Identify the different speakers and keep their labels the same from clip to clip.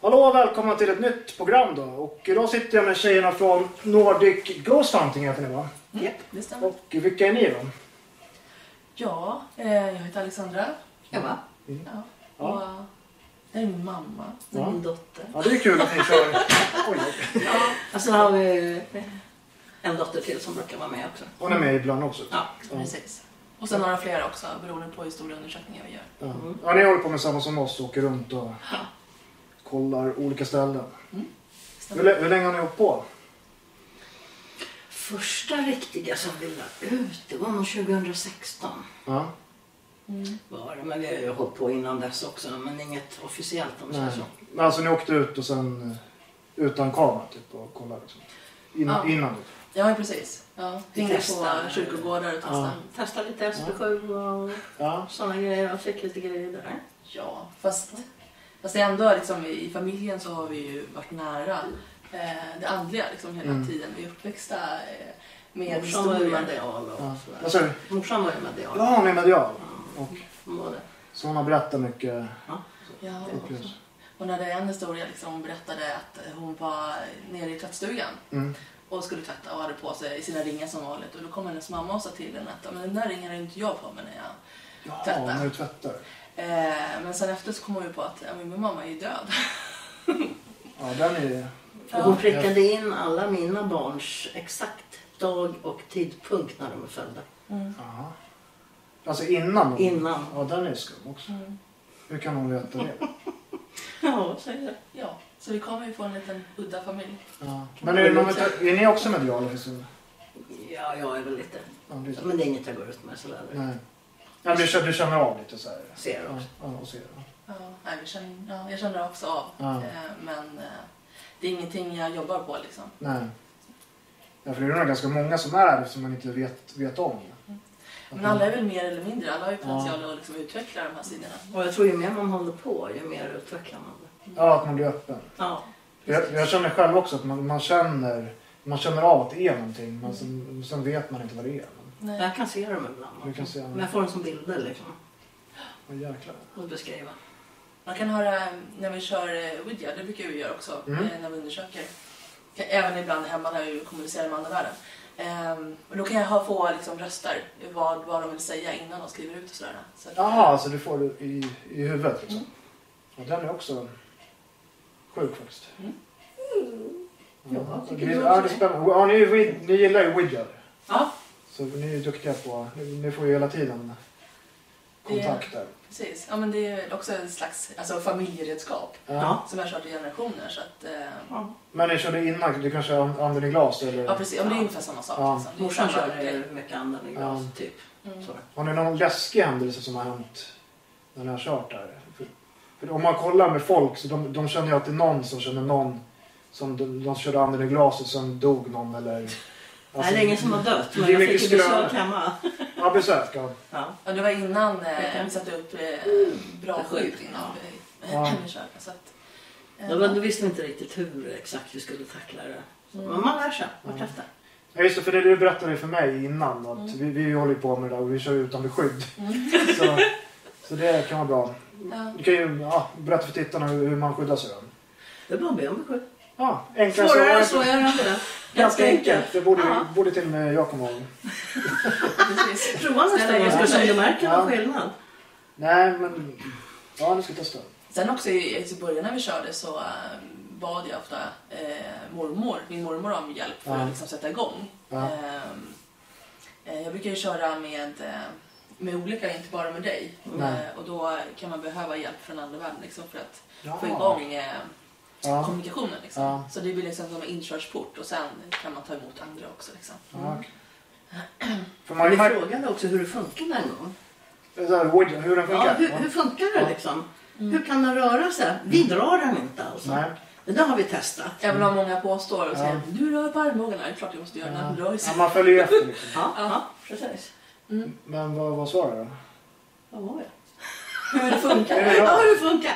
Speaker 1: Hallå och välkomna till ett nytt program då. Och idag sitter jag med tjejerna från Nordic Ghost Hunting heter ni va?
Speaker 2: Mm. det stämmer.
Speaker 1: Och vilka är ni då?
Speaker 2: Ja, eh, jag heter Alexandra.
Speaker 3: Emma,
Speaker 2: Ja.
Speaker 1: Ja.
Speaker 2: Och eh, det är min mamma.
Speaker 3: det är
Speaker 1: Ja.
Speaker 3: min dotter.
Speaker 1: Ja det är kul att ni kör. Oj, oj.
Speaker 3: Och så har vi en dotter till som brukar vara med också.
Speaker 1: Hon är med ibland också.
Speaker 3: Ja,
Speaker 1: Ja.
Speaker 3: precis.
Speaker 2: Och sen några fler också beroende på hur stora undersökningar vi gör.
Speaker 1: Ja. ja ni håller på med samma som oss och åker runt och kollar olika ställen. Hur, lä- hur länge har ni hållit på?
Speaker 3: Första riktiga som vi la ut, det var nog 2016.
Speaker 1: Ja.
Speaker 3: Var det, men vi har ju hållit på innan dess också, men inget officiellt om man säger
Speaker 1: Nej.
Speaker 3: så.
Speaker 1: Men alltså ni åkte ut och sen eh, utan kamera typ och kollade liksom. Innan,
Speaker 2: Ja.
Speaker 1: innan liksom. det.
Speaker 2: Ja, precis. Ja.
Speaker 3: Vi
Speaker 2: Ringer
Speaker 3: testar.
Speaker 2: på kyrkogårdar och testar. Ja.
Speaker 3: Testade lite SB7 och
Speaker 1: Ja.
Speaker 3: sådana grejer och fick lite grejer där.
Speaker 2: fast, fast det är ändå liksom, i familjen så har vi ju varit nära eh, det andliga liksom, hela
Speaker 1: Mm.
Speaker 2: tiden. Vi är uppväxta eh, med
Speaker 3: Morsan var ju
Speaker 2: historien.
Speaker 3: medial och
Speaker 1: Ja.
Speaker 3: sådär.
Speaker 1: Vad sa du?
Speaker 3: Morsan var ju medial.
Speaker 1: Ja, hon är medial.
Speaker 3: Ja,
Speaker 1: Och,
Speaker 3: hon var det.
Speaker 1: så hon har berättat mycket
Speaker 2: Ja.
Speaker 1: upplevelser.
Speaker 2: Hon hade en historia, liksom, hon berättade att hon var nere i tvättstugan
Speaker 1: Mm.
Speaker 2: och skulle tvätta och hade på sig sina ringar som vanligt. Och då kom hennes mamma och sa till henne att "Ja, men den där ringen har inte jag på mig när jag...
Speaker 1: Ja,
Speaker 2: Tvätta.
Speaker 1: när du tvättar.
Speaker 2: Eh, men sen efter så kom hon ju på att "Ja, men min mamma är ju död.
Speaker 1: Ja, den är...
Speaker 3: Och hon prickade in alla mina barns exakt dag och tidpunkt när de är födda.
Speaker 1: Aha. Alltså innan? hon-
Speaker 3: Innan.
Speaker 1: Ja, den är skum också.
Speaker 2: Mm.
Speaker 1: Hur kan hon veta det?
Speaker 3: Ja, säger jag.
Speaker 2: Ja, så vi kommer ju få en liten udda familj.
Speaker 1: Ja. Men är, det någon, är ni också mediala? Liksom?
Speaker 3: Ja, jag är väl lite...
Speaker 1: Ja, lite.
Speaker 3: Men det är inget jag går ut med sådär.
Speaker 1: Nej. Ja, du, känner, du känner av lite så här?
Speaker 3: Ser
Speaker 1: Ja,
Speaker 3: också.
Speaker 1: ja, och ser.
Speaker 2: Ja, nej, vi känner, ja, jag känner det också av.
Speaker 1: Ja.
Speaker 2: Eh, men eh, det är ingenting jag jobbar på liksom.
Speaker 1: Nej. Ja, för det är nog ganska många som är som man inte vet, vet om.
Speaker 2: Men alla är väl mer eller mindre, alla har ju
Speaker 1: Ja.
Speaker 2: potential att liksom utveckla de här sidorna.
Speaker 3: Och jag tror ju mer man håller på, ju mer utvecklar man det.
Speaker 1: Ja, att man blir öppen.
Speaker 3: Ja.
Speaker 1: Jag, jag känner själv också att man, man, känner, man känner av att det är någonting men sen, sen vet man inte vad det är. Men,
Speaker 2: Nej.
Speaker 3: Jag kan se dem ibland.
Speaker 1: Du kan se dem.
Speaker 3: Men jag får dem som bilder liksom.
Speaker 1: vad jäklar.
Speaker 3: Att beskriva.
Speaker 2: Man kan höra eh, när vi kör eh, Ouija, det brukar vi göra också
Speaker 1: Mm.
Speaker 2: eh, när vi undersöker. Kan- Även ibland hemma när vi kommunicerar med andra världen. Ehm, och då kan jag ha- få liksom, röster, vad, vad de vill säga innan de skriver ut och sådär. Så, att-
Speaker 1: Jaha, alltså du får det i, i huvudet liksom. Ja, den är också sjuk faktiskt.
Speaker 2: Mm.
Speaker 3: Ja, tycker
Speaker 1: det,
Speaker 3: du
Speaker 1: ja,
Speaker 3: också
Speaker 1: det är
Speaker 3: det?
Speaker 1: spännande. Ja, ni, är wi- ni gillar ju widget.
Speaker 2: Ja,
Speaker 1: Så ni är duktiga på, ni, ni får ju hela tiden kontakt där.
Speaker 2: precis. Ja, men det är också en slags alltså, familjeredskap
Speaker 1: Ja.
Speaker 2: som jag kört i generationer. Så att, eh,
Speaker 3: Ja.
Speaker 1: Men ni körde innan, det kanske är and- anden i glas eller?
Speaker 2: ja, precis. Ja, men det är ungefär samma sak.
Speaker 1: Ja.
Speaker 2: Liksom. Det är
Speaker 3: Morsan
Speaker 2: samma
Speaker 3: körde
Speaker 2: grej.
Speaker 3: ju mycket andan i glas,
Speaker 1: Ja.
Speaker 3: typ.
Speaker 2: Mm.
Speaker 3: Så.
Speaker 1: Har ni någon läskig händelse som har hänt när ni har kört där? För, för om man kollar med folk så de, de känner ju alltid någon som känner någon som de, de körde anden i glas och sen dog någon eller... Alltså,
Speaker 3: Nej, det är ingen som har dött, men
Speaker 1: det är
Speaker 3: jag
Speaker 1: mycket
Speaker 3: fick ju besök
Speaker 1: skrönor.
Speaker 3: hemma.
Speaker 1: Ja, besök. Ja.
Speaker 3: Ja.
Speaker 2: Ja, det var innan eh, vi satte upp eh, bra
Speaker 3: Mm.
Speaker 2: skydd innan vi,
Speaker 1: Ja.
Speaker 2: vi körde. Så att, eh,
Speaker 3: Ja, men då visste vi inte riktigt hur exakt vi skulle tackla det. Så, Men
Speaker 2: Mm.
Speaker 3: man lär sig vartefter.
Speaker 1: Ja just det, för det du berättade för mig innan att
Speaker 3: Mm.
Speaker 1: vi, vi håller ju på med det där och vi kör ju utan beskydd. Så, så det kan vara bra.
Speaker 2: Mm. ja.
Speaker 1: Du kan ju ja, berätta för tittarna hur, hur man skyddar sig då.
Speaker 3: Det är bara att be om beskydd.
Speaker 1: Ja, enklare
Speaker 3: Svårare än
Speaker 1: än
Speaker 3: så är det inte.
Speaker 1: Ganska enkelt. Det borde,
Speaker 3: Ja.
Speaker 1: borde till och med jag komma ihåg.
Speaker 2: precis.
Speaker 3: Prova nästa
Speaker 2: Ställa
Speaker 3: gång så
Speaker 2: in sig.
Speaker 3: du märker
Speaker 1: Ja.
Speaker 3: någon skillnad.
Speaker 1: Nej men... Ja, nu ska jag testa.
Speaker 2: Sen också i, i början när vi körde så eh, bad jag ofta eh, mormor, min mormor om hjälp för
Speaker 1: Ja.
Speaker 2: att liksom sätta igång.
Speaker 1: Ja.
Speaker 2: Ehm, Eh, jag brukar ju köra med, eh, med olika, inte bara med dig.
Speaker 1: Nej.
Speaker 2: Eh, och då kan man behöva hjälp från andra världen liksom, för att
Speaker 1: Ja.
Speaker 2: få igång eh,
Speaker 1: Ja.
Speaker 2: kommunikationen. Liksom.
Speaker 1: Ja.
Speaker 2: Så det blir liksom som en inkörsport och sen kan man ta emot andra också. Liksom.
Speaker 1: Ja, okej. För man
Speaker 3: Vi
Speaker 1: ju märkt
Speaker 3: frågade också hur det funkade en gång.
Speaker 1: hur den
Speaker 3: Ja,
Speaker 1: funkar.
Speaker 3: hur, hur funkar
Speaker 1: Ja. Mm.
Speaker 3: det liksom? Hur kan den röra sig? Vi drar den inte alltså.
Speaker 1: Nej.
Speaker 3: Det där har vi testat.
Speaker 2: Även om många påstår och säger
Speaker 1: Ja.
Speaker 2: du rör på armbågarna, det är klart du måste göra när
Speaker 1: Ja.
Speaker 2: den rör
Speaker 1: Ja,
Speaker 2: sig.
Speaker 1: man följer ju efter liksom.
Speaker 3: Ja, ja precis.
Speaker 1: Men vad, vad svarar du då?
Speaker 3: Vad var jag?
Speaker 2: Hur det funkar.
Speaker 1: Är det
Speaker 3: Ja,
Speaker 1: bra?
Speaker 3: hur det funkar.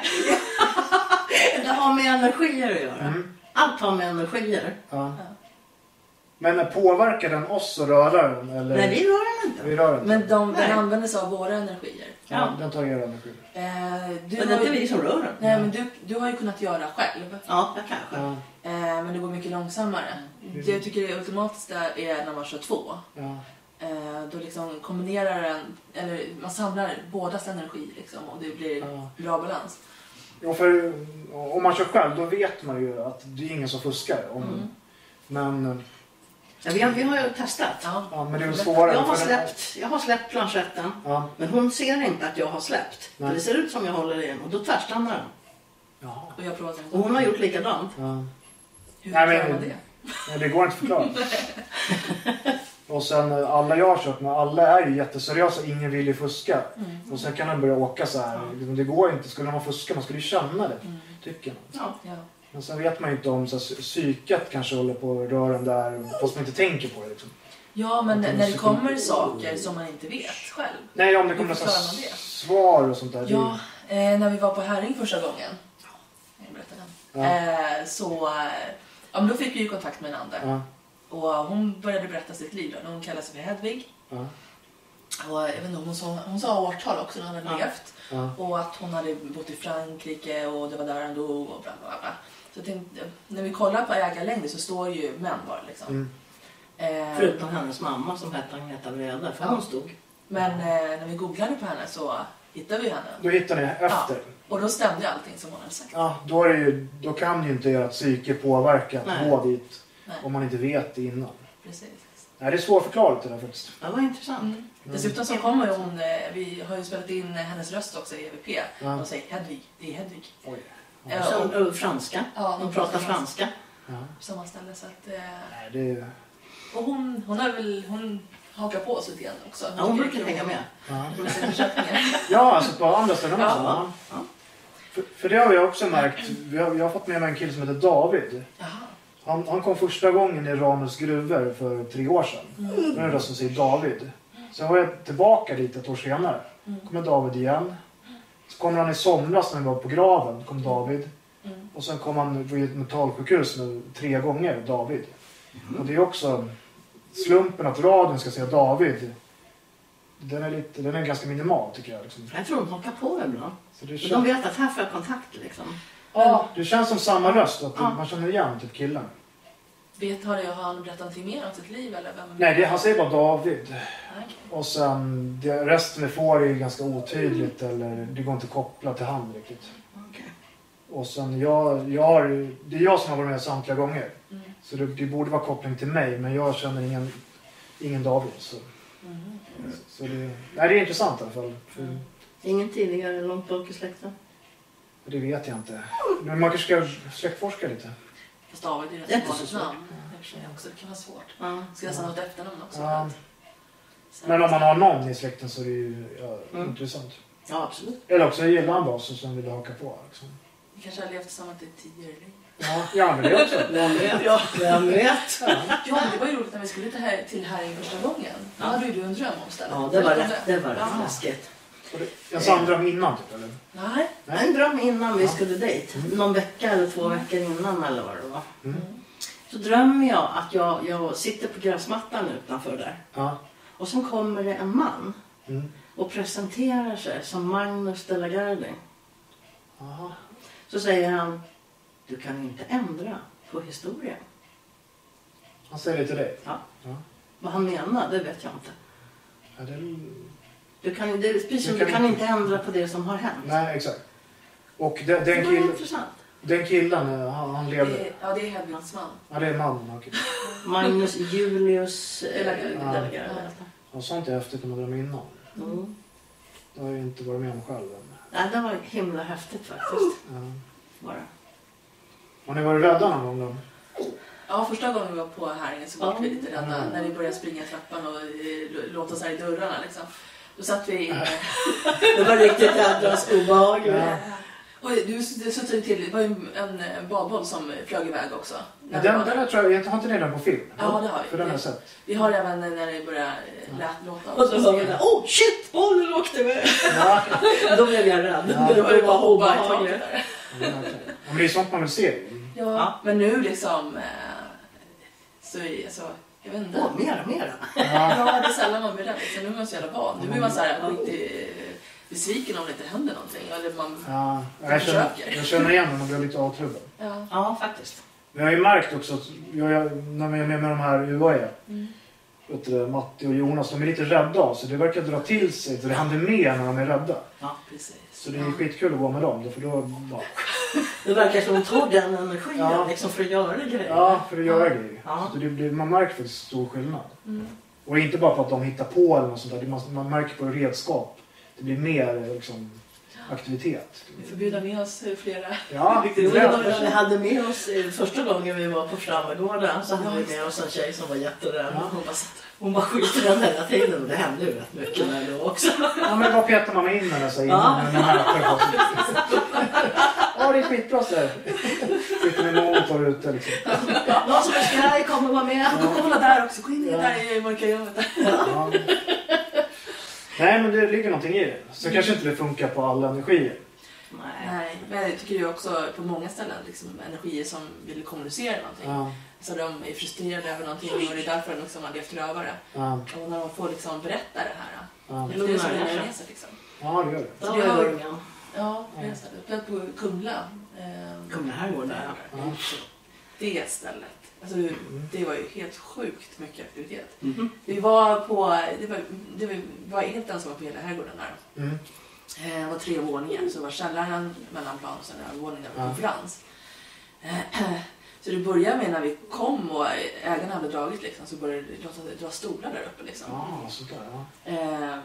Speaker 3: det har med energier att göra.
Speaker 1: Mm.
Speaker 3: Allt har med energier.
Speaker 1: Ja. Men påverkar den oss att röra den? Eller?
Speaker 3: Nej, vi rör den inte.
Speaker 1: Vi rör den inte.
Speaker 2: Men de, den
Speaker 3: Nej.
Speaker 2: använder sig av våra energier.
Speaker 1: Ja, Den tar er energi.
Speaker 2: Eh, du,
Speaker 3: Men det
Speaker 2: har
Speaker 3: är inte
Speaker 2: ju,
Speaker 3: vi som rör den.
Speaker 2: nej, men du, du har ju kunnat göra själv.
Speaker 3: Ja, jag kanske.
Speaker 1: Ja,
Speaker 2: Eh, men det går mycket långsammare.
Speaker 1: Mm.
Speaker 2: Det jag tycker det ultimatiska är när man kör två.
Speaker 1: ja.
Speaker 2: Eh, då liksom kombinerar den, eller man samlar bådas energi liksom, och det blir
Speaker 1: Ja.
Speaker 2: bra balans.
Speaker 1: Ja, för om man kör själv då vet man ju att det är ingen som fuskar. Om,
Speaker 2: Mm.
Speaker 1: men,
Speaker 3: Ja, vi, har, vi har ju testat.
Speaker 2: Ja. Mm.
Speaker 1: ja, men det är väl
Speaker 3: Jag
Speaker 1: svårare.
Speaker 3: har,
Speaker 1: för den-
Speaker 3: släppt, jag har släppt planschetten.
Speaker 1: Ja.
Speaker 3: Men hon ser inte att jag har släppt. För
Speaker 1: Nej.
Speaker 3: det ser ut som jag håller i den och då tvärstannar den.
Speaker 1: Jaha.
Speaker 2: Och jag provar
Speaker 3: Och hon har gjort likadant.
Speaker 1: Ja.
Speaker 2: Hur
Speaker 1: Nej,
Speaker 2: klarar
Speaker 1: men-
Speaker 2: man det?
Speaker 1: Nej, det går inte att förklara. Och sen eh, alla jag har kört med, alla är ju jätteseriösa. Ingen vill ju fuska.
Speaker 2: Mm.
Speaker 1: Och sen kan den börja åka så här. Liksom, Det går inte. Skulle man fuska, man skulle ju känna det.
Speaker 2: Mm.
Speaker 1: Tycker man.
Speaker 3: Ja.
Speaker 2: Ja.
Speaker 1: Men sen vet man ju inte om så här, psyket kanske håller på att röra den där fast man inte tänker på det. Liksom.
Speaker 2: ja, men
Speaker 1: Att de
Speaker 2: när det
Speaker 1: sitter-
Speaker 2: kommer saker som man inte vet själv.
Speaker 1: Nej, om det kommer
Speaker 2: Hur
Speaker 1: några
Speaker 2: förklarar man det?
Speaker 1: svar och sånt där. det är-
Speaker 2: Ja, eh, när vi var på Herring första gången. Jag berättar den.
Speaker 1: Ja.
Speaker 2: Eh, så, eh, ja, men då fick vi ju kontakt med en ande.
Speaker 1: Ja,
Speaker 2: Och hon började berätta sitt liv. Då. Hon kallade sig för Hedvig.
Speaker 1: ja,
Speaker 2: Och eh, jag vet inte, hon, sa, hon sa årtal också när hon hade
Speaker 3: Ja.
Speaker 2: levt.
Speaker 1: ja.
Speaker 2: Och att hon hade bott i Frankrike och det var där han dog och bla bla bla. Så jag tänkte, när vi kollar på ägarlängder så står ju män bara liksom.
Speaker 1: Mm.
Speaker 2: Eh,
Speaker 3: Förutom hennes mamma som hette Agneta Brede, för
Speaker 2: Ja.
Speaker 3: hon stod.
Speaker 2: men eh, när vi googlade på henne så hittade vi henne.
Speaker 1: Då hittar ni efter.
Speaker 2: Och då stämde ju allting som hon hade sagt.
Speaker 1: Ja, då, är det ju, då kan ju inte ert psyke påverka att
Speaker 3: Nej.
Speaker 1: gå dit
Speaker 2: Nej.
Speaker 1: om man inte vet det innan.
Speaker 2: Precis.
Speaker 1: Nej, det är svårförklarligt det där faktiskt.
Speaker 3: Det var intressant.
Speaker 2: Mm. Dessutom så kommer ju hon, eh, vi har ju spelat in eh, hennes röst också i EVP.
Speaker 1: Ja.
Speaker 2: De säger Hedvig, det är Hedvig. Eh,
Speaker 1: Oj.
Speaker 2: Ja.
Speaker 3: Så hon ö, eh, franska.
Speaker 2: Ja,
Speaker 3: Hon pratar franska.
Speaker 1: Ja.
Speaker 2: på samma ställe. Så att, eh,
Speaker 1: Nej, det är...
Speaker 2: och hon, hon, har väl, hon hakar på oss lite grann också.
Speaker 3: Ja, hon
Speaker 2: tycker det
Speaker 3: brukar
Speaker 2: är kul.
Speaker 3: hänga med.
Speaker 1: Ja.
Speaker 2: Hon brukar försöka med.
Speaker 1: ja, alltså på andra ställen
Speaker 2: Ja.
Speaker 1: också. Ja.
Speaker 3: Ja.
Speaker 1: För, för det har jag också märkt. Vi har, jag har fått med mig en kille som heter David.
Speaker 2: Jaha.
Speaker 1: Han, han kom första gången i Ramus gruvor för tre år sedan. Med en röst som säger David. Sen var jag tillbaka dit ett år senare.
Speaker 2: Mm.
Speaker 1: kommer David igen. Så kommer han i somras när vi var på graven. kom David.
Speaker 2: Mm.
Speaker 1: Och sen kom han vid ett mentalsjukhus nu tre gånger, David.
Speaker 3: Mm.
Speaker 1: Och det är också slumpen att radion ska säga David. Den är, lite, den är ganska minimal tycker jag. Liksom.
Speaker 3: Jag tror de hakar på ibland.
Speaker 1: Så det,
Speaker 3: För de
Speaker 1: känns,
Speaker 3: vet att här får jag kontakt liksom.
Speaker 1: ja, det känns som samma röst, att
Speaker 3: Ja.
Speaker 1: man känner igen typ killen.
Speaker 2: Vet, har, det, har han berättat någonting mer om sitt liv? Eller vem?
Speaker 1: Nej, det, han säger bara David.
Speaker 2: Ah, okej.
Speaker 1: Och sen det, resten vi får är ju ganska otydligt eller det går inte att koppla till han riktigt.
Speaker 3: Mm. Okej.
Speaker 1: Och sen jag, jag har, det är jag som har varit med samtliga gånger.
Speaker 2: Mm.
Speaker 1: Så det, det borde vara koppling till mig, men jag känner ingen, ingen David. Så,
Speaker 2: Mm.
Speaker 1: så det, nej, det är intressant i alla fall. För,
Speaker 3: Ingen tidigare långt bak i släkten?
Speaker 1: det vet jag inte. Men man kanske ska släktforska lite.
Speaker 2: Fast David är ju rätt
Speaker 3: Det är inte
Speaker 2: vanligt
Speaker 3: så svårt.
Speaker 2: namn. i och för sig också. Det kan vara svårt.
Speaker 3: Ja.
Speaker 2: Ska nästan ha ett efternamn också.
Speaker 1: Ja.
Speaker 2: Så-
Speaker 1: Men om man har någon i släkten så är det ju ja,
Speaker 3: Mm.
Speaker 1: intressant.
Speaker 3: ja, absolut.
Speaker 1: Eller också gillar han basen som vill haka på. Liksom.
Speaker 2: Vi kanske har levt tillsammans i tio år. eller?
Speaker 1: Ja, ja, men det också.
Speaker 3: Vem vet? Vem vet?
Speaker 2: Ja, det var ju roligt när vi skulle till, här, till Herring första gången. Då
Speaker 3: Ja.
Speaker 2: hade ju du en dröm om stället.
Speaker 3: Ja, det var
Speaker 2: Berätta om
Speaker 3: rätt. Det var rätt
Speaker 2: Ja.
Speaker 3: läskigt.
Speaker 1: Och det- Jag sa en dröm innan typ, eller?
Speaker 2: Nej.
Speaker 3: En dröm innan vi skulle dit. Någon vecka eller två veckor innan eller vad det var.
Speaker 1: Mm.
Speaker 3: Så drömmer jag att jag, jag sitter på gräsmattan utanför där.
Speaker 1: Ja.
Speaker 3: Och sen kommer det en man
Speaker 1: Mm.
Speaker 3: och presenterar sig som Magnus de la Gardie.
Speaker 1: Aha.
Speaker 3: Så säger han, du kan inte ändra på historien.
Speaker 1: Han säger det till dig?
Speaker 3: Ja.
Speaker 1: Ja.
Speaker 3: Vad han menar, det vet jag inte.
Speaker 1: ja det är...
Speaker 3: Du kan, det är precis som
Speaker 1: Du
Speaker 3: du
Speaker 1: kan
Speaker 3: kan,
Speaker 1: inte-
Speaker 3: inte ändra på det som har hänt.
Speaker 1: Nej, exakt. Och den,
Speaker 3: det
Speaker 1: den,
Speaker 3: var
Speaker 1: kill,
Speaker 3: intressant.
Speaker 1: den killen, eh, han, han
Speaker 2: Det
Speaker 1: lever?
Speaker 2: är, ja, det är Hedvigs man.
Speaker 1: Ja, det är mannen. okej.
Speaker 3: Magnus Julius
Speaker 2: De la
Speaker 3: eh,
Speaker 2: Gardie.
Speaker 3: de
Speaker 1: Ja.
Speaker 3: la Gardie.
Speaker 1: Ja, sånt är häftigt när man drömmer innan.
Speaker 3: Mm.
Speaker 1: Det har jag inte varit med om själv än.
Speaker 3: Ja, det var himla häftigt faktiskt.
Speaker 1: Ja.
Speaker 3: Var det.
Speaker 1: Har ni varit rädda någon gång då?
Speaker 2: Ja, första gången vi var på Häringen så var
Speaker 3: Ja.
Speaker 2: vi lite rädda
Speaker 1: Mm.
Speaker 2: när vi började springa i trappan och eh, l- låta oss här i dörrarna liksom. Då satt vi inne.
Speaker 3: det var riktigt jädrans obehagligt.
Speaker 1: Ja.
Speaker 2: Och du, du suttade till, det var ju en eh, badboll som flög iväg också. när
Speaker 1: Ja,
Speaker 2: vi
Speaker 1: den,
Speaker 2: var där.
Speaker 1: den där tror jag, jag har inte ni den på film?
Speaker 2: Ja, det har vi.
Speaker 1: För den har jag
Speaker 2: Det-
Speaker 1: sett.
Speaker 2: Vi har även när det börjar eh, lät låta.
Speaker 3: Och så sa vi där, oh shit, bollen åkte iväg.
Speaker 1: Ja.
Speaker 3: Då blev jag rädd.
Speaker 1: Ja.
Speaker 3: Det var ju bara obehagligt.
Speaker 2: där.
Speaker 1: Ja, men verkligen. Ja, men det är sånt man vill se.
Speaker 2: Ja, men nu liksom eh, så är alltså, Jag vet inte.
Speaker 3: Åh, mera, mera.
Speaker 1: Ja.
Speaker 2: Ja, det är sällan man blir rädd. Så nu är man så jävla van. Nu blir man så här, man blir inte besviken om det inte händer någonting. Eller man...
Speaker 1: Ja, jag, känner, jag känner igen honom, jag blir lite avtrubbad.
Speaker 2: Ja.
Speaker 3: Ja, faktiskt.
Speaker 1: Men jag har ju märkt också att jag, jag, när jag är med, med de här UAE,
Speaker 2: Mm.
Speaker 1: vet du, det, Matti och Jonas, de är lite rädda av sig. Det verkar dra till sig, så det händer mer när de är rädda.
Speaker 2: Precis.
Speaker 1: Så det är skitkul att vara med dem. För då, bara,
Speaker 3: Det verkar som de tog den energin
Speaker 1: Ja.
Speaker 3: liksom för att göra grejer.
Speaker 1: ja, för att göra grejer.
Speaker 3: Ja.
Speaker 1: Så det blir, man märker faktiskt stor skillnad.
Speaker 2: Mm.
Speaker 1: Och inte bara för att de hittar på eller något sånt där. Det- Man, man märker på redskap. Det blir mer liksom, aktivitet.
Speaker 2: Vi får bjuda med oss flera.
Speaker 1: Ja, det
Speaker 3: Jo,
Speaker 1: är
Speaker 3: det var,
Speaker 1: därför.
Speaker 3: vi hade med oss eh, första gången vi var på Frammegården så hade vi med oss en tjej som var jätterädd.
Speaker 1: Ja.
Speaker 2: Hon bara satt där.
Speaker 3: Hon var skiträdd hela tiden och det hände ju rätt mycket där då också.
Speaker 1: Ja, men vad petar man in henne så här innan när man äter? och så? Ja, det är skitbra så här. Sitter med monitor ute liksom.
Speaker 3: Någon som är skraj kommer vara med.
Speaker 2: Kolla, kolla där också. Gå in i
Speaker 1: Ja.
Speaker 2: det där i mörka rummet. där.
Speaker 1: Ja. Nej, men det ligger någonting i det. Så kanske inte det funkar på alla energier.
Speaker 3: Nej.
Speaker 2: Nej, men jag tycker ju också på många ställen liksom, energier som vill kommunicera någonting.
Speaker 1: Ja,
Speaker 2: Så de är frustrerade över någonting och det är därför de liksom har levt rövare.
Speaker 1: ja,
Speaker 2: Och när de får liksom berätta det här,
Speaker 1: ja.
Speaker 2: det är det som lugnar ner sig liksom.
Speaker 1: ja det gör det.
Speaker 3: Där var jag lungan.
Speaker 2: Ja, på det stället. Uppe på Kumla. ehm,
Speaker 3: Kumla herrgård, ja.
Speaker 1: Ja.
Speaker 2: Det stället. Alltså, det var ju helt sjukt mycket aktivitet.
Speaker 3: Mhm.
Speaker 2: Vi var på, det var, det var, vi var helt ensamma på hela herrgården där.
Speaker 1: Mm.
Speaker 2: Eh, Det var tre våningar, så det var källaren, mellanplan och sen övervåningen med
Speaker 1: Ja.
Speaker 2: konferens. Eh, Så det började med när vi kom och ägarna hade dragit liksom, så började det dra- dra stolar där uppe. Liksom.
Speaker 1: Ja, sånt där. Ja.
Speaker 2: Eh,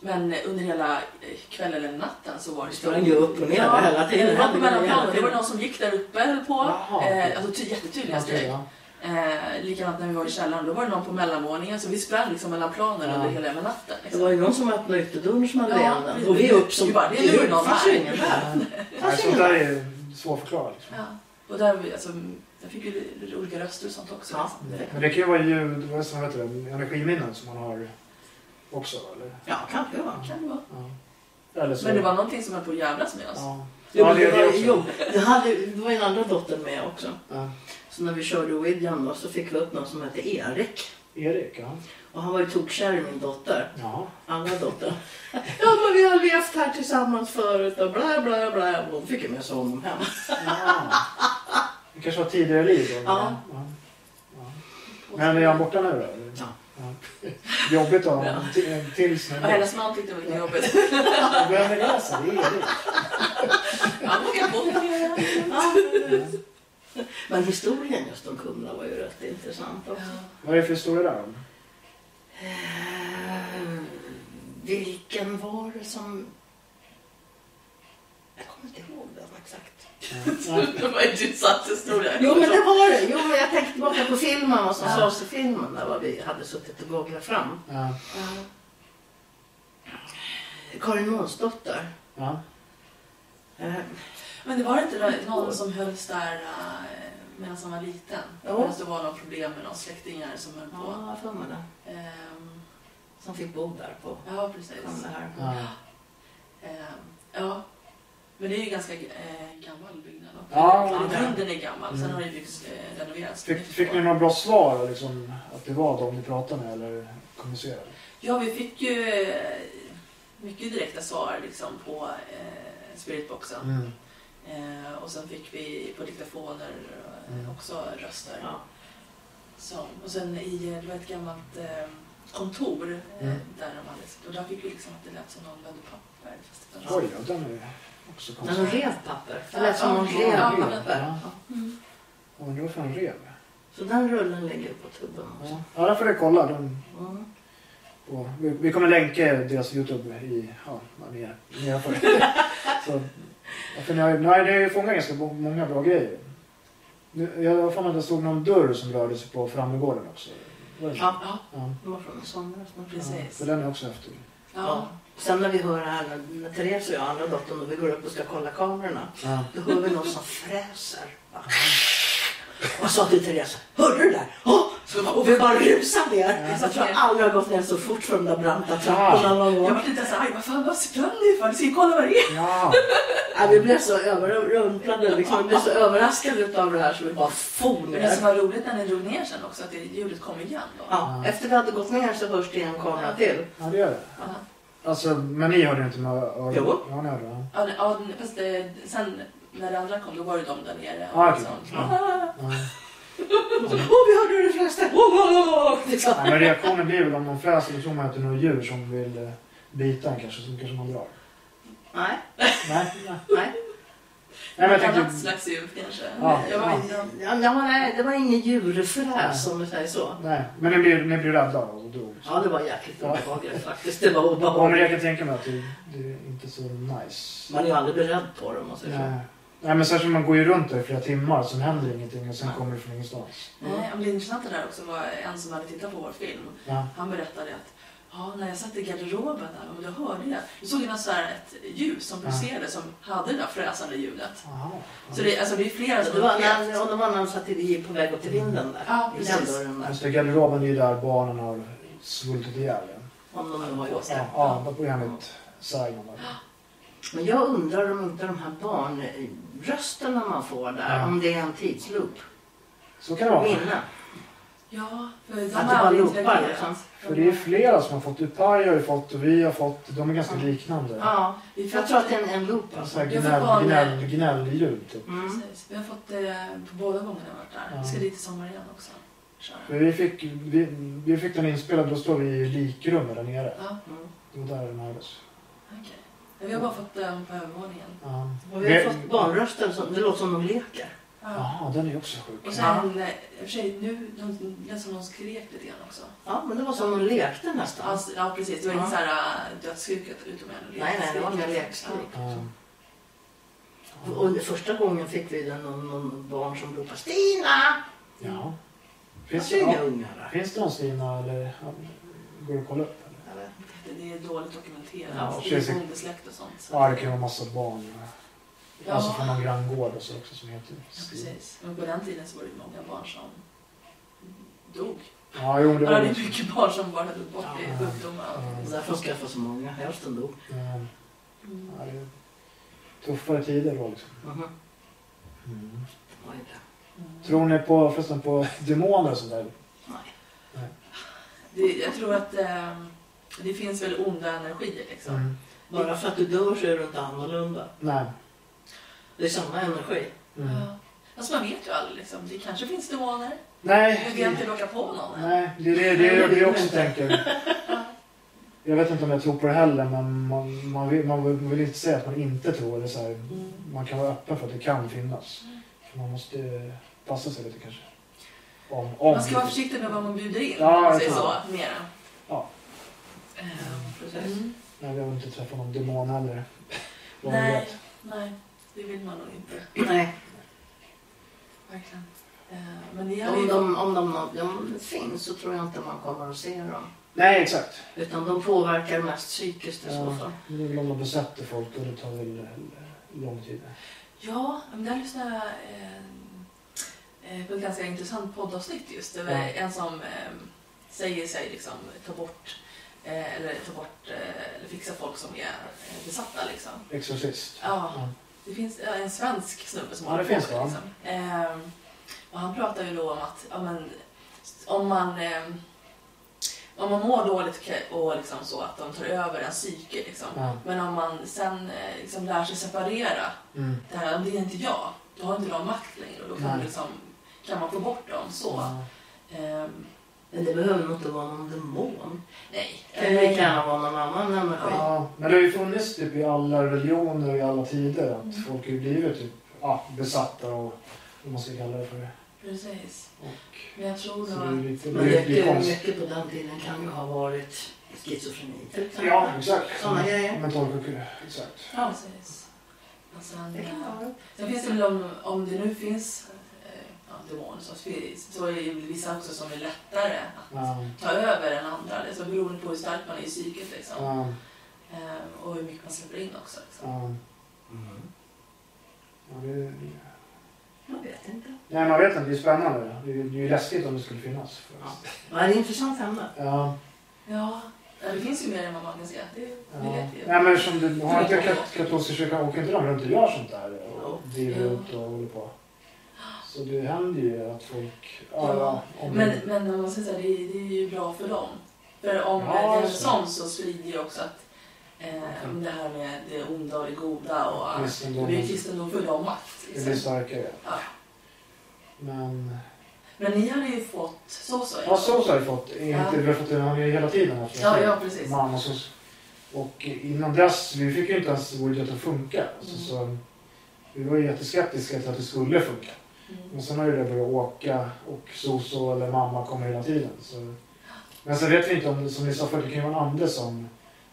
Speaker 2: Men under hela eh, kvällen eller natten så var det...
Speaker 3: Sprang ju upp och ner hela tiden.
Speaker 2: Det var på
Speaker 3: Hände grejer
Speaker 2: mellanplanen.
Speaker 3: hela
Speaker 2: Det var
Speaker 3: tiden.
Speaker 2: någon som gick där uppe höll på.
Speaker 1: Jaha.
Speaker 2: Eh, Alltså ty- jättetydliga
Speaker 1: Ja, det är
Speaker 2: steg.
Speaker 1: det,
Speaker 2: Eh, likadant när vi var i källaren, då var det någon på mellanvåningen så vi sprang liksom mellan planen
Speaker 1: Ja.
Speaker 2: under hela jävla natten.
Speaker 3: Det
Speaker 2: Liksom.
Speaker 3: var ju någon som öppnade ytterdörren som hade
Speaker 2: Ja,
Speaker 3: leenden.
Speaker 2: precis.
Speaker 3: Och vi upp som...
Speaker 2: Vi bara, det är ju någon
Speaker 3: fanns
Speaker 2: här.
Speaker 3: ju ingen där.
Speaker 1: ja. Nej, sånt där är svårförklarat. Liksom.
Speaker 2: Ja. Och där, vi- alltså, där fick vi olika röster och sånt också.
Speaker 3: Ja.
Speaker 2: Liksom. Det-
Speaker 1: Men det kan ju vara ljud, vad som heter det, energiminnen som man har också, eller?
Speaker 3: Ja, kanske det var.
Speaker 2: Kan det vara.
Speaker 1: Ja. Eller
Speaker 3: Alltså-
Speaker 1: så.
Speaker 2: Men det var någonting som höll på att jävlas med oss.
Speaker 1: Ja,
Speaker 3: Jo,
Speaker 1: ja
Speaker 3: men
Speaker 1: det
Speaker 3: det,
Speaker 1: är det
Speaker 3: var,
Speaker 1: också.
Speaker 3: jo, det, hade, det var ju den andra dottern med också.
Speaker 1: Ja.
Speaker 3: Så när vi körde William då så fick vi upp någon som hette Erik.
Speaker 1: Erik, ja.
Speaker 3: Och han var ju tokkär i min dotter.
Speaker 1: Ja.
Speaker 3: Andra dotter. Ja men vi har levt här tillsammans förut och bla bla bla. Och Hon fick ju med sig honom hem.
Speaker 1: ja. Det kanske var tidigare liv då? men-
Speaker 3: Ja.
Speaker 1: ja. Ja. Men är han borta nu då? eller?
Speaker 3: Ja.
Speaker 1: Ja. Jobbigt att ha en till- en till snubbe.
Speaker 2: Och hennes man tyckte det var lite jobbigt.
Speaker 1: Vem är det? så? Det är Erik.
Speaker 2: Han vågade bo med
Speaker 3: Ja. Men historien just om Kumla var ju rätt intressant också.
Speaker 1: Vad är det för historia där? om?
Speaker 3: Eh, vilken var det som... Jag kommer inte ihåg den exakt.
Speaker 1: Ja. Ja.
Speaker 2: Det var en intressant historia.
Speaker 3: Jo men det var det. Jo men jag tänkte tillbaka på filmen vad som sades i filmen där vad vi hade suttit och googlat fram.
Speaker 1: Ja.
Speaker 2: Ja.
Speaker 3: Karin Månsdotter.
Speaker 1: Ja.
Speaker 3: Eh,
Speaker 2: Men det var inte där någon som hölls där eh, medan han var liten?
Speaker 3: Jo.
Speaker 2: Medan det var någon problem med någon släktingar som höll på?
Speaker 3: Ja, jag har för mig det.
Speaker 2: Ehm,
Speaker 3: Som fick bo där på
Speaker 2: ja, precis.
Speaker 3: Kumla här.
Speaker 1: Ja.
Speaker 2: Ehm, ja. Men det är ju ganska eh, gammal byggnad. då.
Speaker 1: Ja,
Speaker 2: Eller
Speaker 3: det är det.
Speaker 2: Grunden är gammal, sen
Speaker 1: Mm.
Speaker 2: har det byggts, eh, renoverats.
Speaker 1: Fick, fick ni några bra svar? Liksom, att det var de ni pratade med eller kommunicerade?
Speaker 2: Ja, vi fick ju eh, mycket direkta svar liksom, på eh, spiritboxen.
Speaker 1: Mm.
Speaker 2: Eh, och sen fick vi på diktafoner eh,
Speaker 1: Mm.
Speaker 2: också röster.
Speaker 3: Ja.
Speaker 2: Som, och sen i eh, det var ett gammalt eh, kontor eh,
Speaker 1: Mm.
Speaker 2: där de hade sitt. Och där fick vi liksom att det lät som någon vände papper. Fast det var
Speaker 1: Oj, ja, den är också
Speaker 3: När de
Speaker 1: konstig.
Speaker 3: rev papper. Det lät som de
Speaker 2: Ja,
Speaker 3: rev
Speaker 2: ja.
Speaker 3: papper.
Speaker 1: Ja.
Speaker 2: Mm.
Speaker 1: Undrar varför han rev.
Speaker 3: Så den rullen ligger på tubben också.
Speaker 1: Ja, ja där får du kolla. Den,
Speaker 3: Mm.
Speaker 1: på, vi, vi kommer länka deras Youtube i... Ja, ja, ni är- ni är för Så, ja, för ni har, ju- nej, ni har ju fångat ganska bo- många bra grejer. Nu, jag har för mig att det stod någon dörr som rörde sig på Frammegården också. Var det så?
Speaker 3: Ja,
Speaker 2: Ja,
Speaker 1: Ja,
Speaker 3: det var från i somras. men-
Speaker 2: Precis.
Speaker 1: ja, för den är också häftig.
Speaker 2: ja.
Speaker 3: Sen när vi hör det här när- när Therese och jag, andra dottern, och vi går upp och ska kolla kamerorna.
Speaker 1: Ja.
Speaker 3: Då hör vi någon som fräser. va? Och jag sa till Therese, hörde du det där? Åh,
Speaker 2: Så bara,
Speaker 3: Och
Speaker 2: och
Speaker 3: vi
Speaker 2: jag
Speaker 3: bara rusade
Speaker 2: Det är
Speaker 3: ner.
Speaker 2: så
Speaker 3: Jag tror
Speaker 2: fel.
Speaker 3: aldrig jag har gått ner så fort för de där branta trapporna någon gång.
Speaker 2: vart lite så arg, vad fan vad sprang ni för? Ni ska ju kolla vad det är.
Speaker 1: Ja.
Speaker 3: Ja, vi blev så överrumplade, liksom. vi blev så överraskade av det här så vi bara for
Speaker 2: Men det som
Speaker 3: ner.
Speaker 2: var roligt när ni drog ner sen också, att det ljudet kom igen då.
Speaker 3: Ja, efter vi hade gått ner så hörs det en kamera till.
Speaker 1: ja, det gör det.
Speaker 2: Ja.
Speaker 1: Alltså, men ni hörde inte med öronen?
Speaker 3: Jo.
Speaker 1: Ja, ni hörde det.
Speaker 2: Ja, nej, ja, nej, fast det, sen när det andra kom, då var det de där nere.
Speaker 1: Ah,
Speaker 2: liksom.
Speaker 1: okej.
Speaker 2: Ah,
Speaker 1: Ja.
Speaker 3: Åh, vi hörde hur det fräste! Åh, åh, åh, åh, liksom.
Speaker 1: Nej, men reaktionen blir väl om de fräser, då tror man att det är något djur som vill eh, bita en kanske, så kanske man drar.
Speaker 3: Nej,
Speaker 1: Nej, nej.
Speaker 3: nej.
Speaker 1: nej men jag
Speaker 2: ett annat
Speaker 1: tänkte...
Speaker 2: slags djur kanske.
Speaker 1: Ja.
Speaker 2: Jag var inne.
Speaker 3: Ja, men, ja, nej, det var ingen djurfräs om vi säger så.
Speaker 1: Nej, men ni blev, ni blev rädda och drog.
Speaker 3: Ja, det var jäkligt
Speaker 1: Ja.
Speaker 3: obehagligt faktiskt. Det var
Speaker 1: Ja, men jag
Speaker 3: obehagligt.
Speaker 1: kan tänka mig att det, det är inte så nice.
Speaker 3: Man är ju aldrig beredd på det om man säger så.
Speaker 1: Nej. Nej, men särskilt man går ju runt där i flera timmar, sen händer ingenting och sen kommer det från ingenstans.
Speaker 2: Nej, men det intressanta där också var en som hade tittat på vår film.
Speaker 1: Ja.
Speaker 2: Han berättade att ja, när jag satt i garderoben där, och då hörde jag. Jag såg jag så här ett ljus som
Speaker 1: Ja.
Speaker 2: pulserade som hade det där fräsande ljudet.
Speaker 1: Aha.
Speaker 2: Så det, alltså, det är flera som
Speaker 3: Det var
Speaker 2: upplevt.
Speaker 3: när, och det var när han satt i jeep på väg upp till vinden där.
Speaker 2: Ja,
Speaker 3: I den
Speaker 2: precis.
Speaker 3: dörren där.
Speaker 1: Just det, garderoben är ju där barnen har svultit ihjäl. igen.
Speaker 3: Om de nu har gjort
Speaker 1: Ja,
Speaker 3: det.
Speaker 1: ja, det var enligt Saigon. där.
Speaker 3: Men jag undrar om inte de här barnrösterna man får där,
Speaker 1: Ja.
Speaker 3: om det är en tidsloop.
Speaker 1: Så kan det vara.
Speaker 3: Minne.
Speaker 2: Ja, för de
Speaker 3: det
Speaker 2: har
Speaker 3: bara
Speaker 2: aldrig
Speaker 3: loopar,
Speaker 2: interagerat.
Speaker 3: liksom.
Speaker 1: För det är flera som har fått. Upaj har ju fått och vi har fått. De är ganska liknande.
Speaker 3: Ja,
Speaker 2: Vi
Speaker 3: jag tror att det är en, en loop.
Speaker 1: Så här
Speaker 3: Alltså.
Speaker 2: Jag får barn-
Speaker 1: gnäll, gnäll, gnällljud typ.
Speaker 3: Mm.
Speaker 2: Precis. Vi har fått det på båda gångerna jag varit där. Vi ska
Speaker 1: Ja.
Speaker 2: dit i sommar igen också. Köra.
Speaker 1: För Vi fick, vi, vi fick den inspelad, då står vi i likrummet där nere.
Speaker 2: Ja,
Speaker 3: Mm.
Speaker 1: Det var där den hördes.
Speaker 2: okej. Men Vi har bara fått den på övervåningen.
Speaker 1: Ja.
Speaker 3: Och vi har
Speaker 1: Det-
Speaker 3: fått barnröster som, det låter som de leker.
Speaker 2: Ja.
Speaker 1: Jaha, den är också sjuk.
Speaker 2: Och sen, eh, i och för sig, nu de- det lät som de skrek lite grann också.
Speaker 3: Ja, men det var som de lekte nästan.
Speaker 2: Alltså, ja, precis. Det var inte
Speaker 3: Ja.
Speaker 2: så här äh, dödsskriket utom en
Speaker 3: nej, nej, det var mer lekskrik.
Speaker 1: Ja.
Speaker 3: Och och första gången fick vi den någon, någon barn som ropade Stina! Alltså,
Speaker 1: Ja.
Speaker 3: Det
Speaker 1: Finns
Speaker 3: var ju
Speaker 1: det,
Speaker 3: inga
Speaker 1: ja,
Speaker 3: ungar där.
Speaker 1: finns det någon Stina eller ja, går det att kolla upp? Eller?
Speaker 3: Jag vet
Speaker 2: Det- Det är dåligt dokumenterat.
Speaker 3: Ja,
Speaker 2: det
Speaker 1: precis.
Speaker 2: är bondesläkt och sånt. så-
Speaker 1: Ja, det kan ju vara massa barn.
Speaker 2: Ja.
Speaker 1: Alltså från någon granngård och så också som heter
Speaker 2: Ja,
Speaker 1: Stina.
Speaker 2: precis. Men på den tiden så var det ju många barn som dog.
Speaker 1: Ja, jo, det
Speaker 2: Ja,
Speaker 1: var
Speaker 2: det
Speaker 1: det.
Speaker 2: är mycket barn som bara dog bort i
Speaker 3: Ja.
Speaker 2: sjukdomar.
Speaker 1: Ja.
Speaker 3: inte. Därför skaffade jag så många. Hälften dog.
Speaker 1: Ja,
Speaker 2: Mm.
Speaker 1: det är tuffare tider då liksom.
Speaker 3: Mhm. Det var ju det.
Speaker 2: Mm.
Speaker 1: Tror ni på, förresten på demoner och sånt där?
Speaker 3: Nej.
Speaker 2: Det, jag tror att ehm, det finns väl onda energier liksom.
Speaker 1: Mm.
Speaker 3: Bara för att du dör så är du inte annorlunda.
Speaker 1: Nej.
Speaker 3: Det är samma energi.
Speaker 1: Mm.
Speaker 2: Ja. Alltså man vet ju aldrig liksom. Det kanske finns demoner.
Speaker 1: Nej,
Speaker 2: Men vi har
Speaker 1: det,
Speaker 2: inte råkat på någon än.
Speaker 1: nej, det är det, det, är det vi också tänker. Jag vet inte om jag tror på det heller, men man, man, vill, man vill- man vill inte säga att man inte tror. Eller så här,
Speaker 2: Mm.
Speaker 1: man kan vara öppen för att det kan finnas. För man måste eh, passa sig lite kanske. Om, om.
Speaker 2: Man ska vara försiktig med vad man bjuder in.
Speaker 1: Ja,
Speaker 2: om man
Speaker 1: jag
Speaker 2: säger
Speaker 1: tror
Speaker 2: så. Mera.
Speaker 1: Ja.
Speaker 2: Ehm, precis.
Speaker 3: Mm.
Speaker 1: Nej, vi har inte träffat någon demon heller. Vad vi
Speaker 2: Nej,
Speaker 1: vet.
Speaker 2: nej. Det vill man nog inte.
Speaker 3: Nej.
Speaker 2: Verkligen. Ehm, men ni har
Speaker 3: Om
Speaker 2: ju...
Speaker 3: de, om, de, om de finns så tror jag inte man kommer att se dem.
Speaker 1: Nej, exakt.
Speaker 3: Utan de påverkar mest psykiskt i så
Speaker 1: Ja.
Speaker 3: fall.
Speaker 1: Det är väl om de besätter folk och det tar väl eh, lång tid.
Speaker 2: Ja, men där lyssnade jag eh, eh, på ett ganska intressant poddavsnitt just. Det var
Speaker 1: Ja.
Speaker 2: en som eh, säger sig liksom ta bort eh, eller ta bort eh, eller fixa folk som är eh, besatta liksom.
Speaker 1: Exorcist.
Speaker 2: Ja.
Speaker 1: Ja.
Speaker 2: Det finns eh, en svensk snubbe som
Speaker 1: Ja,
Speaker 2: håller
Speaker 1: det
Speaker 2: på
Speaker 1: finns
Speaker 2: med
Speaker 1: det,
Speaker 2: liksom. Eh, och han pratar ju då om att ja, men, om man eh, om man mår dåligt och- och liksom så att de tar över en psyke liksom.
Speaker 1: Ja.
Speaker 2: Men om man sen eh, liksom lär sig separera
Speaker 1: Mm.
Speaker 2: det här, det är inte jag. Då har inte de makt längre och då kan,
Speaker 1: Nej. Mm.
Speaker 2: man liksom, kan man få bort dem så.
Speaker 1: Ja.
Speaker 2: Ehm,
Speaker 3: Men det behöver nog inte vara någon demon.
Speaker 2: nej. Eh,
Speaker 3: Det kan lika gärna vara någon annan energi.
Speaker 1: Eh. Ja, men det har ju funnits typ i alla religioner och i alla tider att folk har ju blivit typ, ja, besatta och vad man ska kalla det för.
Speaker 2: Precis.
Speaker 1: Och,
Speaker 2: Men jag tror
Speaker 1: så
Speaker 2: nog
Speaker 1: det är
Speaker 2: att...
Speaker 1: ju lite,
Speaker 3: Men
Speaker 1: det är lite
Speaker 3: mycket,
Speaker 1: konstigt.
Speaker 3: mycket på den tiden kan ju ha varit schizofreni till exempel.
Speaker 1: Ja, Mm. exakt.
Speaker 3: Såna grejer.
Speaker 1: Mental sjukhus, exakt.
Speaker 2: Ja, precis. Och sen,
Speaker 3: Det kan
Speaker 2: eh,
Speaker 3: vara.
Speaker 2: sen finns det väl om, om det nu finns eh, ja, demoner som finns, så är det ju vissa också som är lättare att
Speaker 1: Ja,
Speaker 2: ta över än andra. Liksom, beroende på hur stark man är i psyket liksom.
Speaker 1: ja,
Speaker 2: Ehm, och hur mycket
Speaker 1: Mm.
Speaker 2: man släpper in också. Liksom.
Speaker 1: ja.
Speaker 3: Mm.
Speaker 1: Ja, det,
Speaker 2: Man vet
Speaker 3: vet inte.
Speaker 1: Nej, man vet inte. Det är spännande. Det är det är ju läskigt om det skulle finnas. faktiskt.
Speaker 3: Ja, det är intressant ämne.
Speaker 1: Ja.
Speaker 2: Ja, ja, det finns ju mer än vad man kan se. Det,
Speaker 1: ja.
Speaker 2: det vet vi ju.
Speaker 1: Nej, men som du, har inte kat- katolska kyrkan, åker inte de runt och gör sånt där? Och driver
Speaker 2: Jo.
Speaker 1: runt och håller på. Så det händer ju att folk... Ja,
Speaker 2: Ja.
Speaker 1: ja. Om
Speaker 2: Men, men om man säger så här, det, är- det är ju bra för dem. För om
Speaker 1: Ja,
Speaker 2: det är en
Speaker 1: just det.
Speaker 2: sån så sprider ju också att eh, om det här med det onda och det goda och allt. Då blir ju
Speaker 1: kristendomen
Speaker 2: kristendom för dem makt.
Speaker 1: det blir
Speaker 2: Liksom.
Speaker 1: starkare.
Speaker 2: Ja.
Speaker 1: Men...
Speaker 2: Men ni hade ju fått så så.
Speaker 1: Ja, så har vi fått. Inte,
Speaker 2: Ja.
Speaker 1: Vi har fått den har vi hela tiden. haft.
Speaker 2: ja, ja, precis.
Speaker 1: man och, så, och innan dess, vi fick ju inte ens vår idé att funka. Alltså, så,
Speaker 2: Mm.
Speaker 1: vi var ju jätteskeptiska till att det skulle funka.
Speaker 2: Mm.
Speaker 1: Men sen har ju det börjat åka och soso eller mamma kommer hela tiden. Så. Men sen vet vi inte om det, som ni sa förut, det kan ju vara en ande som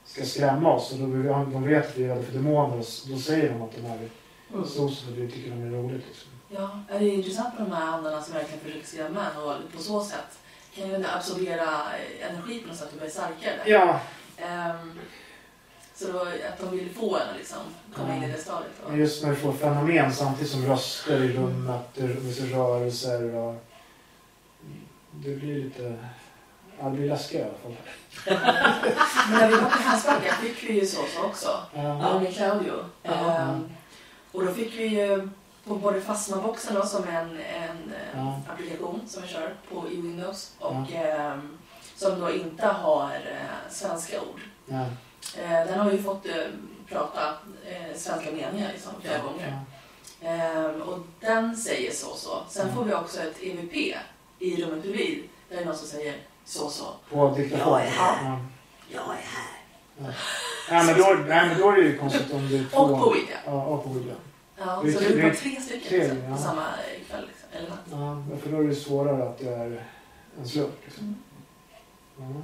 Speaker 1: ska skrämma oss. Och då vill vi, de vet att vi är rädda för demoner och s- då säger de att de är
Speaker 3: Mm.
Speaker 1: soso och vi tycker de är roligt. Liksom.
Speaker 2: Ja, det är ju intressant med de här andarna som verkligen försöker skrämma en och på så sätt kan ju absorbera eh, energi på något sätt och bli starkare.
Speaker 1: Ja,
Speaker 2: Ehm, så då, att de vill få en att liksom komma in i det stadiet.
Speaker 1: men
Speaker 2: Då.
Speaker 1: just när vi får fenomen samtidigt som röster i rummet, det rör- rörelser och... Det blir lite... Ja, det blir läskigt i alla fall.
Speaker 2: Men när vi var på Häsbacka fick vi ju så så också.
Speaker 1: Ja.
Speaker 2: Ja, med Claudio.
Speaker 3: Ja.
Speaker 2: Ehm, och då fick vi ju på både Fasma-boxen då, som är en, en eh,
Speaker 1: Ja.
Speaker 2: applikation som vi kör på i Windows och ehm, som då inte har eh, svenska ord.
Speaker 1: Ja.
Speaker 2: Eh, den har ju fått eh, prata eh, svenska meningar liksom, flera
Speaker 3: Ja.
Speaker 2: gånger.
Speaker 1: Ja.
Speaker 2: Ehm, och den säger så så. Sen
Speaker 1: Mm.
Speaker 2: får vi också ett EVP i rummet bredvid där det är någon som säger så så.
Speaker 1: På diktafon.
Speaker 3: Jag är här.
Speaker 1: Ja.
Speaker 3: Jag är här.
Speaker 1: Nej, men då, nej, men då är det ju konstigt om det är två.
Speaker 2: Och på Ouija.
Speaker 1: Ja, och på William.
Speaker 2: Ja,
Speaker 1: Det är
Speaker 2: så
Speaker 1: ju-
Speaker 2: det
Speaker 1: det
Speaker 2: var
Speaker 1: är
Speaker 2: tre stycken
Speaker 1: tre,
Speaker 2: liksom,
Speaker 1: ja.
Speaker 2: på samma kväll. Liksom, eller natt.
Speaker 1: Ja, för då är det svårare att det är en slump. Liksom.
Speaker 2: Mm.
Speaker 1: Ja.
Speaker 3: Mm.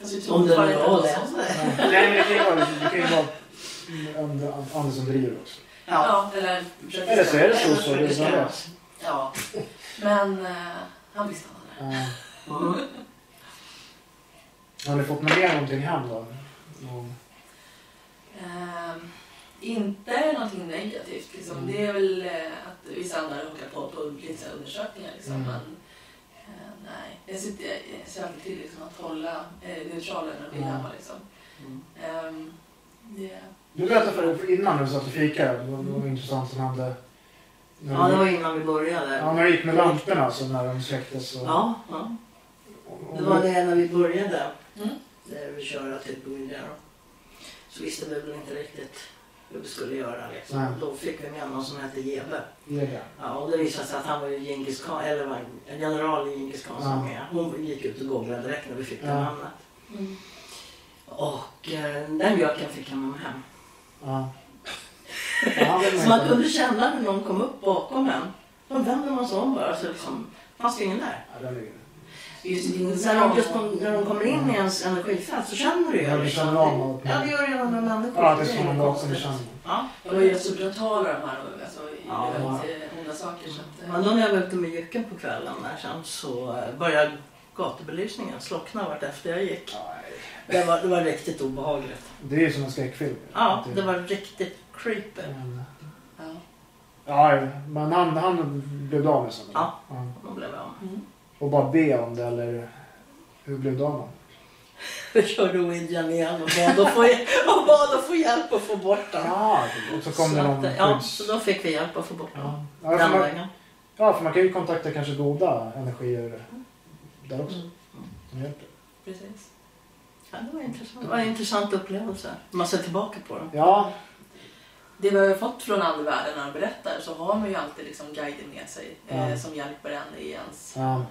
Speaker 2: Fast vi
Speaker 3: Om
Speaker 2: tror
Speaker 3: det
Speaker 2: bara
Speaker 3: är
Speaker 2: inte
Speaker 3: bra
Speaker 2: att
Speaker 3: det.
Speaker 2: det var så.
Speaker 1: Ja. Nej, men det kan ju vara, det kan ju vara Ande- Ande som driver också.
Speaker 3: Ja.
Speaker 2: Ja, eller försöker
Speaker 1: Eller så är det så.
Speaker 3: Eller så
Speaker 1: det är
Speaker 3: ska
Speaker 1: bra.
Speaker 3: vara.
Speaker 2: Ja. Men eh, han visste han hade
Speaker 1: Ja.
Speaker 3: Mm.
Speaker 1: Har ni fått med er någonting hem då? Ja.
Speaker 2: det. Ehm, Inte någonting negativt. Liksom.
Speaker 1: Mm.
Speaker 2: Det är väl eh, att vissa andra råkar på på lite undersökningar. Liksom.
Speaker 1: Mm.
Speaker 2: Men, eh, nej. Jag sitter- jag ser alltid till liksom, att hålla eh, neutral energi
Speaker 1: Mm.
Speaker 2: hemma. Liksom.
Speaker 3: Mm.
Speaker 2: Ehm, det,
Speaker 1: Du berättade för, för innan när vi satt och fikade, vad vad var intressant som hände. När
Speaker 3: Ja, det
Speaker 1: du,
Speaker 3: var innan vi började.
Speaker 1: ja, när du gick med lamporna alltså, när de släcktes. Och,
Speaker 3: Ja, ja.
Speaker 1: och,
Speaker 3: Det var det när vi började.
Speaker 2: Mm.
Speaker 3: När vi körde typ till Boindia då. Så visste vi väl inte riktigt hur vi skulle göra liksom.
Speaker 1: Nej.
Speaker 3: Då fick vi med någon som hette Jebe.
Speaker 1: det.
Speaker 3: Ja, och det visade sig att han var ju Djingis Khan, eller var en general i Djingis Khans
Speaker 1: Ja.
Speaker 3: armé. Hon gick ut och googlade direkt när vi fick det
Speaker 1: Ja.
Speaker 3: namnet.
Speaker 2: mm.
Speaker 3: Och eh, den göken fick han med hem.
Speaker 1: Ja. Ja, han vill
Speaker 3: Så man
Speaker 1: inte-
Speaker 3: kunde känna hur någon kom upp bakom en. Då vände man sig om bara så liksom, fanns det ingen där.
Speaker 1: Ja, den ligger.
Speaker 2: Just det,
Speaker 3: När de, just kom, när de kommer in i ens energifält så känner du ju.
Speaker 1: Ja, du
Speaker 3: liksom.
Speaker 1: känner av något.
Speaker 3: Ja, det gör redan en människa.
Speaker 1: Ja, det är som en dag som vi känner.
Speaker 3: Ja.
Speaker 2: De var ju rätt så brutala de här. Alltså, i
Speaker 3: Ja,
Speaker 2: väldigt eh, onda saker. Så att, eh,
Speaker 3: Men då när jag var ute med jycken på kvällen där sen så eh, började gatubelysningen slockna vart efter jag gick.
Speaker 1: Nej.
Speaker 3: Det var, det var riktigt obehagligt.
Speaker 1: Det är ju som en skräckfilm. Typ.
Speaker 3: Ja,
Speaker 1: Att
Speaker 3: det var riktigt creepy.
Speaker 1: Men-
Speaker 2: ja.
Speaker 1: Ja, men han, han blev du av med sen?
Speaker 3: Ja.
Speaker 1: Ja.
Speaker 3: Då blev jag av.
Speaker 1: Och bara be om det eller hur blev du av med
Speaker 3: Jag körde ouijan igen och bad att få, och bad att få hjälp att få bort den.
Speaker 1: Ja, och så kom det någon
Speaker 3: att, ja,
Speaker 1: skydds-
Speaker 3: så då fick vi hjälp att få bort den.
Speaker 1: Ja. Ja,
Speaker 3: Den
Speaker 1: för man,
Speaker 3: vägen.
Speaker 1: ja, för man kan ju kontakta kanske goda energier där också.
Speaker 2: Mm.
Speaker 1: Som hjälper.
Speaker 2: Precis.
Speaker 3: Ja, det var intressant. Det var en intressant upplevelse. Man ser tillbaka på den.
Speaker 1: Ja,
Speaker 2: Det vi har fått från andevärlden när han berättar så har man ju alltid liksom guider med sig eh,
Speaker 1: Ja.
Speaker 2: som hjälper en i ens
Speaker 1: ja.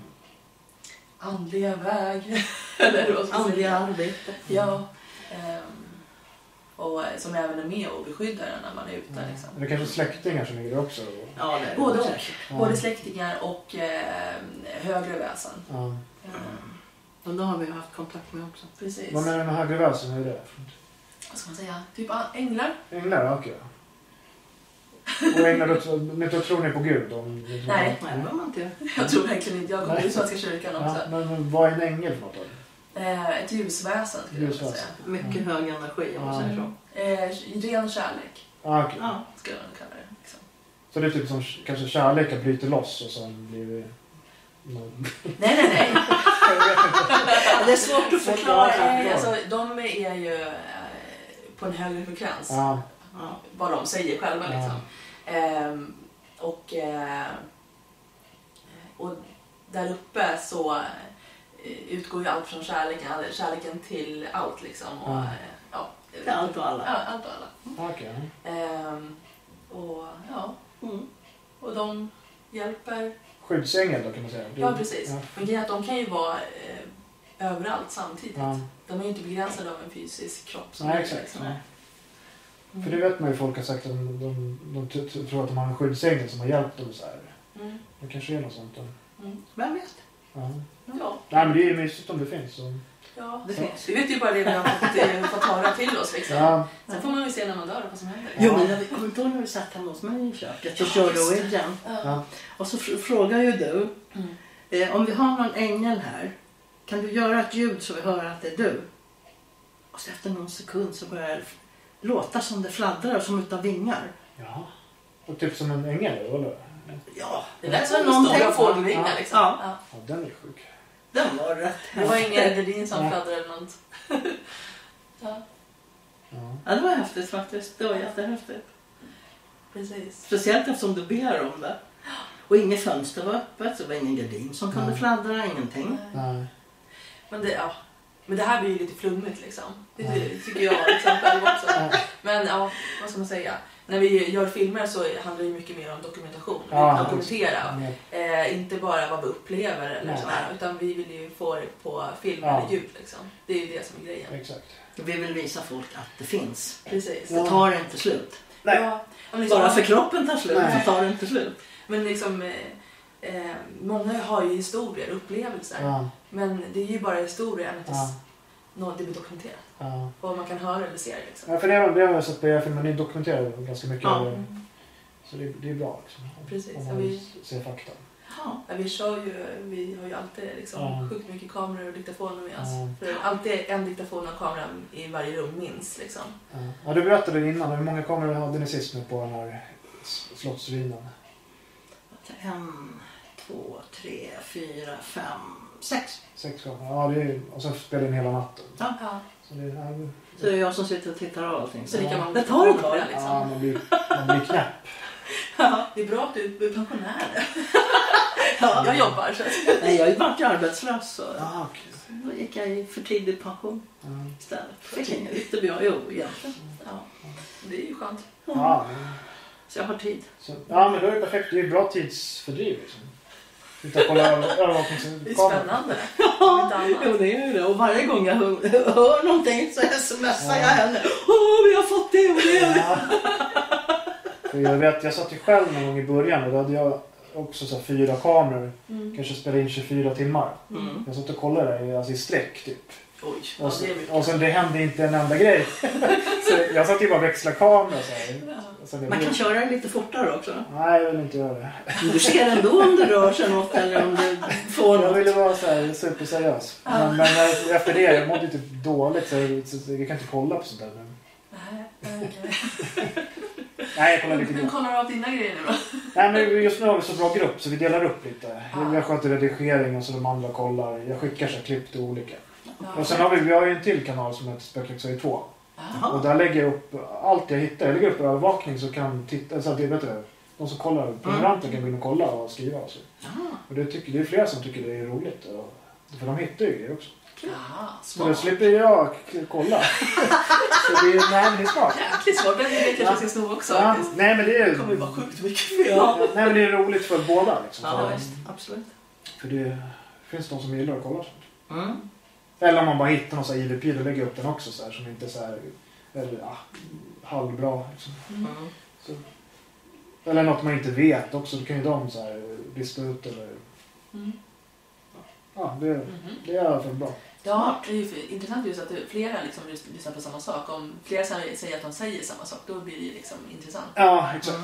Speaker 2: andliga väg. Eller vad ska man
Speaker 3: Andliga
Speaker 2: säga.
Speaker 3: arbete.
Speaker 2: Ja. ehm, och eh, som även är med och beskyddar en när man är ute. Liksom.
Speaker 1: Mm. Det är kanske släktingar som ligger där också.
Speaker 3: Ja, det är det
Speaker 2: Både och.
Speaker 3: säkert.
Speaker 1: Ja.
Speaker 2: Både släktingar och eh, högre väsen.
Speaker 1: Ja.
Speaker 2: Ehm,
Speaker 3: Men då har vi haft kontakt med också.
Speaker 2: precis.
Speaker 1: Vad menar du med högre väsen? Hur är det?
Speaker 2: Vad ska man säga? Typ ah, änglar?
Speaker 1: Änglar? ja, Okej. Och änglar, då tro- men då tror ni på Gud? Om,
Speaker 2: Nej.
Speaker 3: Nej, det behöver man inte göra.
Speaker 2: Jag tror verkligen inte. Jag kommer
Speaker 1: Nej.
Speaker 2: till Svenska kyrkan också.
Speaker 1: Ja, men, men vad är en ängel för något då?
Speaker 2: Eh, ett ljusväsen skulle jag vilja säga.
Speaker 1: Ljusväsen.
Speaker 3: Mycket hög energi om man
Speaker 1: Ja.
Speaker 3: säger så.
Speaker 2: Eh, ren kärlek
Speaker 1: Ah, okej.
Speaker 3: Ja.
Speaker 2: skulle man kalla det. Liksom.
Speaker 1: Så det är typ som kanske kärleken bryter loss och sen blir vi... någon-
Speaker 2: Nej, nej, nej.
Speaker 3: Det är svårt att förklara.
Speaker 2: Nej, alltså, de är ju eh, på en högre frekvens.
Speaker 1: Ja,
Speaker 3: Ja.
Speaker 2: Vad de säger själva
Speaker 1: Ja.
Speaker 2: liksom. Ehm, och, eh, och där uppe så eh, utgår ju allt från kärleken, eller kärleken till allt liksom. Och,
Speaker 1: Ja.
Speaker 2: eh, ja,
Speaker 3: Till allt och
Speaker 2: Ja,
Speaker 3: alla.
Speaker 2: allt och alla.
Speaker 1: ah, okej.
Speaker 2: Ehm, och, ja,
Speaker 3: Mm.
Speaker 2: och de hjälper
Speaker 1: Skyddsängel då kan man säga. Det-
Speaker 2: Ja, precis.
Speaker 1: Ja.
Speaker 2: Men grejen är att de kan ju vara eh, överallt samtidigt.
Speaker 1: Ja.
Speaker 2: De är ju inte begränsade av en fysisk kropp. som
Speaker 1: Nej,
Speaker 2: är
Speaker 1: exakt.
Speaker 2: liksom.
Speaker 1: Nej. För det vet man ju folk har sagt att de, de, de t- t- tror att de har en skyddsängel som har hjälpt dem så här.
Speaker 2: Mm.
Speaker 1: Det kanske är något sånt. Då.
Speaker 3: Vem vet?
Speaker 1: Ja.
Speaker 2: Ja,
Speaker 1: Nej, men det är ju mysigt om det finns. Så.
Speaker 2: ja.
Speaker 3: Det finns.
Speaker 2: Vi vet ju bara det vi har fått, eh, fått höra till oss. Liksom.
Speaker 1: Ja,
Speaker 2: Sen får man ju se när man dör vad som händer.
Speaker 3: Jo, men jag kommer du inte ihåg när vi satt hemma hos mig i köket och körde Ouijan?
Speaker 2: Ja.
Speaker 1: ja.
Speaker 3: Och så fr- frågar ju du,
Speaker 2: Mm.
Speaker 3: eh, om vi har någon ängel här, kan du göra ett ljud så vi hör att det är du? Och så efter någon sekund så börjar det f- låta som det fladdrar, som utav vingar.
Speaker 1: ja. Och typ som en ängel då, eller?
Speaker 3: Ja,
Speaker 2: Det lät som en
Speaker 3: Någonting.
Speaker 2: stor fågelvinga. Liksom.
Speaker 3: Ja.
Speaker 2: Ja.
Speaker 1: Ja, den är sjuk.
Speaker 3: den var rätt
Speaker 2: Det var
Speaker 3: häftig.
Speaker 2: ingen gardin som
Speaker 1: Ja.
Speaker 2: fladdrade eller något. Ja,
Speaker 1: Ja.
Speaker 3: Ja, det var häftigt faktiskt. Det var jättehäftigt.
Speaker 2: precis.
Speaker 3: Speciellt eftersom du ber om det. Och inget fönster var öppet, så det var ingen gardin som kunde
Speaker 1: Nej.
Speaker 3: fladdra, ingenting.
Speaker 1: Nej.
Speaker 2: Eh, Men det, ja. men det här blir ju lite flummigt liksom. Det
Speaker 1: Ja.
Speaker 2: tycker jag liksom själv också.
Speaker 1: Ja.
Speaker 2: Men ja, vad ska man säga? När vi gör filmer så handlar det ju mycket mer om dokumentation.
Speaker 1: Ja.
Speaker 2: att dokumentera.
Speaker 1: Men-
Speaker 2: Eh, inte bara vad vi upplever eller
Speaker 1: Nej.
Speaker 2: sådär, utan vi vill ju få det på film
Speaker 1: Ja.
Speaker 2: eller ljud. Liksom. Det är ju det som är grejen.
Speaker 1: Exakt.
Speaker 3: Vi vill visa folk att det finns.
Speaker 2: Precis.
Speaker 1: Ja.
Speaker 3: Det tar inte slut.
Speaker 1: Nej.
Speaker 2: Ja, men, liksom,
Speaker 3: Bara för kroppen tar slut
Speaker 1: Nej.
Speaker 3: så tar det inte slut.
Speaker 2: men liksom, eh, eh, många har ju historier, upplevelser.
Speaker 1: Ja.
Speaker 2: Men det är ju bara historier ända tills
Speaker 1: Ja.
Speaker 2: något blir dokumenterat.
Speaker 1: Ja.
Speaker 2: Vad man kan höra eller se. Liksom.
Speaker 1: ja för det, har- det har jag sett på er film, men ni dokumenterar ganska mycket.
Speaker 3: Ja.
Speaker 1: eh,
Speaker 2: Mm.
Speaker 1: Så det, det är bra liksom. Om-
Speaker 2: Precis,
Speaker 1: Om
Speaker 2: ja,
Speaker 1: man
Speaker 2: vi-
Speaker 1: ser fakta.
Speaker 3: Ja.
Speaker 2: Ja, vi kör ju, vi har ju alltid liksom
Speaker 1: Ja.
Speaker 2: sjukt mycket kameror och diktafoner med oss.
Speaker 1: Ja.
Speaker 2: För alltid en diktafon och kamera i varje rum minst liksom.
Speaker 1: Ja. ja, du berättade innan. Hur många kameror hade ni sist nu på den här s- slottsruinen?
Speaker 3: En, två, tre, fyra, fem, sex.
Speaker 1: Sex kameror? Ja, det är, och sen spelade ni hela natten.
Speaker 2: Ja.
Speaker 1: Så det, ja, det-
Speaker 3: Så det är jag som sitter och tittar av allting.
Speaker 2: Så det kan man
Speaker 3: Det tar ett
Speaker 2: kamera,
Speaker 3: tag.
Speaker 2: liksom.
Speaker 1: ja, man, blir, man blir knäpp.
Speaker 2: Det är bra att du är pensionär.
Speaker 3: Ja.
Speaker 2: Jag jobbar så att...
Speaker 3: Nej, jag vart ju arbetslös så
Speaker 1: Ja, okej.
Speaker 3: då gick jag i för tidig pension
Speaker 1: Ja.
Speaker 3: istället. Fick inget utebra. Jo, egentligen.
Speaker 2: Ja. Det är ju skönt.
Speaker 1: Ja, men-
Speaker 3: Så jag har tid.
Speaker 1: så, ja, men då är det perfekt. Det är bra tidsfördriv liksom. Sitta och kolla över-
Speaker 2: Det är
Speaker 1: övervakningskameran.
Speaker 2: spännande.
Speaker 3: Ja,
Speaker 2: Inte annat.
Speaker 3: jo, det är ju det. Och varje gång jag hör, hör någonting så smsar jag henne. Åh, vi har fått det och det.
Speaker 1: Ja. För jag vet, jag satt ju själv någon gång i början och då hade jag också så här fyra kameror.
Speaker 2: Mm.
Speaker 1: Kanske spelade in 24 timmar.
Speaker 3: Mm.
Speaker 1: Jag satt och kollade det i- alltså i sträck typ.
Speaker 2: Oj, ja,
Speaker 1: Och, så,
Speaker 2: det är mycket.
Speaker 1: och sen det hände inte en enda grej. Så jag satt ju bara och växlade kamera så här. Och sen det
Speaker 3: Man
Speaker 1: blev-
Speaker 3: kan köra den lite fortare också.
Speaker 1: Nej, jag vill inte göra det.
Speaker 3: Men Du ser ändå om det rör sig något eller om du får
Speaker 1: Jag ville
Speaker 3: något.
Speaker 1: vara så här superseriös.
Speaker 2: Ja.
Speaker 1: Men, men efter det, jag mådde ju typ dåligt så jag, så jag kan inte kolla på sånt där nu.
Speaker 2: Nej, okej.
Speaker 1: Nej, jag kollar lite
Speaker 2: Du
Speaker 1: grann.
Speaker 2: kollar av dina grejer nu då.
Speaker 1: Nej, men just nu har vi så bra grupp så vi delar upp lite.
Speaker 2: Ah.
Speaker 1: Jag sköter redigering och så de andra kollar. Jag skickar så här klipp till olika. Och sen
Speaker 2: Ja.
Speaker 1: har vi, vi har ju en till kanal som heter Spökläxor 2.
Speaker 2: Ja.
Speaker 1: E Och
Speaker 3: Jaha.
Speaker 1: där lägger jag upp allt jag hittar. Jag lägger upp övervakning så kan titta, så att det, vet du, de som kollar,
Speaker 2: Mm.
Speaker 1: prenumeranter kan gå in och kolla och skriva och så.
Speaker 3: Ja.
Speaker 1: Och det, tycker, det är flera som tycker det är roligt. Och, för de hittar ju grejer också.
Speaker 2: Jaha,
Speaker 1: Så då
Speaker 2: smart.
Speaker 1: slipper jag k- kolla. så det är, nej, men det är smart.
Speaker 2: Jäkligt smart. Den är kanske ska sno också.
Speaker 1: Ja,
Speaker 2: faktiskt.
Speaker 1: nej, men det är,
Speaker 2: Det kommer ju vara sjukt mycket fel.
Speaker 1: ja, nej, men det är roligt för båda. Liksom.
Speaker 3: Ja,
Speaker 1: för,
Speaker 2: visst.
Speaker 3: Absolut.
Speaker 1: för det finns de som gillar att kolla sånt.
Speaker 3: Mm.
Speaker 1: Eller om man bara hittar någon sån här IVP, då lägger jag upp den också så här, som inte är så här, eller, ah, halvbra. Liksom.
Speaker 3: Mm.
Speaker 1: Eller något man inte vet också, då kan ju de så här lista ut eller...
Speaker 2: Mm.
Speaker 1: Ja, det,
Speaker 2: Mhm.
Speaker 1: det är i alla fall bra.
Speaker 2: Ja, det är ju för- intressant just att det- flera liksom lys- lyssnar på samma sak. Om flera sä- säger att de säger samma sak, då blir det ju liksom intressant.
Speaker 1: Ja, exakt.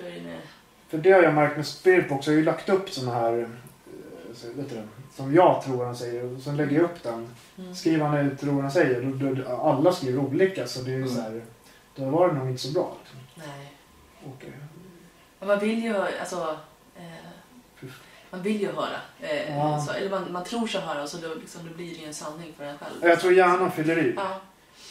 Speaker 2: Då är det med...
Speaker 1: För det har jag märkt med Spirit Box, jag har ju lagt upp såna här, eh, så, vet du, det, som jag tror han säger, och sen lägger jag upp den.
Speaker 2: Mm.
Speaker 1: Skriver han det tror han säger, då, då, alla skriver olika så det är ju
Speaker 3: Mm.
Speaker 1: så här, då var det nog inte så bra. liksom.
Speaker 2: Nej.
Speaker 1: Och, eh,
Speaker 2: Ja, Man vill ju höra, alltså, eh, man vill ju höra. Eh,
Speaker 1: Ja.
Speaker 2: så, eller man, man tror sig höra och så då, liksom, då blir det ju en sanning för en själv.
Speaker 1: Jag tror hjärnan fyller i.
Speaker 2: Ja,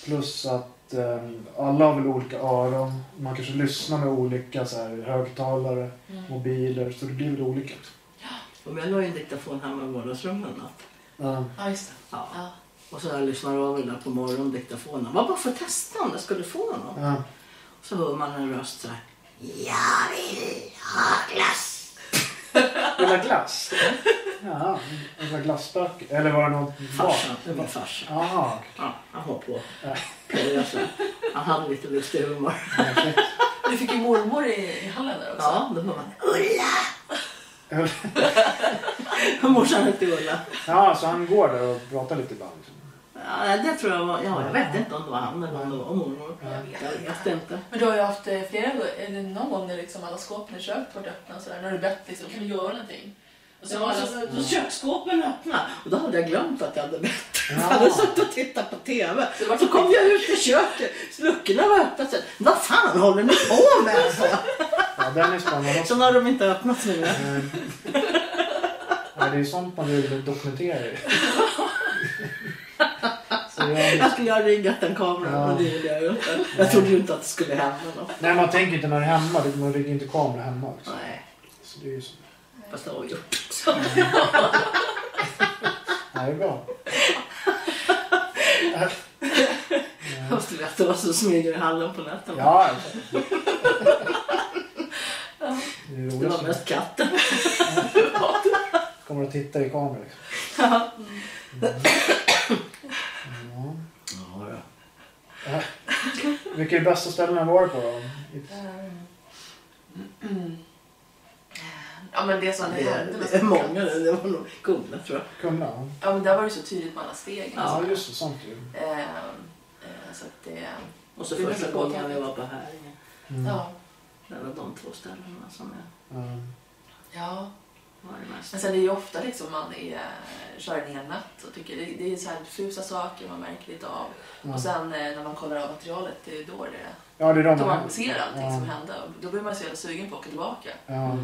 Speaker 1: Plus att eh, alla har väl olika öron. Man kanske lyssnar med olika så här, högtalare,
Speaker 2: mm.
Speaker 1: mobiler. Så det blir väl olika.
Speaker 3: Och jag la ju en diktafon hemma i vardagsrummet en natt.
Speaker 1: Ja.
Speaker 2: ja just det.
Speaker 3: Ja.
Speaker 2: Ja.
Speaker 3: Och så jag lyssnar av den där på morgonen, diktafonen. Var bara för att testa om jag skulle få någon.
Speaker 1: Ja.
Speaker 3: Så hör man en röst så här. Jag vill ha glass!
Speaker 1: Vill du ha glass? Ja, en sån här glasspöke. Eller var det någon
Speaker 3: Farsan, det var farsan.
Speaker 1: Jaha.
Speaker 3: Ja, han var på.
Speaker 1: Ja.
Speaker 3: Plöja, så här. Han hade lite lustig humor.
Speaker 1: perfekt.
Speaker 2: Du fick ju mormor i, i hallen där också.
Speaker 3: Ja, då hör man Ulla! Morsan hette Ulla.
Speaker 1: Ja, så han går där och pratar lite ibland. Liksom.
Speaker 3: Ja, det tror jag var, ja, jag vet inte om det var han eller om det var mormor.
Speaker 1: Ja.
Speaker 3: Jag vet, jag vet inte.
Speaker 2: Men du har ju haft eh, flera eller någon gång när liksom alla skåpen i köket varit öppna och sådär. Nu har du bett liksom, kan du göra någonting? Och så
Speaker 3: Så
Speaker 2: har
Speaker 3: var
Speaker 2: alla...
Speaker 3: så, så köksskåpen öppna och då hade jag glömt att jag hade bett.
Speaker 1: Ja.
Speaker 3: Jag hade suttit och tittat på TV.
Speaker 2: Det var
Speaker 3: Så kom jag ut i köket, luckorna var öppna. Så, Vad fan håller ni på med? Så,
Speaker 1: Ja, den är spännande också.
Speaker 3: så har de inte öppnat nu.
Speaker 1: Eh, Ja, det är sånt man vill dokumentera ju. Så jag,
Speaker 3: Jag skulle ha riggat en kamera
Speaker 1: Ja.
Speaker 3: men det gjorde jag ju inte. Jag trodde ju inte att det skulle hända något.
Speaker 1: nej, man tänker inte när det är hemma. det- Man riggar inte kamera hemma. Också.
Speaker 3: Nej,
Speaker 1: Så det är ju så.
Speaker 3: fast det har jag gjort.
Speaker 1: Nej, det är bra.
Speaker 3: Jag skulle veta vad som smyger i hallen på nätterna.
Speaker 1: Ja, alltså. det är
Speaker 3: Det
Speaker 1: roligt.
Speaker 3: var
Speaker 1: så.
Speaker 3: mest katten.
Speaker 1: Kommer att titta i kameran. Liksom.
Speaker 3: Ja.
Speaker 1: Ja.
Speaker 3: Ja, då.
Speaker 1: Vilka är bästa ställena att vara på då? I-
Speaker 2: Ehm, mm. Ja men det som
Speaker 3: Det är,
Speaker 2: hände med
Speaker 3: det är många nu. Det var nog Kumla tror jag.
Speaker 1: Kumla? ja.
Speaker 2: Ja men där var det så tydligt med alla stegen.
Speaker 1: Ja, just det. Sant ju.
Speaker 2: Ehm, eh, så att det...
Speaker 3: Och så
Speaker 2: Det är
Speaker 3: första
Speaker 2: väldigt
Speaker 3: gången
Speaker 2: påtagligt.
Speaker 3: vi var på Häringen.
Speaker 1: Mm.
Speaker 2: Ja.
Speaker 3: Det var de två ställena som jag
Speaker 1: Ja.
Speaker 2: ja.
Speaker 3: var i mest.
Speaker 2: Men sen är det ju ofta liksom man är, kör en hel natt och tycker det, det är så här diffusa saker man märker lite av.
Speaker 1: Ja.
Speaker 2: Och sen eh, när man kollar av materialet, det är då det
Speaker 1: Ja, det är de.
Speaker 2: då man ser allting
Speaker 1: ja.
Speaker 2: som hände. Och Då blir man så jävla sugen på att åka tillbaka.
Speaker 1: Ja.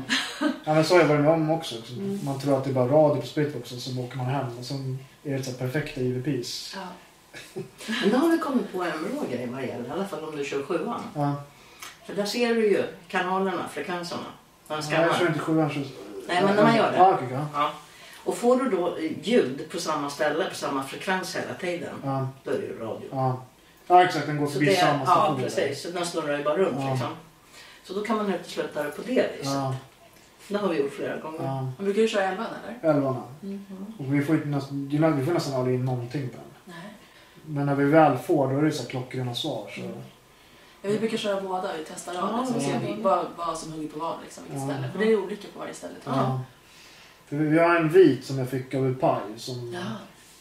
Speaker 1: ja, men så har jag varit med om också. Så
Speaker 2: Mm.
Speaker 1: Man tror att det är bara radio på splitboxen, så åker man hem och så är det så här perfekta IVPs.
Speaker 2: Ja.
Speaker 3: Men då har vi kommit på en bra grej vad det gäller, i alla fall om du kör sjuan.
Speaker 1: Ja.
Speaker 3: För där ser du ju kanalerna, frekvenserna. Man
Speaker 1: Ja, jag kör
Speaker 3: skannar.
Speaker 1: inte sjuan. Så...
Speaker 3: Nej, men när man gör det.
Speaker 1: Ja, okej, ja.
Speaker 3: Ja. Och får du då ljud på samma ställe, på samma frekvens hela tiden,
Speaker 1: Ja,
Speaker 3: då är det ju radio.
Speaker 1: ja. ja, exakt. Den går
Speaker 3: Så
Speaker 1: förbi
Speaker 3: det,
Speaker 1: samma
Speaker 3: ja,
Speaker 1: där.
Speaker 3: precis. Så Den snurrar ju bara runt
Speaker 1: Ja.
Speaker 3: liksom. Så då kan man utesluta det på det viset.
Speaker 1: Ja,
Speaker 3: Det har vi gjort flera gånger.
Speaker 1: ja.
Speaker 2: Man brukar ju köra elvan eller?
Speaker 1: Elvarna.
Speaker 2: mm
Speaker 1: Och vi får, ju nästan, vi får nästan aldrig in någonting på den.
Speaker 2: Nej.
Speaker 1: Men när vi väl får, då är det så här klockrena svar. Så.
Speaker 2: Mm. Ja, vi brukar köra båda, vi testar av
Speaker 3: Ja,
Speaker 2: liksom,
Speaker 1: det
Speaker 2: ser
Speaker 1: är
Speaker 2: vi vad, vad som hugger på vad liksom, vilket
Speaker 1: Ja.
Speaker 2: ställe. För det är olika på varje ställe. tror jag.
Speaker 1: Ja. För vi har en vit som jag fick av Upaj som,
Speaker 2: Ja.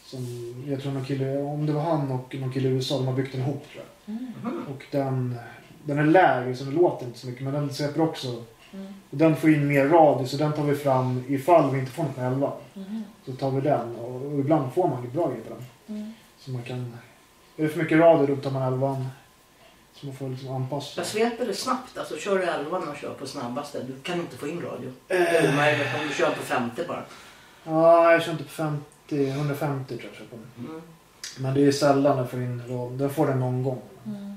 Speaker 1: som jag tror någon kille, om det var han och någon kille i USA, de har byggt den ihop tror
Speaker 2: Mm.
Speaker 3: Mhm.
Speaker 1: jag. Och den, den är lägre så den låter inte så mycket men den släpper också,
Speaker 2: Mm.
Speaker 1: och den får in mer radio så den tar vi fram ifall vi inte får något med elva.
Speaker 2: Mm.
Speaker 1: Så tar vi den och, och ibland får man ju bra grejer på den.
Speaker 2: Mm.
Speaker 1: Så man kan, är det för mycket radio då tar man elvan. Så man får liksom anpassa
Speaker 3: Jag sveper det snabbt, alltså kör du 11 och kör på snabbaste. Du kan inte få in radio. Det
Speaker 1: Eh.
Speaker 3: är omöjligt om du kör på 50 bara.
Speaker 1: Ja, jag kör inte på 50, 150 tror jag jag kör på den.
Speaker 3: Mm.
Speaker 1: Men det är sällan jag får in radio, den får den någon gång.
Speaker 2: Mm.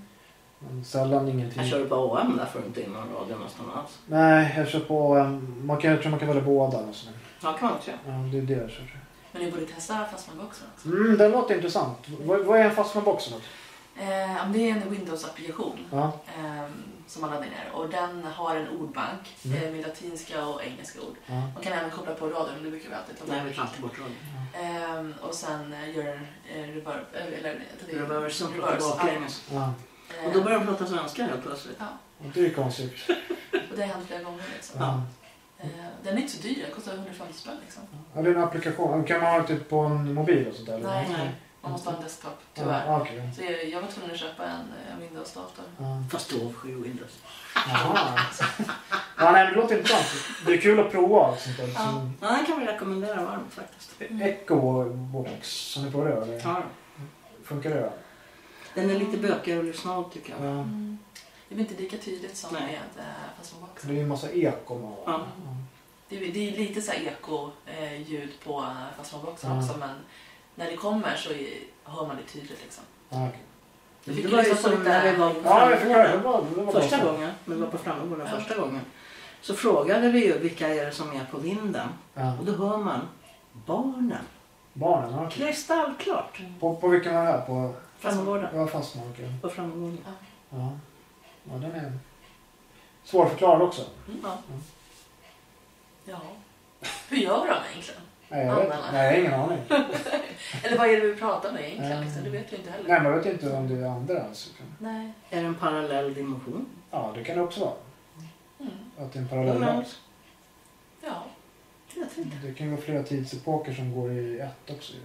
Speaker 1: Men sällan ingenting.
Speaker 3: Jag kör på AM där får du inte in någon radio nästan alls.
Speaker 1: Nej, jag kör på... em, Man kan, jag tror man kan välja båda. eller så.
Speaker 3: Ja, kan man också göra.
Speaker 1: Ja, det är det jag kör.
Speaker 2: Men ni borde testa fastmanboxen också.
Speaker 1: Mm, den låter intressant. Vad, vad är en fastmanbox? för något?
Speaker 2: Eh, om det är en Windows-applikation
Speaker 1: Ja.
Speaker 2: eh, som man laddar ner och den har en ordbank
Speaker 1: Mm.
Speaker 2: eh, med latinska och engelska ord.
Speaker 1: ja.
Speaker 2: Man kan även koppla på radion, men det brukar vi alltid ta
Speaker 3: Nej,
Speaker 2: bort.
Speaker 3: vi tar alltid bort radio.
Speaker 2: Ehm, och sen eh, gör den eh, reverb. eh, Eller, tar vi-
Speaker 3: Reverse som pratar
Speaker 2: reverse, ja.
Speaker 3: baklänges.
Speaker 1: ja.
Speaker 2: Ehm,
Speaker 3: Och då börjar de prata svenska helt plötsligt.
Speaker 1: Och Det är ju konstigt.
Speaker 2: och det har hänt flera gånger. Liksom.
Speaker 1: Ja.
Speaker 2: Ehm, den är inte så dyr, den kostar 150 spänn. Liksom.
Speaker 1: Ja, det är en applikation. Kan man ha det typ på en mobil och sånt där? eller?
Speaker 2: Nej,
Speaker 3: Nej.
Speaker 2: Man måste ha en desktop, tyvärr.
Speaker 1: Ja, okej.
Speaker 2: Så jag, jag var tvungen att köpa en, eh, en Windows-dator.
Speaker 1: Ja.
Speaker 3: Fast då avskyr Windows.
Speaker 1: Jaha. Ja, nej, det låter intressant. Det är kul att prova och sånt där.
Speaker 2: Ja.
Speaker 3: Ja, den kan vi rekommendera varmt faktiskt.
Speaker 1: Så- Echo Box, har ni provat det? Eller?
Speaker 3: Ja.
Speaker 1: Funkar det?
Speaker 3: Mm. Den är lite bökig att lyssna av tycker jag.
Speaker 1: Ja.
Speaker 2: Det blir inte lika tydligt som
Speaker 3: Nej.
Speaker 2: med eh, Fast man
Speaker 1: Det är ju en massa ekon och...
Speaker 3: Ja.
Speaker 2: Det är, det är lite så här eko-ljud på eh, Fast man boxen
Speaker 1: Ja.
Speaker 2: också men när det kommer så är, hör man det tydligt liksom.
Speaker 1: Ja, okej.
Speaker 2: Jag fick
Speaker 3: Det var ju
Speaker 2: liksom
Speaker 3: som
Speaker 2: lite-
Speaker 3: när vi var på
Speaker 1: ja jag förstår. Det
Speaker 3: Framgården.
Speaker 1: var, det var bra.
Speaker 3: Första gången, när vi var på Framgården
Speaker 2: Ja.
Speaker 3: första gången. Så frågade vi ju vilka är det som är på vinden.
Speaker 1: Ja.
Speaker 3: Och då hör man barnen.
Speaker 1: Barnen, ja, okej.
Speaker 3: Kristallklart.
Speaker 1: På, på vilken var det här? På...
Speaker 3: Framgården.
Speaker 1: Jag fastnade, okej.
Speaker 3: På Framgården.
Speaker 1: Ja. ja, den är svårförklarad också.
Speaker 2: Ja. Mm. ja. Hur gör de egentligen?
Speaker 1: Nej, jag vet,
Speaker 2: Annan.
Speaker 1: nej, jag har ingen aning.
Speaker 2: Eller vad är det vi pratar med egentligen?
Speaker 1: Mm.
Speaker 2: Liksom? Det vet vi inte heller.
Speaker 1: Nej, men jag vet inte om det är andra. Alltså.
Speaker 2: Nej.
Speaker 3: Är det en parallell dimension?
Speaker 1: Ja, det kan det också vara.
Speaker 2: Mm.
Speaker 1: Att det är en
Speaker 3: Ja, men-
Speaker 1: parallell.
Speaker 2: Ja.
Speaker 3: Det vet vi inte.
Speaker 1: Det kan ju vara flera tidsepoker som går i ett också. ju.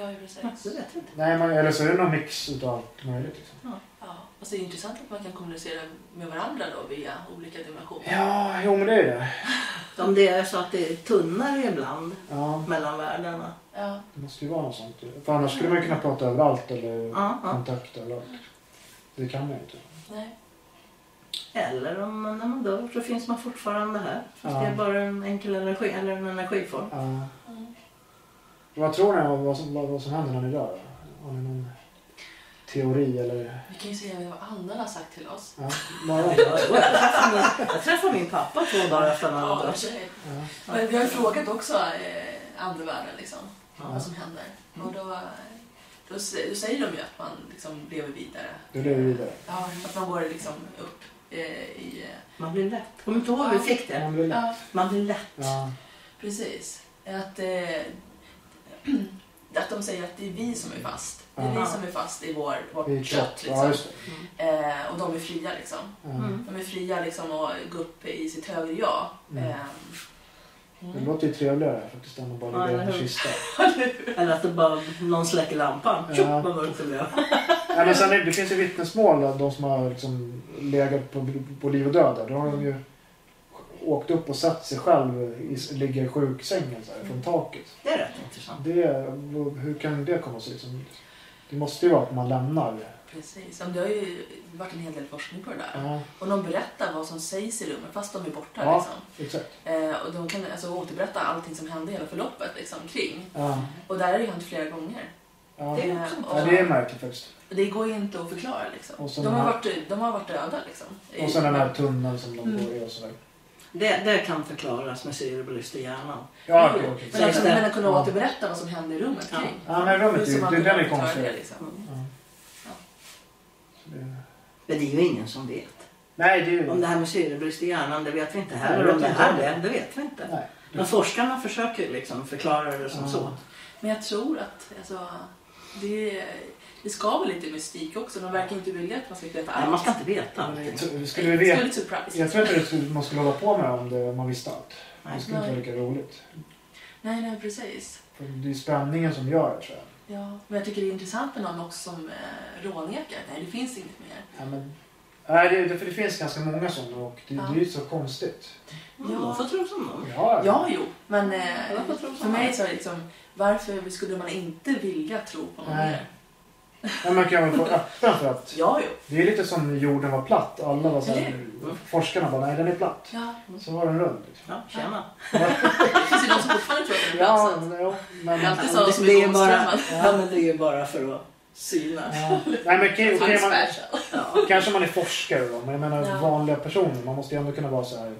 Speaker 2: ja, ju
Speaker 3: Det
Speaker 2: precis.
Speaker 3: vet vi inte.
Speaker 1: Nej, man, eller så är det någon mix utav allt möjligt. Liksom.
Speaker 2: Ja. Och så är det intressant att man kan kommunicera med varandra då via olika dimensioner.
Speaker 1: Ja, jo men det är det.
Speaker 3: Om det är så att det är tunnare ibland
Speaker 1: Ja,
Speaker 3: mellan världarna.
Speaker 2: Ja.
Speaker 1: det måste ju vara något sånt. För annars skulle man ju kunna prata överallt eller
Speaker 3: Ja, ja.
Speaker 1: kontakta överallt. Det kan man ju inte.
Speaker 2: Nej.
Speaker 3: Eller om man, när man dör så finns man fortfarande här. Fast
Speaker 1: Ja.
Speaker 3: det är bara en enkel energi, eller en energiform.
Speaker 1: Ja.
Speaker 2: Mm.
Speaker 1: Eh, Vad tror ni om vad som, vad, vad som händer när ni dör? då? Har ni någon teori eller?
Speaker 2: Vi kan ju säga vad annan har sagt till oss.
Speaker 1: Ja, bara.
Speaker 3: Jag träffade min- jag träffade min pappa två dagar efter han hade
Speaker 2: Ja,
Speaker 3: dött.
Speaker 2: tjej.
Speaker 1: Ja.
Speaker 2: Men vi har ju frågat också eh, andevärlden liksom,
Speaker 3: Ja.
Speaker 2: vad som händer.
Speaker 1: Mm.
Speaker 2: Och då, då, sä- då säger de ju att man liksom lever vidare.
Speaker 1: Du lever vidare.
Speaker 2: Ja, att man går liksom upp eh, i... eh,
Speaker 3: Man blir lätt. Kommer inte ihåg hur vi fick det?
Speaker 1: Man vill, ja.
Speaker 2: Ja,
Speaker 3: Man blir lätt.
Speaker 2: precis. Att, eh, att de säger att det är vi som är fast. Det är
Speaker 1: Ja.
Speaker 2: vi som är fast i vår, vårt
Speaker 1: I
Speaker 2: kött.
Speaker 1: ett kött. Ja,
Speaker 2: liksom.
Speaker 1: just det.
Speaker 2: eh, och de är fria liksom.
Speaker 1: Ja.
Speaker 3: Mm.
Speaker 2: De är fria liksom att gå upp i sitt högre jag.
Speaker 1: Mm.
Speaker 2: Eh,
Speaker 1: Det
Speaker 2: mm.
Speaker 1: låter ju trevligare faktiskt än att
Speaker 3: Ja,
Speaker 1: bara ligga i en
Speaker 3: eller hur?
Speaker 1: kista.
Speaker 3: Eller att det bara någon släcker lampan. Tjopp,
Speaker 1: Ja.
Speaker 3: vad mörkt det blev.
Speaker 1: Nej, men sen, är- det finns ju vittnesmål av de som har liksom legat på, på liv och död. där. Då har de ju åkt upp och satt sig själv i, ligga i sjuksängen så här, från taket.
Speaker 3: Det är rätt intressant.
Speaker 1: Det, hur kan det komma sig? Liksom? Det måste ju vara att man lämnar.
Speaker 2: Precis. Ja, men Det har ju varit en hel del forskning på det där.
Speaker 1: Ja,
Speaker 2: Och de berättar vad som sägs i rummet fast de är borta.
Speaker 1: Mm. Ja.
Speaker 2: Liksom.
Speaker 1: exakt.
Speaker 2: Eh, och de kan alltså, återberätta allting som hände hela förloppet liksom, kring.
Speaker 1: Ja,
Speaker 2: Och där har det ju hänt flera gånger.
Speaker 1: ja.
Speaker 3: Det är
Speaker 2: Eh,
Speaker 3: också
Speaker 1: ja, det är märkligt faktiskt.
Speaker 2: och det går ju inte att förklara. Liksom.
Speaker 1: Och så
Speaker 2: de,
Speaker 1: den
Speaker 2: har
Speaker 1: här-
Speaker 2: varit, de har varit döda. Liksom, i-
Speaker 1: Och sen den här tunneln som de
Speaker 2: Mm.
Speaker 1: går i och sådär.
Speaker 3: Det, det kan förklaras med cerebellust i hjärnan.
Speaker 1: Ja,
Speaker 3: Mm.
Speaker 1: okej, okej.
Speaker 2: Men att,
Speaker 3: Sägs det?
Speaker 2: men att kunna
Speaker 1: Ja.
Speaker 2: återberätta vad som hände i rummet
Speaker 3: Ja.
Speaker 2: kring.
Speaker 1: Ja, men rummet är
Speaker 2: Hur
Speaker 1: ju-
Speaker 2: som
Speaker 1: det-
Speaker 2: man
Speaker 1: den är
Speaker 2: kunde förklara
Speaker 1: konstig.
Speaker 2: det,
Speaker 3: Mm.
Speaker 2: Liksom.
Speaker 1: Ja. Så det-
Speaker 3: Men det är ju ingen som vet.
Speaker 1: Nej, det är
Speaker 3: Om
Speaker 1: ju...
Speaker 3: det här med syrebrist i hjärnan, det vet vi inte heller.
Speaker 1: Nej, det
Speaker 3: om det
Speaker 1: vet
Speaker 3: här
Speaker 1: inte
Speaker 3: det, det vet vi inte.
Speaker 1: Nej.
Speaker 3: Men forskarna försöker ju liksom förklara det som
Speaker 1: Ja.
Speaker 3: så.
Speaker 2: Men jag tror att alltså, det, det ska väl lite mystik också. De verkar inte vilja att man ska veta
Speaker 3: Nej,
Speaker 2: allt.
Speaker 3: man ska inte veta allting.
Speaker 1: Det
Speaker 2: Det
Speaker 1: Skulle vi
Speaker 2: är
Speaker 1: veta...
Speaker 2: lite surprise.
Speaker 1: Jag tror inte det skulle, man skulle hålla på med om, det, om man visste allt.
Speaker 3: Nej.
Speaker 1: Det skulle inte vara lika roligt.
Speaker 2: Nej, nej, precis.
Speaker 1: För det är spänningen som gör det tror jag.
Speaker 2: Ja, men jag tycker det är intressant med någon också som eh, rånekar. Nej, det finns inget mer.
Speaker 1: Ja, men, nej, det, det, för det finns ganska många sådana och det, det är ju så konstigt.
Speaker 3: Ja.
Speaker 2: Ja.
Speaker 3: De får tro som de.
Speaker 1: Ja,
Speaker 2: Ja, jo, men
Speaker 3: Ja,
Speaker 2: eh,
Speaker 3: jag tror
Speaker 2: för
Speaker 3: så.
Speaker 2: mig så är det liksom varför skulle man inte vilja tro på något
Speaker 1: Nej.
Speaker 2: mer?
Speaker 1: Men man kan väl vara öppen för att
Speaker 2: Ja, jo.
Speaker 1: det är lite som när jorden var platt. Alla var så här, forskarna bara nej den är platt.
Speaker 2: Ja.
Speaker 1: Så var den rund. Liksom.
Speaker 3: Ja, tjena.
Speaker 2: Det finns ju de som fortfarande tror att det är bra.
Speaker 1: Ja,
Speaker 2: så att-
Speaker 1: men, jo, men,
Speaker 2: Det är
Speaker 1: ja.
Speaker 2: alltid
Speaker 3: Ja,
Speaker 2: så
Speaker 3: det-
Speaker 2: som
Speaker 3: det är
Speaker 2: är
Speaker 3: bara-
Speaker 2: bara...
Speaker 3: Ja, men det är ju bara för att synas.
Speaker 1: Nej, men okej, okej, man,
Speaker 2: Special.
Speaker 3: Ja.
Speaker 1: kanske man är forskare då, men jag menar
Speaker 2: Ja.
Speaker 1: vanliga personer. Man måste ju ändå kunna vara så här.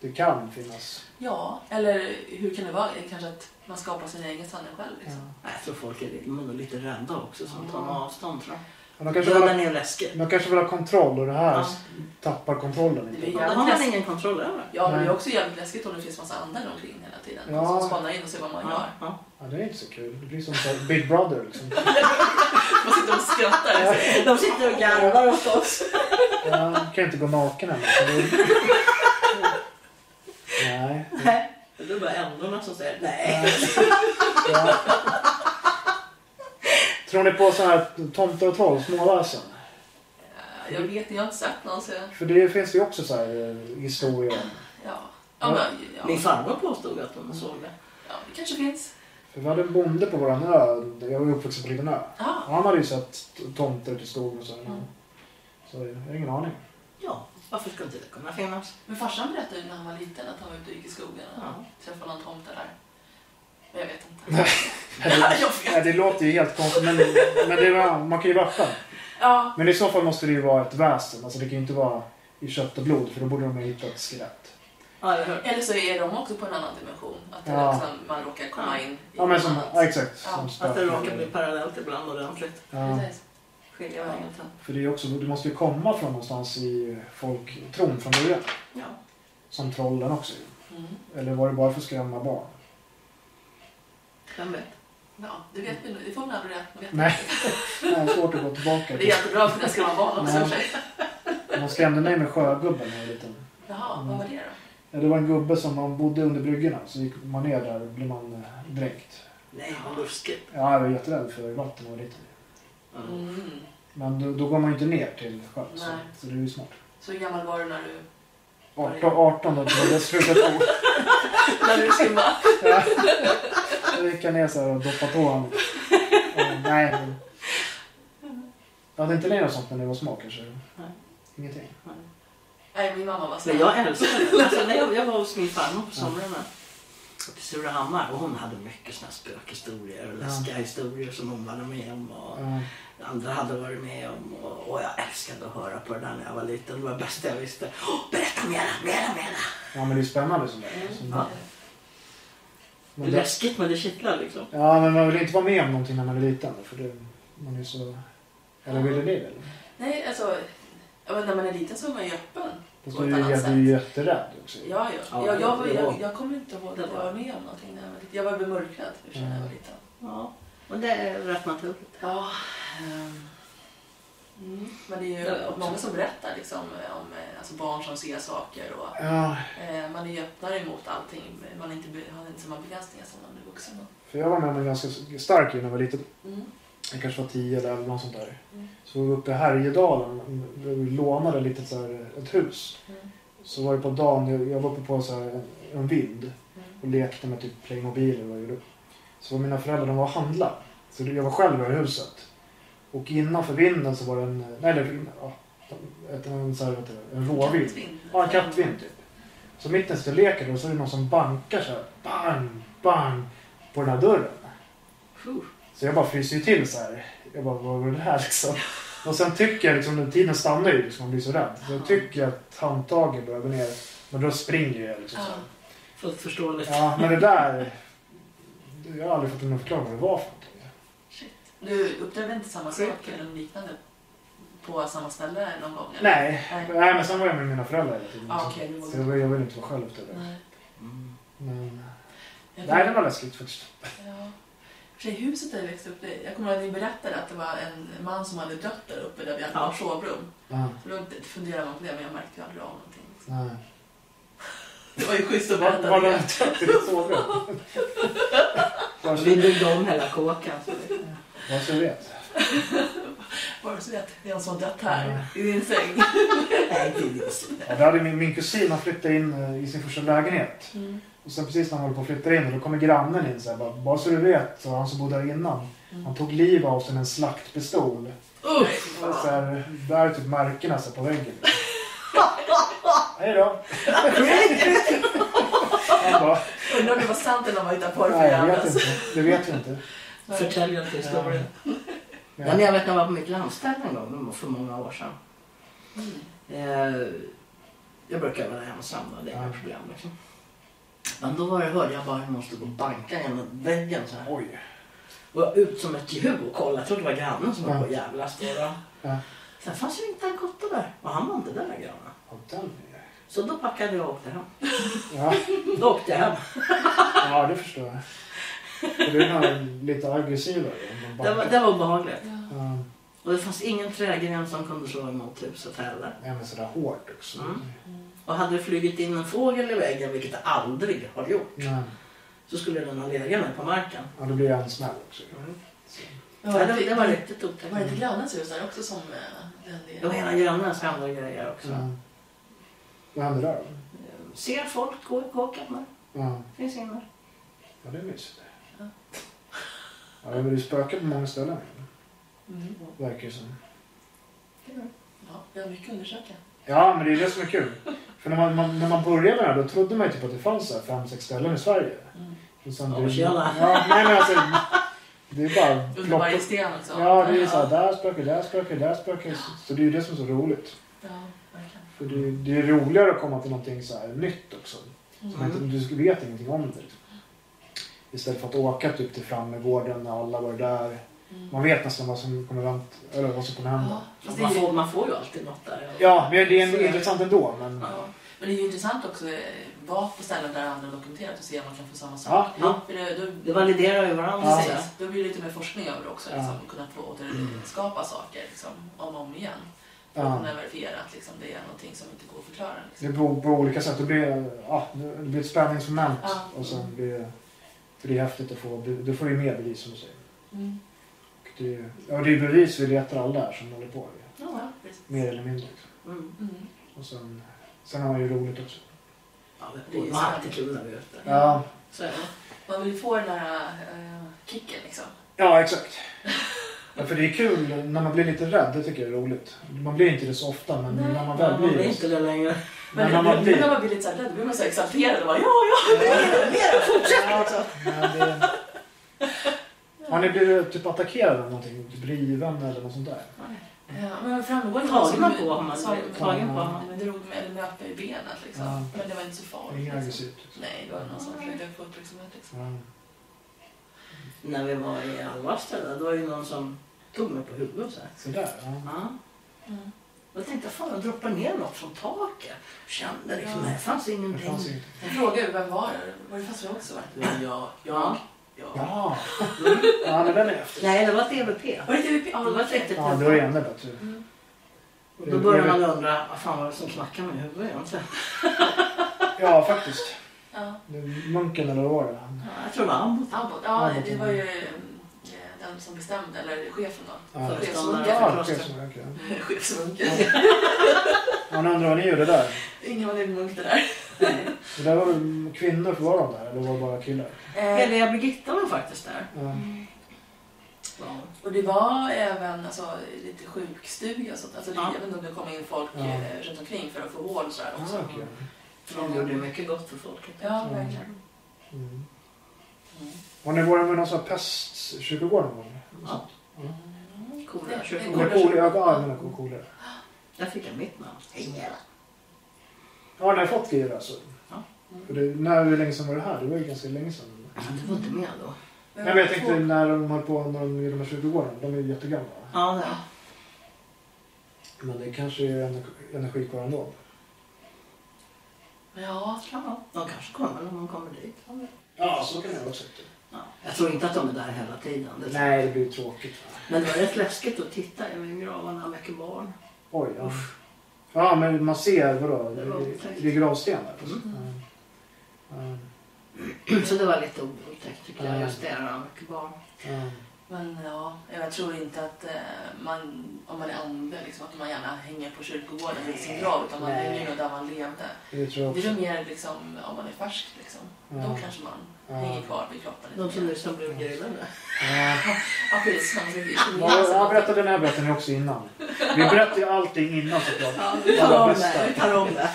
Speaker 1: Det kan finnas.
Speaker 2: Ja, eller hur kan det vara? Kanske att man skapar sin egen sanning själv.
Speaker 1: Ja.
Speaker 2: Liksom.
Speaker 3: Nej, Jag tror folk är lite, men de är lite rädda också som tar avstånd tror
Speaker 1: Men de
Speaker 3: jag.
Speaker 1: kanske vill ha,
Speaker 3: Döden är läskig.
Speaker 1: de kanske vill ha kontroll och det här
Speaker 3: Ja.
Speaker 1: tappar kontrollen
Speaker 2: Det
Speaker 1: lite.
Speaker 2: är
Speaker 3: Då
Speaker 2: jävligt
Speaker 3: har man
Speaker 2: läskigt.
Speaker 3: ingen kontroll över.
Speaker 2: Ja, men det är
Speaker 1: Nej.
Speaker 2: också jävligt läskigt om det finns massa andra runt omkring hela tiden.
Speaker 1: Ja.
Speaker 2: Som spanar in och ser vad man gör.
Speaker 3: Ja, ja.
Speaker 1: Ja, det är inte så kul. Det blir som så här Big Brother liksom.
Speaker 2: Man sitter och skrattar. Liksom.
Speaker 3: De sitter och garvar åt oss.
Speaker 1: Jag kan inte gå naken än. så det- Nej.
Speaker 3: Nej. Det är bara ändorna som säger nej.
Speaker 1: Ja. Tror ni på så här tomtar och troll, smålarsen?
Speaker 2: Jag vet inte, jag har inte sett någon så jag-
Speaker 1: För det finns ju också så här eh, historier om.
Speaker 2: ja. Ja, men,
Speaker 3: Min
Speaker 2: ja.
Speaker 3: farmor påstod att hon såg det.
Speaker 2: ja, det kanske finns.
Speaker 1: För vi hade en bonde på våran ö. Jag var ju uppvuxen på en liten ö.
Speaker 2: Ja,
Speaker 1: Och han hade ju sett tomter till skogen och så. här. Så jag har ingen aning.
Speaker 3: Ja, varför skulle inte det kunna finnas?
Speaker 2: Men farsan berättade ju när han var liten att han var ute och gick i skogen och
Speaker 3: Ja.
Speaker 2: träffade någon tomte där. Men jag vet inte. jag vet.
Speaker 1: Ja, det låter ju helt konstigt, men, men det var, man kan ju vappa.
Speaker 2: Ja,
Speaker 1: Men i så fall måste det ju vara ett väsen. Alltså det kan ju inte vara i kött och blod, för då borde de ha hittat ett skelett.
Speaker 3: Ja, eller hur?
Speaker 2: eller så är de också på en annan dimension. Att det
Speaker 1: Ja.
Speaker 2: är liksom, man råkar komma
Speaker 3: Ja.
Speaker 2: in i
Speaker 1: Ja, men som,
Speaker 2: något
Speaker 1: ja,
Speaker 2: annat.
Speaker 1: exakt.
Speaker 2: Ja,
Speaker 1: Som
Speaker 3: Att det råkar bli
Speaker 1: spöken.
Speaker 3: parallellt ibland ordentligt.
Speaker 1: Ja,
Speaker 2: Precis.
Speaker 3: Skilja vägen till.
Speaker 1: för det är ju också, du måste ju komma från någonstans i folktron från början.
Speaker 3: Ja.
Speaker 1: Som trollen också ju.
Speaker 2: Mm.
Speaker 1: Eller var det bara för att skrämma barn?
Speaker 3: Vem vet?
Speaker 2: Ja, det vet vi nu. Det får man aldrig rätt. Man vet
Speaker 1: Nej.
Speaker 2: inte.
Speaker 1: Nej, svårt att gå tillbaka
Speaker 2: Det är
Speaker 1: till.
Speaker 2: jättebra för det ska man vara också i och för sig.
Speaker 1: De skrämde mig med sjögubben när jag var liten.
Speaker 2: Jaha,
Speaker 1: Mm.
Speaker 2: vad var det då?
Speaker 1: Ja, det var en gubbe som man bodde under bryggorna. Så gick man ner där och blev man eh, dränkt.
Speaker 3: Nej, vad ruskigt.
Speaker 1: Ja, jag var jätterädd för vatten och lite.
Speaker 3: Mm.
Speaker 2: Mm.
Speaker 1: Men då, då går man ju inte ner till sjön. Så,
Speaker 2: Nej.
Speaker 1: så det är ju smart.
Speaker 2: Så hur gammal var du när du,
Speaker 1: 18, 18 då tror jag det slutade på.
Speaker 2: när du simmade?
Speaker 1: Ja. Då gick jag ner så här och doppade tån. Ja, nej. Men... Jag hade inte med något sånt när jag var små kanske.
Speaker 3: Nej.
Speaker 1: Ingenting.
Speaker 2: Nej, min mamma var
Speaker 3: Men
Speaker 2: snäll.
Speaker 3: jag älskar det. Alltså, när jag, jag var hos min farmor på somrarna uppe i Surahammar och hon hade mycket såna här spökhistorier och läskiga historier som hon var med om och
Speaker 1: Ja.
Speaker 3: andra hade varit med om. Och, och jag älskade att höra på det där när jag var liten. Det var det bästa jag visste. Åh, berätta mera, mera, mera!
Speaker 1: ja men det är ju spännande sånt
Speaker 2: Mm.
Speaker 1: där. Så-
Speaker 3: Ja. Det
Speaker 1: men
Speaker 3: är
Speaker 1: det-
Speaker 3: läskigt men det kittlar liksom.
Speaker 1: Ja men man vill inte vara med om någonting när man är liten. För det, man är så... Eller ville ni väl?
Speaker 2: Nej, alltså, ja, men när man är liten så är man ju öppen.
Speaker 1: Fast
Speaker 2: På
Speaker 1: du
Speaker 2: ett
Speaker 1: är ju-
Speaker 2: annat
Speaker 1: du är ju jätterädd också.
Speaker 2: Ja, ja. ja
Speaker 3: Ja,
Speaker 2: jag,
Speaker 3: det-
Speaker 2: jag, var-
Speaker 3: det var-
Speaker 2: jag, jag kommer inte ihåg att jag var med om någonting när jag var liten. Jag var bemörkrad i och för sig när jag var liten.
Speaker 3: Ja, och det är rätt naturligt.
Speaker 2: Ja. ehm, Mm. Men det är ju
Speaker 3: Ja, också.
Speaker 2: många som berättar liksom, eh, om eh, alltså barn som ser saker och
Speaker 1: Ja,
Speaker 2: eh, man är ju öppnare emot allting. Man är inte, be- har inte samma begränsningar som man är vuxen.
Speaker 1: för jag var med om en ganska stark när jag var liten.
Speaker 2: Mm.
Speaker 1: Jag kanske var 10 eller 11 något sånt där.
Speaker 2: Mm.
Speaker 1: Så var vi uppe i Härjedalen och lånade lite så här ett hus.
Speaker 2: Mm.
Speaker 1: Så var det på dagen, jag var uppe på så här en, en vind
Speaker 2: Mm.
Speaker 1: och lekte med typ Playmobil och vad jag gjorde. Så var mina föräldrar de var och handla. Så jag var själv i huset. Och innanför vinden så var det en, nej det var ja, ett, en, så här, vet du, en råvind.
Speaker 2: Kattvind.
Speaker 1: Ja, en kattvind typ. Så mitt i jag leker då så är det någon som bankar så här, bang, bang, på den här dörren.
Speaker 3: Puh.
Speaker 1: Så jag bara fryser ju till så här. Jag bara, vad var det här liksom? Och sen tycker jag liksom, den tiden stannar ju liksom, man blir så rädd. Så jag tycker att handtaget börjar gå ner. Men då springer jag liksom så här.
Speaker 3: Fullt förståeligt.
Speaker 1: Ja, men det där. Jag har aldrig fått någon förklaring vad det var för någonting.
Speaker 2: Du upplevde inte samma
Speaker 3: Creepy.
Speaker 2: sak eller något liknande på samma ställe någon gång? eller?
Speaker 1: Nej.
Speaker 2: Nej.
Speaker 1: Nej, men sen var jag med mina föräldrar hela tiden.
Speaker 2: Ah, okej, du var-
Speaker 1: så jag, jag ville inte vara själv efter det.
Speaker 2: Nej.
Speaker 3: Mm.
Speaker 1: Men,
Speaker 2: Jag
Speaker 1: nej, det var läskigt faktiskt.
Speaker 2: Ja. För sig, huset där vi växte upp i, jag kommer ihåg att ni berättade att det var en man som hade dött där uppe där vi hade
Speaker 3: Ja.
Speaker 2: vårt sovrum.
Speaker 1: Ja,
Speaker 2: Så då funderade man på det, men jag märkte ju aldrig av någonting.
Speaker 1: nej.
Speaker 2: Det var ju schysst att
Speaker 1: Var,
Speaker 2: berätta
Speaker 1: var det
Speaker 2: det.
Speaker 1: inte att det såg jag?
Speaker 3: Vi byggde om hela kåkan. så det-
Speaker 1: Vad så vet.
Speaker 2: Bara så vet, det är en som har dött här i din säng.
Speaker 3: Nej, det är just-
Speaker 1: Ja, där hade min, min kusin har flyttat in eh, i sin första lägenhet.
Speaker 2: Mm.
Speaker 1: Och sen precis när han håller på att flytta in, då kommer grannen in så här, bara, bara så du vet, så han som bodde där innan.
Speaker 2: Mm.
Speaker 1: Han tog liv av sig med en slaktpistol.
Speaker 2: Uff!
Speaker 1: Så här, där är typ märkena så här, på väggen. Hej då! Han bara,
Speaker 2: Undrar om det var sant eller om man hittade på det för
Speaker 1: nej jag
Speaker 2: jävla.
Speaker 1: vet inte, det vet vi inte.
Speaker 3: Förtäljer inte historien.
Speaker 1: Ja.
Speaker 3: Men jag vet när jag var på mitt landställe en gång för många år sedan.
Speaker 2: Mm.
Speaker 3: Eh, Jag brukar vara ensam då, det är inga
Speaker 1: Ja.
Speaker 3: problem liksom. Men då var det, hörde jag bara hur någon stod och bankade genom väggen så här.
Speaker 1: Oj.
Speaker 3: Och jag ut som ett djur och kollade. Jag trodde det var grannen som var på och jävlas då. då.
Speaker 1: Ja.
Speaker 3: Sen fanns ju inte en kotte där. Och han var inte där grannen.
Speaker 1: Ja, den är-
Speaker 3: Så då packade jag och åkte hem.
Speaker 1: Ja,
Speaker 3: Då åkte jag hem.
Speaker 1: ja, det förstår jag. För Du är nog lite aggressivare. än de
Speaker 3: Det var,
Speaker 1: bara-
Speaker 3: det var obehagligt.
Speaker 1: Ja,
Speaker 3: Och det fanns ingen trägren som kunde slå emot huset heller.
Speaker 1: nej, men sådär hårt också.
Speaker 3: Mm. Och hade det flugit in en fågel i väggen, vilket det aldrig har gjort,
Speaker 1: Nej,
Speaker 3: så skulle den ha legat ner på marken.
Speaker 1: ja, det blir en smäll också.
Speaker 2: Ja,
Speaker 3: Ja, det, det var
Speaker 2: var var
Speaker 3: riktigt
Speaker 2: Mm. det inte
Speaker 3: otäckt.
Speaker 2: grannens hus där också som eh, den
Speaker 3: Det var ena grannens andra grejer också.
Speaker 1: Ja. Vad händer där då?
Speaker 3: Eh, Ser folk gå i kåken där?
Speaker 1: Ja.
Speaker 3: Finns ingen där.
Speaker 1: Ja, det är mysigt.
Speaker 2: Ja.
Speaker 1: Ja, det är ju spöken på många ställen.
Speaker 2: Mm.
Speaker 1: Verkar det som.
Speaker 2: Ja, Ja, vi har mycket att undersöka.
Speaker 1: Ja, men det är det som är kul. För när man, man, när man började med det här då trodde man ju typ att det fanns så här fem, sex ställen i Sverige.
Speaker 2: Mm.
Speaker 1: Och sen
Speaker 3: Ja,
Speaker 1: det,
Speaker 3: tjena.
Speaker 1: ja, nej, men alltså, det är bara
Speaker 2: Under varje
Speaker 1: plock-
Speaker 2: sten alltså.
Speaker 1: Ja, det är så här, där spökar, där spökar, där spökar. Så, så det är ju det som är så roligt.
Speaker 2: Ja, verkligen.
Speaker 1: För det, är- det är roligare att komma till någonting så här nytt också.
Speaker 2: Mm.
Speaker 1: Som inte, du vet ingenting om det. Istället för att åka typ till Frammegården när alla var där.
Speaker 2: Mm.
Speaker 1: Man vet nästan vad som kommer, vänt, eller vad som kommer hända.
Speaker 2: Ja, fast det
Speaker 3: Man
Speaker 2: är ju,
Speaker 3: får, man får ju alltid något där.
Speaker 1: Ja, men det är
Speaker 3: Så är
Speaker 1: en,
Speaker 3: det.
Speaker 1: intressant ändå. Men,
Speaker 2: ja. Men det är ju intressant också eh, vara på ställen där andra har dokumenterat och se om man kan få samma sak.
Speaker 1: ja, jo.
Speaker 2: För det, då,
Speaker 3: Det validerar ju varandra.
Speaker 1: Ja.
Speaker 3: så att säga.
Speaker 2: Precis, då blir det lite mer forskning över det också.
Speaker 1: Ja.
Speaker 2: Liksom, kunna få återskapa saker liksom, om och om igen. För att
Speaker 1: Ja.
Speaker 2: kunna verifiera att liksom, det är någonting som inte går att förklara. Liksom.
Speaker 1: Det beror på olika sätt. Det blir, ja, det blir ett spänningsmoment.
Speaker 2: Ja.
Speaker 1: Och sen blir det, för det är häftigt att få. Du, du får ju mer bevis som du säger.
Speaker 2: Mm.
Speaker 1: Och det, är- ja, det är bevis vi letar alla här som håller på.
Speaker 2: Ja, precis.
Speaker 1: Mer eller mindre. liksom.
Speaker 3: Mm.
Speaker 2: Mm.
Speaker 1: Och sen, sen har man ju roligt också.
Speaker 3: Ja, men
Speaker 2: Det är ju
Speaker 3: man har alltid
Speaker 2: sant.
Speaker 3: kul när vi är ute.
Speaker 1: Ja,
Speaker 3: Så är det.
Speaker 2: Man vill få den här eh, kicken liksom.
Speaker 1: ja exakt. Ja, för det är kul när man blir lite rädd. Det tycker jag är roligt. Man blir inte det så ofta, men
Speaker 2: Nej,
Speaker 1: när man väl
Speaker 3: Man
Speaker 1: blir
Speaker 3: blir
Speaker 1: det.
Speaker 3: inte det längre.
Speaker 2: Men
Speaker 1: när man
Speaker 2: nu
Speaker 1: blir
Speaker 2: när man blir lite så här rädd, då blir man så exalterad och bara ja, ja, mer, mer, fortsätt liksom.
Speaker 1: Men det, har ni blivit typ attackerade av någonting? Typ riven eller något sånt där?
Speaker 2: Ja, men framgår det någon
Speaker 3: Tagen
Speaker 2: som-
Speaker 3: på har man
Speaker 2: som-
Speaker 3: blivit. Tagen
Speaker 1: Mm.
Speaker 3: på har man
Speaker 2: som drog med eller nöp mig i benet liksom.
Speaker 1: Ja.
Speaker 2: Men det var inte så
Speaker 1: Det är
Speaker 2: farligt.
Speaker 1: Inget
Speaker 2: Liksom.
Speaker 1: aggressivt. liksom.
Speaker 2: Nej, det var någon som försökte få uppmärksamhet liksom.
Speaker 1: Ja.
Speaker 3: När vi var i Alvasta där, då var det ju någon som tog mig på huvudet och så här.
Speaker 1: Sådär, ja.
Speaker 3: Ja.
Speaker 2: Mm.
Speaker 3: Jag tänkte fan, jag droppar ner något från taket. Kände liksom,
Speaker 2: Ja.
Speaker 3: här fanns
Speaker 1: Det
Speaker 3: ingenting.
Speaker 1: fanns inget.
Speaker 2: Jag frågade vem var det? Var det fast jag också? Var det var jag.
Speaker 3: Ja.
Speaker 2: jag.
Speaker 1: Ja. ja, men den är häftig.
Speaker 3: Nej, det var ett EVP.
Speaker 2: Var det TVP? Ja,
Speaker 3: Det var ett riktigt
Speaker 1: Ja, då är det ännu bättre.
Speaker 2: Mm.
Speaker 3: Och då började man undra, vad fan var det som knackade mig i huvudet egentligen?
Speaker 1: Ja, faktiskt.
Speaker 2: Ja.
Speaker 1: Det är Munken eller vad var det?
Speaker 3: Ja, Jag tror det var Ambot.
Speaker 2: Abbott. Ja, det var ju eh, den som bestämde, eller chefen då.
Speaker 1: Ja.
Speaker 2: Chefsmunken.
Speaker 1: Ja, okej, så, okej.
Speaker 3: Mm.
Speaker 2: Chefsmunken.
Speaker 1: Man undrar vad ni gjorde där.
Speaker 2: Ingen var en munk det där.
Speaker 1: Det där var väl kvinnor för var de där eller var det bara killar?
Speaker 2: Eh,
Speaker 3: Heliga Birgitta var faktiskt där.
Speaker 1: Ja.
Speaker 3: Ja.
Speaker 2: och det var även alltså, lite sjukstuga och sånt. Alltså, det,
Speaker 3: Ja.
Speaker 2: Jag vet inte om det kom in folk
Speaker 1: Ja.
Speaker 2: eh, runt omkring för att få vård och sådär också.
Speaker 1: Ja, okej.
Speaker 3: För de gjorde mycket gott för folket.
Speaker 2: Ja,
Speaker 1: Mm.
Speaker 2: verkligen.
Speaker 1: Mm.
Speaker 2: Mm.
Speaker 1: Har ni varit med någon sån här pestkyrkogård någon gång?
Speaker 3: Ja. Coola
Speaker 2: Det-
Speaker 3: kyrkogård.
Speaker 2: det-
Speaker 1: Eller cool- Ja, jag menar coolare.
Speaker 3: Där fick jag mitt namn. Ingela.
Speaker 1: Ja, ni har fått grejer alltså?
Speaker 3: Ja.
Speaker 1: För det, när, hur länge sedan var det här? Det var ju ganska länge sedan.
Speaker 3: Du var inte med då?
Speaker 2: Men
Speaker 1: Nej, men jag tänkte när de höll på när de gjorde de här kyrkogårdarna. De är ju jättegamla.
Speaker 3: Ja, det.
Speaker 1: Men det kanske är ener- energi kvar ändå.
Speaker 2: Ja,
Speaker 3: ja. De kanske kommer när man kommer dit.
Speaker 1: Ja, så kan jag också tycka.
Speaker 3: Ja. Jag tror inte att de är där hela tiden. Det-
Speaker 1: Nej, det blir ju tråkigt.
Speaker 3: Men det var rätt läskigt att titta i gravarna, mycket barn.
Speaker 1: Oj, ja. Ja, men man ser, vadå? Det är- det är gravstenar.
Speaker 2: Mm.
Speaker 1: Ja. Ja.
Speaker 3: Så det var lite otäckt tycker jag,
Speaker 1: Ja.
Speaker 3: just det där med mycket barn.
Speaker 1: Ja.
Speaker 2: Men ja, jag tror inte att eh, man, om man är ande, liksom, att man gärna hänger på kyrkogården vid sin grav, utan man
Speaker 1: Nej.
Speaker 2: hänger nog där man levde.
Speaker 1: Det tror jag
Speaker 2: Det är
Speaker 1: också.
Speaker 2: nog mer liksom, om man är färsk, liksom.
Speaker 1: Ja.
Speaker 2: då kanske man
Speaker 1: Ja.
Speaker 2: hänger kvar vid kroppen.
Speaker 3: De
Speaker 2: lite
Speaker 3: som
Speaker 2: mer.
Speaker 3: nästan blev grillade.
Speaker 1: Ja.
Speaker 2: Ja, precis. Man blir
Speaker 1: Ja, Jag berättade den här berättelsen också innan. Vi berättar ju allting innan såklart.
Speaker 2: Ja,
Speaker 3: Vi
Speaker 2: vi-
Speaker 3: tar
Speaker 1: Allra
Speaker 3: om
Speaker 1: bästa.
Speaker 3: det, vi tar om det.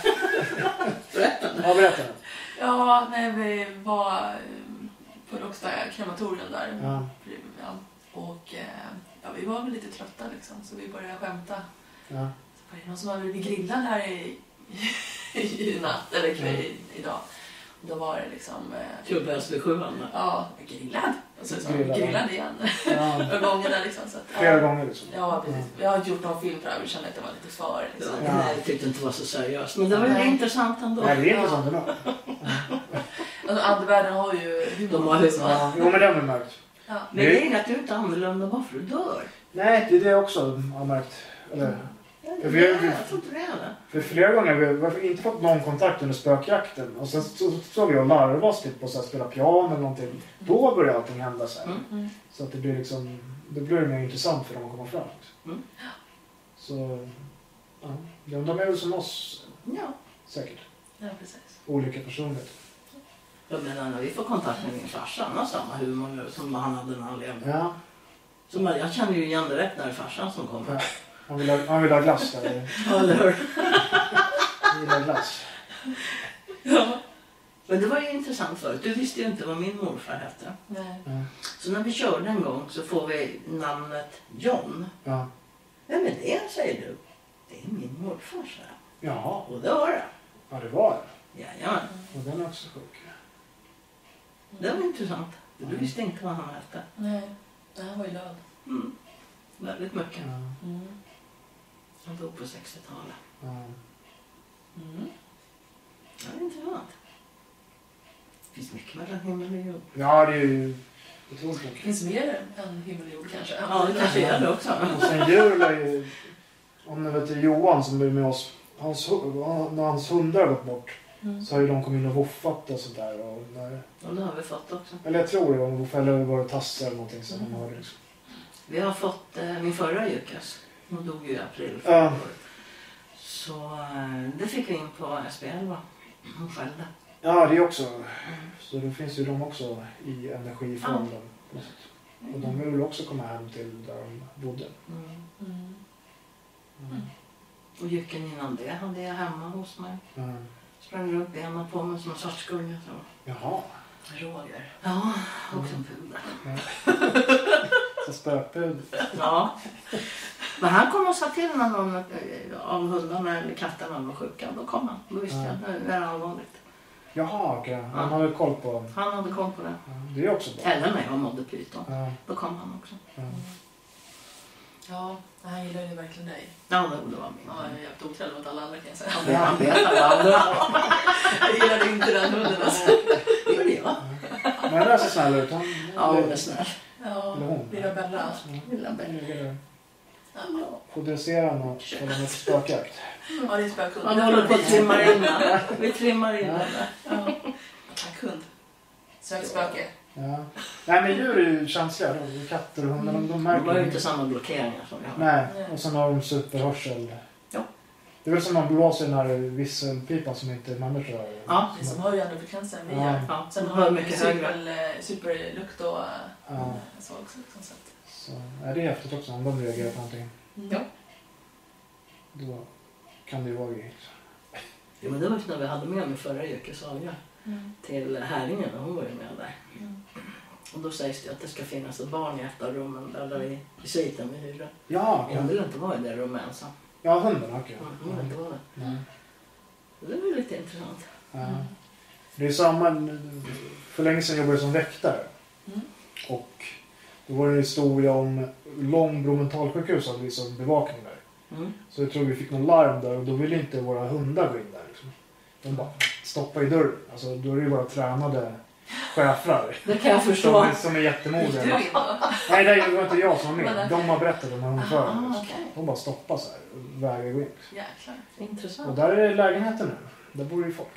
Speaker 1: Ja, berätta den.
Speaker 2: ja, när vi var eh, på Råcksta krematorium där.
Speaker 1: Ja.
Speaker 2: Ja. Och eh, ja, vi var väl lite trötta liksom, så vi började skämta.
Speaker 1: Ja.
Speaker 2: Var det någon som har blivit grillad här i, i natt eller kväll, idag? Och då var det liksom... eh,
Speaker 3: Klubben Östersjöan där.
Speaker 2: Ja, grillad. Och så sa han,
Speaker 1: Grillad.
Speaker 2: grillad igen.
Speaker 1: Ja.
Speaker 2: Och gångerna liksom. Så att,
Speaker 1: Flera
Speaker 2: ja,
Speaker 1: gånger liksom.
Speaker 2: ja, precis. Jag har gjort någon film på det här men kände att det var lite för
Speaker 3: Det
Speaker 2: liksom.
Speaker 3: var-
Speaker 1: Ja.
Speaker 3: Nej, jag tyckte inte det var så seriöst. Men det var ju
Speaker 2: Nej.
Speaker 3: intressant ändå.
Speaker 1: Nej, det är intressant ändå.
Speaker 2: Alltså andevärlden har ju humor.
Speaker 3: De har humor.
Speaker 2: liksom.
Speaker 1: Jo, men det har vi märkt.
Speaker 2: Ja.
Speaker 3: Men grejen är att du är inte annorlunda bara för att du dör.
Speaker 1: Nej, det är det jag också har märkt. Eller,
Speaker 3: Jag,
Speaker 1: vi-
Speaker 3: jag, jag tror inte det är det.
Speaker 1: För flera gånger har vi varför inte fått någon kontakt under spökjakten. Och sen så- så såg vi och larvade oss typ och så här, spela piano eller någonting. Då börjar allting hända så här.
Speaker 3: Mm.
Speaker 2: Mm.
Speaker 1: Så att det blir liksom, det blir mer intressant för dem att komma fram. liksom.
Speaker 3: Mm.
Speaker 1: Så, ja. De, de är väl som oss
Speaker 3: Ja.
Speaker 1: säkert.
Speaker 2: ja, precis.
Speaker 1: Olika personligheter.
Speaker 3: Jag menar, när vi får kontakt med min farsa, han har samma humor nu som han hade när han levde.
Speaker 1: Ja.
Speaker 3: Så man, jag känner ju igen direkt när det är farsan som kommer.
Speaker 1: Han vill ha, han vill ha glass eller?
Speaker 3: Ja, eller hur?
Speaker 1: Han gillar glass.
Speaker 3: Ja. Men det var ju intressant förut. Du visste ju inte vad min morfar hette.
Speaker 2: Nej.
Speaker 1: Ja.
Speaker 3: Så när vi körde en gång så får vi namnet John.
Speaker 1: Ja.
Speaker 3: Vem är det, säger du. Det är min morfar, sa jag.
Speaker 1: Jaha,
Speaker 3: Och det var det.
Speaker 1: ja det var det.
Speaker 3: Jajamän.
Speaker 1: Och den är också sjuk.
Speaker 3: Det var intressant. Du visste inte vad han hette.
Speaker 2: Mm. Nej. Det här var ju löd.
Speaker 3: Mm. Väldigt mycket.
Speaker 1: Ja.
Speaker 2: Mm.
Speaker 3: Han dog på 60-talet.
Speaker 1: Ja.
Speaker 2: Mm.
Speaker 3: Ja, det är intressant. Det finns mycket mellan himmel och jord.
Speaker 1: ja, det är ju otroligt
Speaker 2: Det
Speaker 1: mycket.
Speaker 2: finns mer än himmel och jord kanske. Mm.
Speaker 3: Ja, det kanske är det också.
Speaker 1: Och sen jul är ju... Om ni vet Johan som är med oss. Hans, hu- när hans hundar har gått bort
Speaker 2: Mm.
Speaker 1: så har ju de kommit in och woffat och sådär. Och när,
Speaker 3: Och det har vi fått också.
Speaker 1: eller jag tror det var woffat eller var det tassar eller någonting som
Speaker 3: Mm.
Speaker 1: man hörde. Liksom.
Speaker 3: Vi har fått eh, min förra Jukas. Hon dog ju i april förra
Speaker 1: Ja.
Speaker 3: året. Så eh, det fick vi in på SB11. Hon skällde.
Speaker 1: Ja, det också. Så då finns ju de också i energifonden. Och de vill väl också komma hem till där de bodde.
Speaker 3: Mm.
Speaker 2: Mm.
Speaker 3: Och Juken innan det hade jag hemma hos mig.
Speaker 1: Mm.
Speaker 3: Sprang runt benen på mig som en svartskunge. så.
Speaker 1: Jaha.
Speaker 2: Roger.
Speaker 3: Ja, och en pudel.
Speaker 1: Så spökbud.
Speaker 3: Ja. Men han kom och sa till när någon eh, av hundarna eller katterna var sjuka. Då kom han. Då visste
Speaker 1: Ja.
Speaker 3: jag. Nu är det allvarligt.
Speaker 1: Jaha, okej. Han
Speaker 3: Ja.
Speaker 1: hade koll på...
Speaker 3: Han hade koll på det.
Speaker 1: Ja, Det är också bra.
Speaker 3: Eller när jag mådde pyton.
Speaker 1: Ja,
Speaker 3: Då kom han också.
Speaker 1: ja.
Speaker 2: Ja, han gillade ju verkligen dig.
Speaker 3: Ja, det var min.
Speaker 2: Ja, jag är jävligt otrevlig mot alla andra kan jag säga.
Speaker 3: Han vet- Han vet alla andra.
Speaker 2: Jag gillade inte den hunden alltså.
Speaker 3: Det gjorde jag.
Speaker 1: Men den där ser snäll ut. Han,
Speaker 3: Ja, hon är snäll.
Speaker 2: Ja,
Speaker 1: Eller hon.
Speaker 2: lilla Bella.
Speaker 3: Lilla
Speaker 1: Han
Speaker 3: Benny.
Speaker 1: ligger där.
Speaker 3: Ja.
Speaker 1: Fodrisera honom och kolla med spökjakt.
Speaker 2: Ja, det är en spökhund.
Speaker 3: Han håller på att trimma in den. Vi trimmar in den.
Speaker 2: Ja. Attackhund. Sök spöke.
Speaker 1: Ja. Nej, men djur är ju känsliga. De- Katter och hundar, de, de
Speaker 3: De
Speaker 1: märker
Speaker 3: har ju
Speaker 1: ju.
Speaker 3: inte samma blockeringar som vi har.
Speaker 1: Nej, och sen har de superhörsel.
Speaker 3: Ja.
Speaker 1: Det är väl som man blåser i den här visselpipan som inte människor har.
Speaker 3: Ja,
Speaker 2: Det är som har ju andra frekvenser än vi
Speaker 1: Ja.
Speaker 2: gör.
Speaker 3: Ja,
Speaker 2: Sen
Speaker 3: de
Speaker 2: har
Speaker 3: hör
Speaker 2: de ju
Speaker 3: mycket högre.
Speaker 2: super, superlukt och eh,
Speaker 1: Ja.
Speaker 2: så också. Liksom, så att,
Speaker 1: Så, ja, det är häftigt också om de reagerar på någonting.
Speaker 2: ja.
Speaker 1: Då kan det ju vara grejer.
Speaker 3: Jo, men det var ju när vi hade med mig förra Jökes Aga till Häringen och hon var ju med där.
Speaker 2: Mm.
Speaker 3: Och då sägs det att det ska finnas ett barn i ett av rummen eller i, i sviten vi hyrde.
Speaker 1: Ja, okej.
Speaker 3: Hon ville inte vara i det rummet ensam.
Speaker 1: Ja, hunden. Okej.
Speaker 3: Hon hon ville inte vara där.
Speaker 1: Ja.
Speaker 3: Det var ju lite intressant.
Speaker 2: Mm.
Speaker 1: Ja. Det är samma... För länge sedan jobbade jag som väktare.
Speaker 2: Mm.
Speaker 1: Och då var det en historia om Långbro mentalsjukhus hade vi som bevakning där.
Speaker 3: Mm.
Speaker 1: Så jag tror vi fick någon larm där och då ville inte våra hundar gå in där. Liksom. De bara stoppade i dörren. Alltså, då är det ju bara tränade schäfrar
Speaker 3: Det kan jag
Speaker 1: som,
Speaker 3: förstå.
Speaker 1: är- som är
Speaker 2: Gick
Speaker 1: jättemodiga.
Speaker 2: du in då?
Speaker 1: Nej, det var inte jag som var med. De har berättat om hundföraren.
Speaker 3: Ah, okej.
Speaker 1: De bara stoppar så här och vägrar gå in.
Speaker 2: Jäklar.
Speaker 1: Och
Speaker 3: Intressant.
Speaker 1: där är det lägenheter nu. Där bor det ju folk.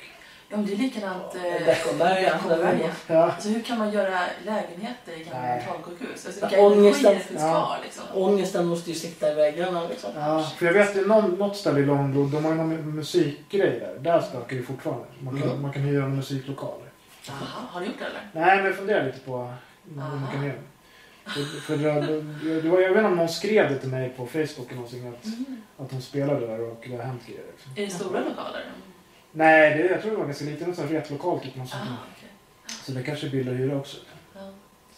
Speaker 2: Ja, men det är likadant... eh,
Speaker 3: Beckomberga.
Speaker 2: Beckomberga.
Speaker 1: Ja.
Speaker 2: Alltså hur kan man göra lägenheter i gamla
Speaker 1: Nej.
Speaker 2: mentalsjukhus? Alltså,
Speaker 3: Ja,
Speaker 2: vilka energier
Speaker 3: ångesten.
Speaker 2: finns
Speaker 1: Ja.
Speaker 2: kvar liksom?
Speaker 3: Ångesten måste ju sitta i väggarna liksom.
Speaker 1: Ja, för jag vet ju någon, något ställe i Långbro, de har ju någon musikgrej där. Där spökar det fortfarande. Man kan,
Speaker 3: Mm.
Speaker 1: man kan hyra en musiklokal.
Speaker 2: Aha, har du gjort det eller?
Speaker 1: Nej, men jag funderar lite på hur man kan
Speaker 2: Aha.
Speaker 1: göra. För, för det, det, det var, jag vet inte om någon skrev det till mig på Facebook eller någonting att,
Speaker 2: Mm.
Speaker 1: att de spelade där och det har hänt grejer. Liksom.
Speaker 2: Är det stora lokaler?
Speaker 1: Nej, det, jag tror det var en ganska liten en sån här replokal typ. Någon sån.
Speaker 2: Ah, okej.
Speaker 1: Så det kanske är billigt att hyra också.
Speaker 2: Ja.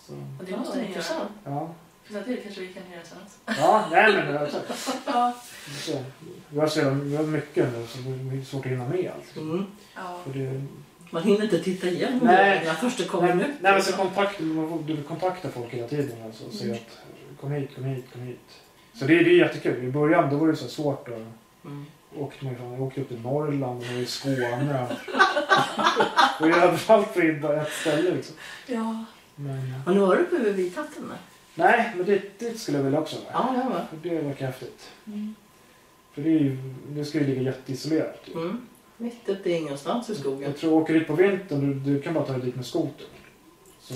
Speaker 1: Så,
Speaker 2: Och det måste ni göra.
Speaker 3: Intressant.
Speaker 1: ja.
Speaker 2: Finns det till kanske vi kan göra tillsammans?
Speaker 1: ja, nej men alltså,
Speaker 2: Ja.
Speaker 1: så. Vi har så jävla- vi har mycket nu så det är svårt att hinna med allt.
Speaker 3: Mm.
Speaker 2: ja.
Speaker 1: För det,
Speaker 3: Man hinner inte titta igenom
Speaker 1: Nej.
Speaker 3: väggarna först det kommer
Speaker 1: Nej,
Speaker 3: ut.
Speaker 1: nej men så kontakt, man får- du kontaktar folk hela tiden alltså, och säger att kom hit, kom hit, kom hit. Så det, är- det är jättekul. I början då var det så svårt att
Speaker 3: Mm.
Speaker 1: åkte man ifrån. Jag åkte upp till Norrland och i Skåne. och jag hade fallit för in bara ett ställe liksom.
Speaker 2: ja.
Speaker 1: Men,
Speaker 3: Har ni varit uppe vid Vitatten? eller?
Speaker 1: nej, men dit, dit skulle jag vilja också vara.
Speaker 3: Ja, jag var.
Speaker 1: För det verkar häftigt.
Speaker 2: Mm.
Speaker 1: För det, är ju, det ska ju ligga jätteisolerat. ju.
Speaker 3: Mm. Mitt ute i ingenstans i skogen.
Speaker 1: Jag tror, åker dit på vintern, du, du kan bara ta dig dit med skoter. Så,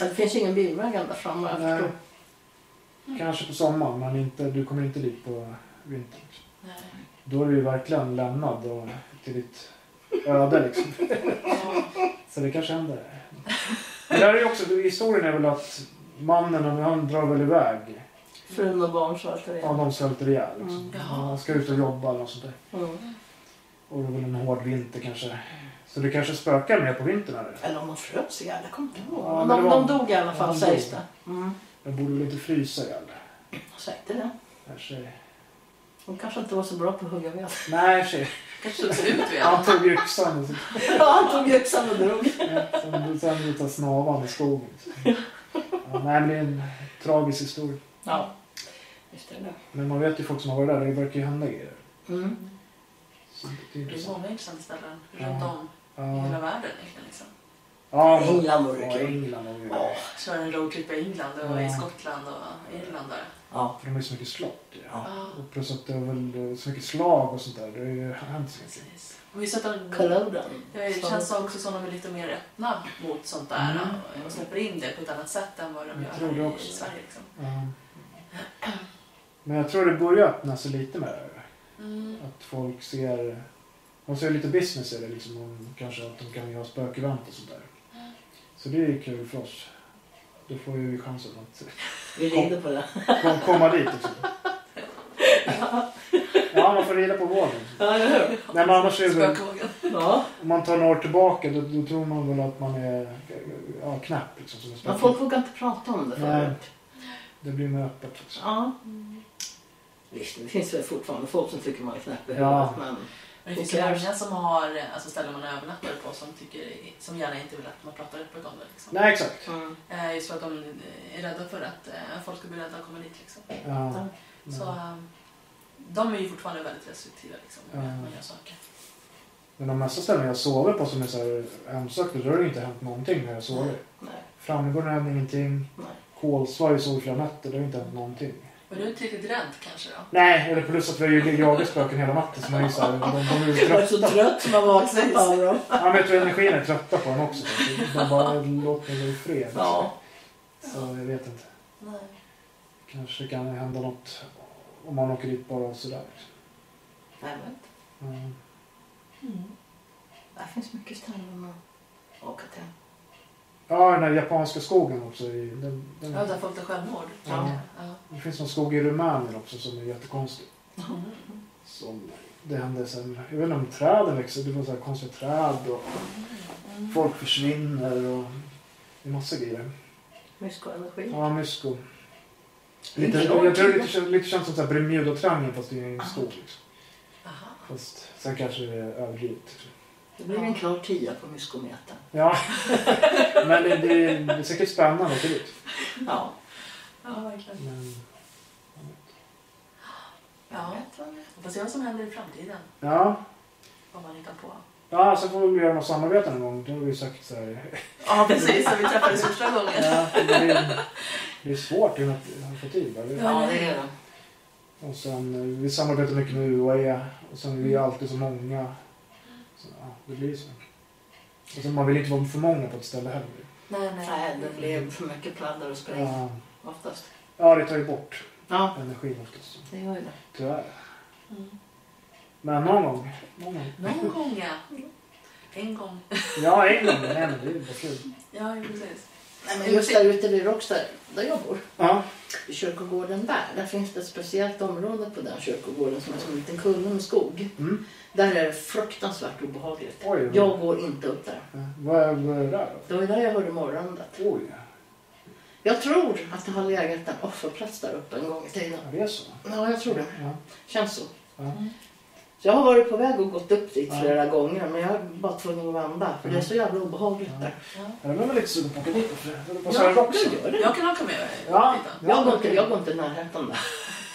Speaker 3: Ja, Det finns ingen bilväg ända fram vad jag
Speaker 1: Nej.
Speaker 3: förstår.
Speaker 1: Kanske på sommaren, men inte, du kommer inte dit på vintern.
Speaker 2: Nej.
Speaker 1: Då är du ju verkligen lämnad och till ditt öde liksom.
Speaker 2: Ja.
Speaker 1: Så det kanske händer. Men där är ju också, historien är väl att mannen, han drar väl iväg
Speaker 3: Frun och barn svälter
Speaker 1: Ja,
Speaker 3: ihjäl.
Speaker 1: de svälter ihjäl. Liksom.
Speaker 3: Mm.
Speaker 2: Jaha.
Speaker 1: Man ska ut och jobba eller något sånt där.
Speaker 3: Mm.
Speaker 1: Och det var väl en hård vinter kanske. Så det kanske spökar mer på vintern eller?
Speaker 3: Eller om de frös ihjäl, jag kommer inte ihåg.
Speaker 1: Ja, men
Speaker 3: de,
Speaker 1: det var-
Speaker 3: de dog i alla fall
Speaker 1: de
Speaker 3: sägs
Speaker 1: dog.
Speaker 3: det. Mm.
Speaker 1: De borde väl inte frysa ihjäl?
Speaker 3: Säg det.
Speaker 1: Kanske...
Speaker 3: De kanske inte var så bra på att hugga ved.
Speaker 1: Nej, i och för sig.
Speaker 2: Kanske det ser ut vi
Speaker 1: Han tog yxan och så
Speaker 3: Ja, han tog yxan och drog.
Speaker 1: Ja, Sen sen lutar snavan i skogen. Ja, nej, men det är en tragisk historia.
Speaker 3: Ja, visst är det
Speaker 1: Men man vet ju folk som har varit där, det verkar ju hända grejer.
Speaker 3: det. Mm.
Speaker 1: Så det är
Speaker 2: Det är
Speaker 1: intressant.
Speaker 2: många intressanta ställen
Speaker 1: Ja.
Speaker 2: runt om i
Speaker 1: Ja,
Speaker 2: hela världen egentligen. Liksom.
Speaker 1: ja,
Speaker 3: England vore
Speaker 1: ja,
Speaker 3: kul.
Speaker 1: England har vi
Speaker 3: Ja.
Speaker 2: Köra en roadtrip i England och i
Speaker 1: Ja.
Speaker 2: Skottland och Irland där.
Speaker 3: Ja.
Speaker 1: För de är så mycket slott ju.
Speaker 3: Ja.
Speaker 2: Ja,
Speaker 1: Och plus att det är väl så mycket slag och sånt där. Det har ju hänt så mycket.
Speaker 2: precis. Och just att de,
Speaker 3: Koloden.
Speaker 2: det känns också som de är lite mer öppna mot sånt där
Speaker 1: Mm.
Speaker 2: och släpper in det på ett annat sätt än vad de
Speaker 1: Jag
Speaker 2: gör
Speaker 1: tror det
Speaker 2: här i
Speaker 1: också.
Speaker 2: Sverige. Liksom.
Speaker 1: Ja. Men jag tror det börjar öppna sig lite med det här.
Speaker 2: Mm.
Speaker 1: Att folk ser... De ser lite business i det liksom. Och kanske att de kan göra spökevent och sånt där. Så det är ju kul för oss. Då får ju vi chansen att
Speaker 3: Vi rider på det.
Speaker 1: kom, komma dit liksom. Ja, man får rida på vågen.
Speaker 3: Ja, eller hur?
Speaker 1: Nej, men annars är det väl,
Speaker 2: Spökvågen.
Speaker 3: Ja.
Speaker 1: om man tar några år tillbaka då, då tror man väl att man är ja, knäpp liksom. Som en
Speaker 3: Men
Speaker 1: spöke.
Speaker 3: folk vågar inte prata om det
Speaker 1: Nej.
Speaker 3: förut.
Speaker 1: Det blir mer öppet liksom.
Speaker 3: Ja. Visst, det finns väl fortfarande folk som tycker man är knäpp i
Speaker 1: Ja.
Speaker 3: huvudet, men...
Speaker 2: Men det finns ju
Speaker 3: Okej.
Speaker 2: många som har alltså ställen man övernattar på som, tycker, som gärna inte vill att man pratar öppet om det. Liksom.
Speaker 1: Nej, exakt.
Speaker 3: Mm.
Speaker 2: Eh, Just för att de är rädda för att eh, folk ska bli rädda och komma dit. Liksom.
Speaker 1: Ja.
Speaker 2: Så,
Speaker 1: Men,
Speaker 2: eh, de är ju fortfarande väldigt restriktiva liksom, med
Speaker 1: Ja.
Speaker 2: att man gör saker.
Speaker 1: men de mesta ställen jag sover på som är så här hemsökta, då har det inte hänt någonting när jag sover.
Speaker 3: Nej.
Speaker 1: Framgården hände ingenting.
Speaker 3: Nej.
Speaker 1: Kolsva jag sov i flera nätter, det har inte hänt någonting.
Speaker 2: Men du är inte riktigt rädd kanske då?
Speaker 1: Nej, eller plus att vi har ju jagat spöken hela natten så man är ju så här, de, de är ju
Speaker 3: Jag är så
Speaker 1: trötta.
Speaker 3: trött man vaknat av dem.
Speaker 1: Ja, men jag tror energin är trötta på den också. De bara, låt mig vara i fred. alltså.
Speaker 3: Ja.
Speaker 1: Så jag vet inte.
Speaker 2: Nej.
Speaker 1: Kanske kan det hända något om man åker dit bara och sådär.
Speaker 3: Nej, men
Speaker 1: Mm.
Speaker 3: det finns mycket ställen att åka till.
Speaker 1: Ja, den där japanska skogen också. i- Den, den,
Speaker 2: Ja, där folk tar självmord.
Speaker 1: Ja.
Speaker 2: Ja.
Speaker 1: Det finns någon skog i Rumänien också som är jättekonstig.
Speaker 2: Mm.
Speaker 1: Som det hände sen, jag vet inte om träden växer, det var så här konstiga träd och folk försvinner och det är massa grejer.
Speaker 3: Mysko energi.
Speaker 1: Ja, mysko. Lite, jag tror det lite, lite känns som så här Bermuda-triangeln fast det är en skog. Liksom.
Speaker 2: Aha.
Speaker 1: Fast sen kanske det är överdrivet. liksom.
Speaker 3: Det blir en klar tia på myskometern.
Speaker 1: Ja, men det, det, är- det är säkert spännande till det.
Speaker 3: Ja.
Speaker 2: Ja, verkligen.
Speaker 1: Men,
Speaker 2: Ja. Vi får se vad som händer i framtiden.
Speaker 1: ja,
Speaker 2: Vad man hittar på.
Speaker 1: ja, så får vi göra något samarbete någon gång. Det har vi ju sagt så här.
Speaker 2: Ja, precis. Som vi träffades första gången.
Speaker 1: Ja, men det, är, det är svårt att att få till. Eller?
Speaker 3: Ja, det är det.
Speaker 1: Och sen, eh, vi samarbetar mycket med UAE och sen är vi
Speaker 3: Mm.
Speaker 1: alltid så många. Så, ja, det blir så. Och sen, man vill inte vara för många på ett ställe heller.
Speaker 2: Nej, nej.
Speaker 3: Nej, det blir för mycket pladder och spring
Speaker 1: Ja,
Speaker 3: oftast.
Speaker 1: ja, det tar ju bort
Speaker 3: Ja,
Speaker 1: energin oftast.
Speaker 3: det gör ju det.
Speaker 1: Tyvärr.
Speaker 2: Mm.
Speaker 1: Men någon gång. Någon gång.
Speaker 2: Någon gång, ja. En gång.
Speaker 1: Ja, en gång. Nej, men det är ju bara kul.
Speaker 2: Ja, ju precis.
Speaker 3: Nej, men just där ute vid Rockster, där jag bor,
Speaker 1: Ja.
Speaker 3: i kyrkogården där, där finns det ett speciellt område på den kyrkogården som är som en liten kulle med skog.
Speaker 1: Mm.
Speaker 3: Där är det fruktansvärt obehagligt.
Speaker 1: Oj, vad-
Speaker 3: Jag går inte upp där.
Speaker 1: Ja, Vad är vad är det där
Speaker 3: Det var ju där jag hörde morgonandet.
Speaker 1: då? Oj,
Speaker 3: Jag tror att det har legat en offerplats där uppe en gång i tiden.
Speaker 1: ja, det är så.
Speaker 3: Ja, jag tror det.
Speaker 1: Ja.
Speaker 3: Känns så.
Speaker 1: Ja.
Speaker 2: Mm.
Speaker 3: Så jag har varit på väg och gått upp dit
Speaker 1: Ja.
Speaker 3: flera gånger men jag är bara tvungen att vända för det är så jävla obehagligt
Speaker 1: Ja.
Speaker 3: där.
Speaker 1: Ja, det var väl lite sugen på att åka dit. för det höll på att
Speaker 3: Jag,
Speaker 1: säga
Speaker 3: jag
Speaker 1: också.
Speaker 3: gör det.
Speaker 2: Jag kan åka med
Speaker 1: Ja.
Speaker 2: lite.
Speaker 3: Jag går inte, jag går inte i närheten där.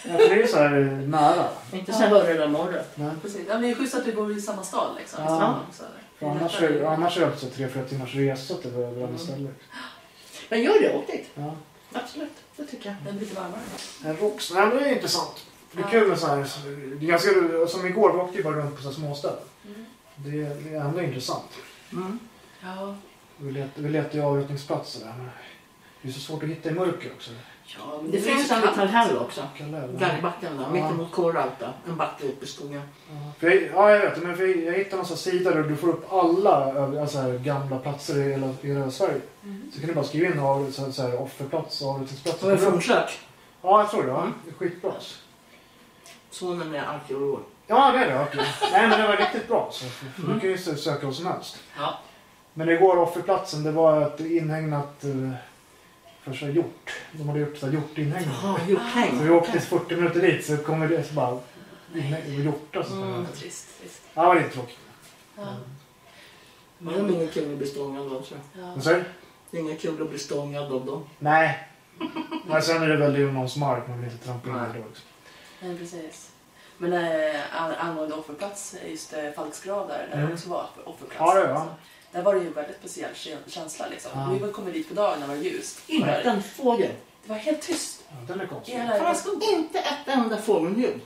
Speaker 1: Ja, för det är ju så här eh, nära.
Speaker 3: Inte så jag hör det där morret.
Speaker 1: Nej.
Speaker 2: Precis. Ja, men det är schysst att vi bor i samma stad. Liksom.
Speaker 1: Ja.
Speaker 2: Ja. Så, Mm.
Speaker 1: För annars, är, annars är det också tre, fyra timmars resa till varandra
Speaker 3: Mm.
Speaker 1: ställe.
Speaker 3: Men gör det, åk dit.
Speaker 1: Ja.
Speaker 3: Absolut, det tycker jag.
Speaker 2: Den blir lite varmare.
Speaker 1: En rox, nej men det är intressant. Det är kul med så här, så- det är ganska, som igår, vi åkte ju bara runt på så här småställen.
Speaker 2: Mm.
Speaker 1: Det, är- det är ändå intressant.
Speaker 3: Mm.
Speaker 2: Ja.
Speaker 1: Vi letar, vi letar ju avgjutningsplatser där, men det är så svårt att hitta i mörker också.
Speaker 3: Ja, men
Speaker 2: men det
Speaker 3: det,
Speaker 2: är
Speaker 3: finns Mm.
Speaker 2: så
Speaker 3: en
Speaker 2: kallt.
Speaker 3: liten häll också.
Speaker 1: Kalle, eller?
Speaker 3: Gallbacken där,
Speaker 1: Ja.
Speaker 3: mittemot Kårauta. En backe upp i skogen.
Speaker 1: Ja, För jag, ja, jag vet. Men för jag, jag hittade någon sån här sida där du får upp alla över- alltså här, gamla platser i Mm. hela, i hela Sverige. Så kan du bara skriva in av, så, så här, offerplats och avrättningsplats.
Speaker 3: Och en fornsök.
Speaker 1: Ja, Ja, jag tror det. Ja. Skitbra alltså.
Speaker 3: Sonen är arkeolog.
Speaker 1: Ja, det är det. Okej. Nej, men det var riktigt bra. Så du kan ju sö- söka vad som helst.
Speaker 3: Ja.
Speaker 1: Men igår offerplatsen, det var ett inhägnat eh, första hjort. De hade gjort så här hjortinhägnat.
Speaker 4: Jaha, hjorthägn.
Speaker 1: Så
Speaker 3: Ah.
Speaker 1: vi åkte 40 minuter dit så kommer det så bara inne och hjortar. Så
Speaker 3: Mm.
Speaker 1: mm.
Speaker 2: Trist, trist.
Speaker 1: Ja, det var lite tråkigt.
Speaker 2: Ja.
Speaker 3: Men det är inget kul att bli stångad av. Så.
Speaker 2: Ja.
Speaker 1: Men så,
Speaker 3: Det är inget kul att bli stångad av dem.
Speaker 1: nej. Men sen är det väl ju någons mark man vill inte trampa in i då liksom. också.
Speaker 2: Men precis. Men eh, an- angående offerplats, just eh, Falksgrav där, där det
Speaker 1: Mm.
Speaker 2: också var offerplats.
Speaker 1: Ja, det var.
Speaker 2: alltså. Där var det ju en väldigt speciell kä- känsla liksom.
Speaker 1: Ja.
Speaker 2: Vi var kommit dit på dagen när det var ljust.
Speaker 3: Inte
Speaker 2: Där.
Speaker 3: en fågel.
Speaker 2: Det var helt tyst
Speaker 1: Ja, den är
Speaker 2: i
Speaker 1: konstig.
Speaker 2: hela
Speaker 3: Det
Speaker 2: jävla
Speaker 3: fanns
Speaker 2: skogen.
Speaker 3: inte ett enda fågelljud.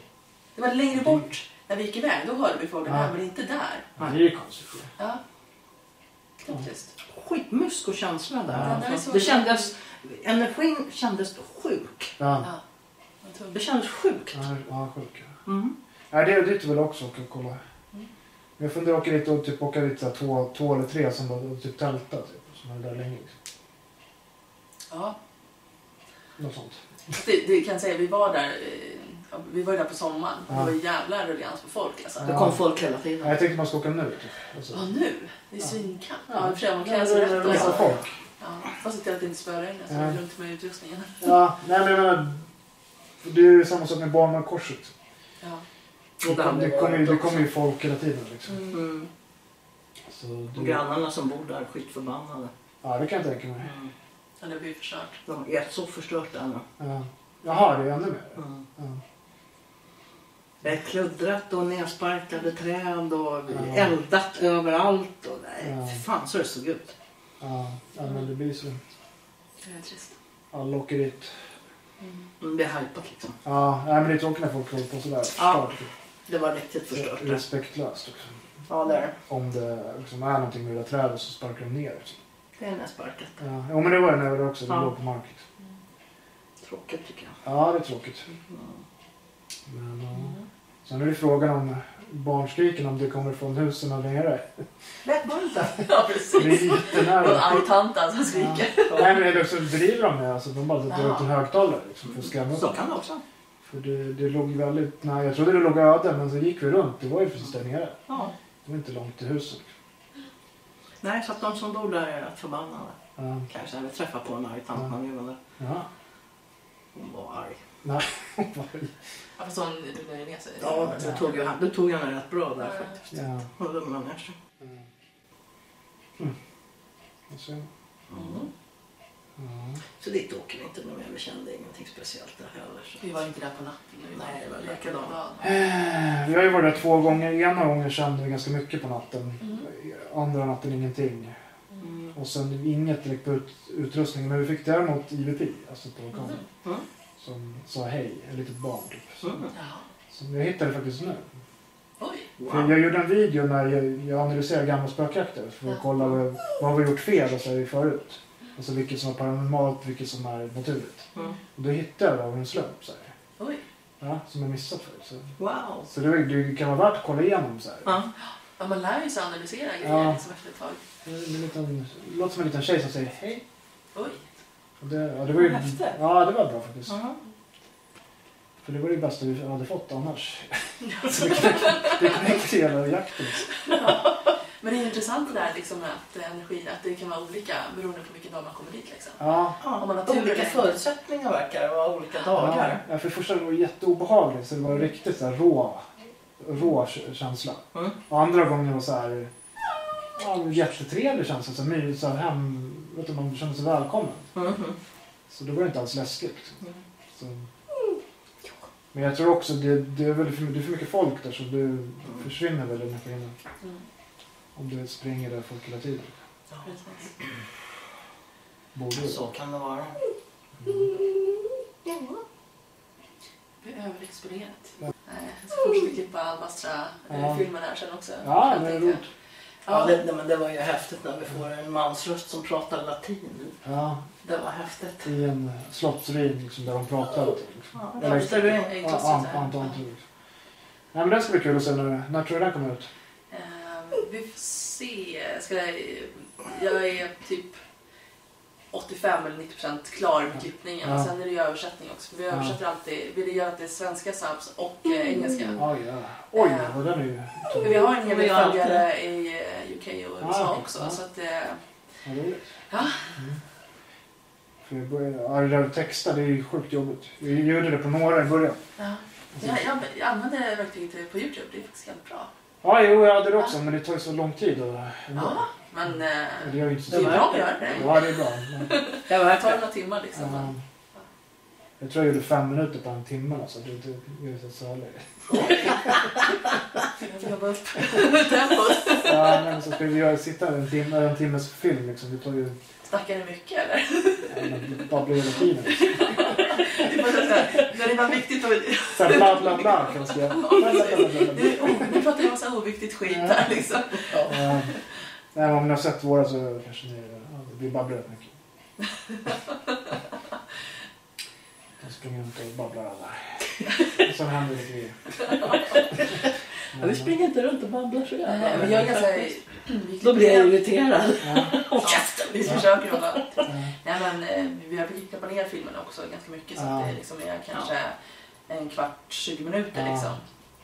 Speaker 2: Det var längre bort när vi gick iväg, då hörde vi fåglarna
Speaker 1: Mm. Ja.
Speaker 2: men inte där.
Speaker 1: Ja, det är ju konstigt.
Speaker 2: Ja. Knappt tyst.
Speaker 3: Skitmysk och känsla där.
Speaker 1: Ja.
Speaker 2: Det är så-
Speaker 3: Alltså. Det kändes, energin kändes sjuk.
Speaker 1: Ja,
Speaker 2: Ja. Vad
Speaker 3: Det
Speaker 2: tungt.
Speaker 3: kändes sjukt.
Speaker 1: ja, ja sjuk. ja.
Speaker 3: Mm.
Speaker 1: Ja, det är dit väl också och kolla. Jag funderar åka dit och typ åka dit så här två, två eller tre som bara typ tälta typ. Som är där länge. Liksom.
Speaker 2: Ja.
Speaker 1: Något sånt.
Speaker 2: Det, det kan jag säga, vi var där, eh, ja, vi var ju där på sommaren.
Speaker 1: Ja.
Speaker 2: Det var ju jävla ruljans på folk alltså.
Speaker 3: Det kom folk hela tiden.
Speaker 1: Ja, jag tänkte man ska åka nu typ. Alltså.
Speaker 2: Ja, nu? Det är svinkallt.
Speaker 1: Ja.
Speaker 2: Ja, i och för sig, man kan
Speaker 1: Ja,
Speaker 2: göra sig
Speaker 1: det-
Speaker 2: rätt
Speaker 1: det- det-
Speaker 2: också.
Speaker 1: folk.
Speaker 2: Ja, fast se till att det inte spöregnar så det
Speaker 1: Ja.
Speaker 2: är lugnt med utrustningen.
Speaker 1: Ja, nej men jag menar. Det är ju samma sak med Barnmankorset.
Speaker 2: Ja.
Speaker 1: Det, kom- det kommer ju- det kommer ju folk hela tiden liksom.
Speaker 2: Mm.
Speaker 3: Mm.
Speaker 1: Så
Speaker 3: Och
Speaker 1: det,
Speaker 3: grannarna som bor där är skitförbannade.
Speaker 1: ja, det kan jag tänka mig.
Speaker 3: Mm.
Speaker 2: Ja, det blir förstört.
Speaker 3: De är så förstört där nu.
Speaker 1: Ja. Jaha, det är ännu mer?
Speaker 3: Mm.
Speaker 1: Ja.
Speaker 3: Det är kluddrat och nedsparkade träd och
Speaker 1: Ja.
Speaker 3: eldat överallt. Och nej,
Speaker 1: Ja.
Speaker 3: fy fan så det såg ut.
Speaker 1: Ja, ja, men det blir så.
Speaker 2: Det är trist.
Speaker 1: Alla åker dit.
Speaker 3: Mm, Det är hajpat liksom.
Speaker 1: Ja, nej, men det är tråkigt när folk håller på sådär.
Speaker 3: Ja.
Speaker 1: Förstört.
Speaker 3: Det var riktigt förstört. där.
Speaker 1: Respektlöst liksom. också.
Speaker 3: Ja, det är det.
Speaker 1: om det liksom är någonting med det där trädet så sparkar de ner. Liksom.
Speaker 3: Det är nedsparkat.
Speaker 1: Ja, jo, men det var det när jag var där också. Det
Speaker 3: Ja.
Speaker 1: låg på marken. Liksom.
Speaker 3: Tråkigt tycker jag. Mm.
Speaker 1: Ja, det är tråkigt. Men, ja.
Speaker 2: Mm.
Speaker 1: Sen är det frågan om barnskriken, om det kommer från husen där nere.
Speaker 3: Lätt var det inte.
Speaker 2: Ja,
Speaker 1: Det
Speaker 2: precis.
Speaker 1: är
Speaker 2: Någon
Speaker 1: jättenära.
Speaker 2: arg tant alltså som skriker.
Speaker 1: Nej, men det är också driver de med. Alltså, de bara drar
Speaker 2: Ja.
Speaker 1: ut en högtalare liksom, för att skrämma upp.
Speaker 3: Så kan det också.
Speaker 1: För det, det låg väldigt nära. Jag trodde det låg öde, men så gick vi runt. Det var ju precis där nere.
Speaker 3: Ja.
Speaker 1: Det var inte långt till husen.
Speaker 3: Nej, så att de som bor där är rätt förbannade.
Speaker 1: Ja.
Speaker 3: Kanske. Jag träffade på en arg tant när vi var där.
Speaker 1: Ja.
Speaker 3: Hon var arg.
Speaker 1: Nej.
Speaker 2: Ja, fast hon lugnade ner sig.
Speaker 3: Ja, du tog, ju, du tog henne rätt bra där
Speaker 2: Mm.
Speaker 3: faktiskt.
Speaker 1: ja. Mm.
Speaker 3: Hon lugnade ner sig.
Speaker 1: Och sen-
Speaker 2: Mm.
Speaker 1: Ja.
Speaker 3: Så dit åker vi inte nu men vi kände ingenting speciellt där heller. Så.
Speaker 2: Vi var inte där på natten. vi
Speaker 3: Nej, det var
Speaker 2: där på
Speaker 3: likadant.
Speaker 2: dagen.
Speaker 1: Eh, Vi har ju varit där två gånger. Ena gången kände vi ganska mycket på natten.
Speaker 2: Mm.
Speaker 1: Andra natten ingenting.
Speaker 3: Mm.
Speaker 1: Och sen inget direkt på ut- utrustningen. Men vi fick däremot IVP, alltså på kameran.
Speaker 3: Mm.
Speaker 1: Som sa hej, ett litet barn typ. Som-
Speaker 2: Ja.
Speaker 1: Som jag hittade faktiskt nu.
Speaker 2: Oj.
Speaker 1: För
Speaker 3: Wow.
Speaker 1: jag gjorde en video när jag, jag analyserade gamla spökjakter. För att kolla vad, vad har vi gjort fel och så här förut. Alltså vilket som är paranormalt, vilket som är naturligt.
Speaker 3: Mm.
Speaker 1: Och då hittade jag det av en slump så här.
Speaker 2: Oj.
Speaker 1: Ja, som jag missat förut. Så,
Speaker 3: wow. Mm.
Speaker 1: så det, det kan vara värt att kolla igenom så här.
Speaker 3: Ja.
Speaker 2: Ja, man lär ju sig analysera
Speaker 1: Ja.
Speaker 2: grejer liksom efter ett tag.
Speaker 1: En liten, det låter som en liten tjej som säger hej.
Speaker 2: Oj.
Speaker 1: Och Det, ja, det var ju,
Speaker 3: Vad häftigt.
Speaker 1: ja, det var bra faktiskt.
Speaker 3: Ja.
Speaker 1: För det var det bästa vi hade fått annars. Så det knäckte, det knäckte hela jakten.
Speaker 2: Men det är ju intressant det där liksom med att eh, energi, att det kan vara olika beroende på vilken dag man kommer dit liksom.
Speaker 1: Ja,
Speaker 3: Ja,
Speaker 2: Om man har tur
Speaker 3: olika
Speaker 2: eller-
Speaker 3: förutsättningar verkar det vara, olika
Speaker 1: ja,
Speaker 3: dagar.
Speaker 1: ja, för första gången var det jätteobehagligt så det var riktigt så här rå, rå k- känsla.
Speaker 3: Mm.
Speaker 1: Och andra gången var så här ja, men jättetrevlig känsla. Så här, my- så här hem, vet du, man kände sig välkommen.
Speaker 3: Mhm.
Speaker 1: Så då var det inte alls läskigt. Liksom. Så. Men jag tror också det, det, är väl för, det är för mycket folk där så det
Speaker 3: Mm.
Speaker 1: försvinner väl energin.
Speaker 2: Mm.
Speaker 1: Om det springer där folk hela tiden.
Speaker 2: Precis.
Speaker 1: Borde
Speaker 3: Ja,
Speaker 1: ju.
Speaker 3: Så kan det vara. Mm.
Speaker 2: Det är överexponerat.
Speaker 1: Ja.
Speaker 2: Nej, jag ska fortsätta klippa Almastra-filmen
Speaker 1: Ja.
Speaker 2: eh, filmen här sen också.
Speaker 1: Ja,
Speaker 2: Jag
Speaker 1: det är
Speaker 2: tänkte-
Speaker 1: roligt.
Speaker 3: Ja,
Speaker 2: Ja.
Speaker 3: det, det- men det var ju häftigt när vi får en mansröst som pratar latin.
Speaker 1: Ja,
Speaker 3: Det var häftigt.
Speaker 1: I en slottsruin liksom, där de pratar. Liksom.
Speaker 3: Ja,
Speaker 1: Eller-
Speaker 3: där du är.
Speaker 2: i
Speaker 1: Ja,
Speaker 2: klostret
Speaker 1: an,
Speaker 2: här.
Speaker 1: an, an, an, liksom. Nej men det ska bli kul att se när, när tror du den kommer ut?
Speaker 2: Ehm, Vi får se. Ska jag, jag är typ 85 eller 90 klar med klippningen.
Speaker 1: Ja.
Speaker 2: Och sen är det ju översättning också. För vi
Speaker 1: Ja.
Speaker 2: översätter alltid, vi gör alltid svenska subs och eh, engelska.
Speaker 1: Oj, ja. Oj, vad den är ju...
Speaker 2: Men Vi har en hel del
Speaker 3: Vi har alltid-
Speaker 2: följare i eh, UK och
Speaker 1: Ja,
Speaker 2: USA
Speaker 1: okej.
Speaker 2: också.
Speaker 1: Ja.
Speaker 2: Så att, eh,
Speaker 1: Vad roligt.
Speaker 2: Ja.
Speaker 1: Mm. För jag började, ja, det där att texta, det är ju sjukt jobbigt. Vi gjorde det på några i början.
Speaker 2: ja. jag, jag, jag använder verktyget på Youtube, det är faktiskt helt bra.
Speaker 1: Ja, jo, jag hade det också, men det tar ju så lång tid. Och,
Speaker 2: Ja, men eh,
Speaker 1: Det gör ju inte
Speaker 2: det
Speaker 1: så
Speaker 2: är
Speaker 1: mycket.
Speaker 2: bra att göra det.
Speaker 1: Ja, det är bra. Men,
Speaker 3: Jag
Speaker 2: Det tar
Speaker 3: verkar.
Speaker 2: några timmar liksom. men-
Speaker 1: ehm, jag tror jag gjorde fem minuter på en timme, så det är inte det är så särskilt.
Speaker 2: Jag jobbar upp tempot.
Speaker 1: Ja, men så ska vi göra, sitta en, timme, en timmes film, liksom. det tar ju...
Speaker 2: Snackar ni mycket eller?
Speaker 1: ja, men Babblar hela tiden. Liksom.
Speaker 2: Det är bara så här, När det var viktigt och...
Speaker 1: Så här, bla, bla, bla, kan man säga. Bla, bla, bla, bla, bla.
Speaker 2: Nu, oh, nu pratar vi en massa oviktigt skit här liksom.
Speaker 1: Ehm, Nej, men om ni har sett våra så kanske ni... Ja, vi babblar rätt mycket. Jag springer runt och babblar alla. Och sen händer det grejer.
Speaker 3: Ja, vi springer inte runt och babblar så jävla.
Speaker 2: Nej, men jag är ganska...
Speaker 3: Då blir jag irriterad.
Speaker 1: Ja,
Speaker 2: Håll käften! Vi försöker hålla...
Speaker 1: ja.
Speaker 2: Nej men eh, vi har försökt klippa ner filmen också ganska mycket så att det liksom är kanske en kvart, 20 minuter
Speaker 1: Ja.
Speaker 2: liksom.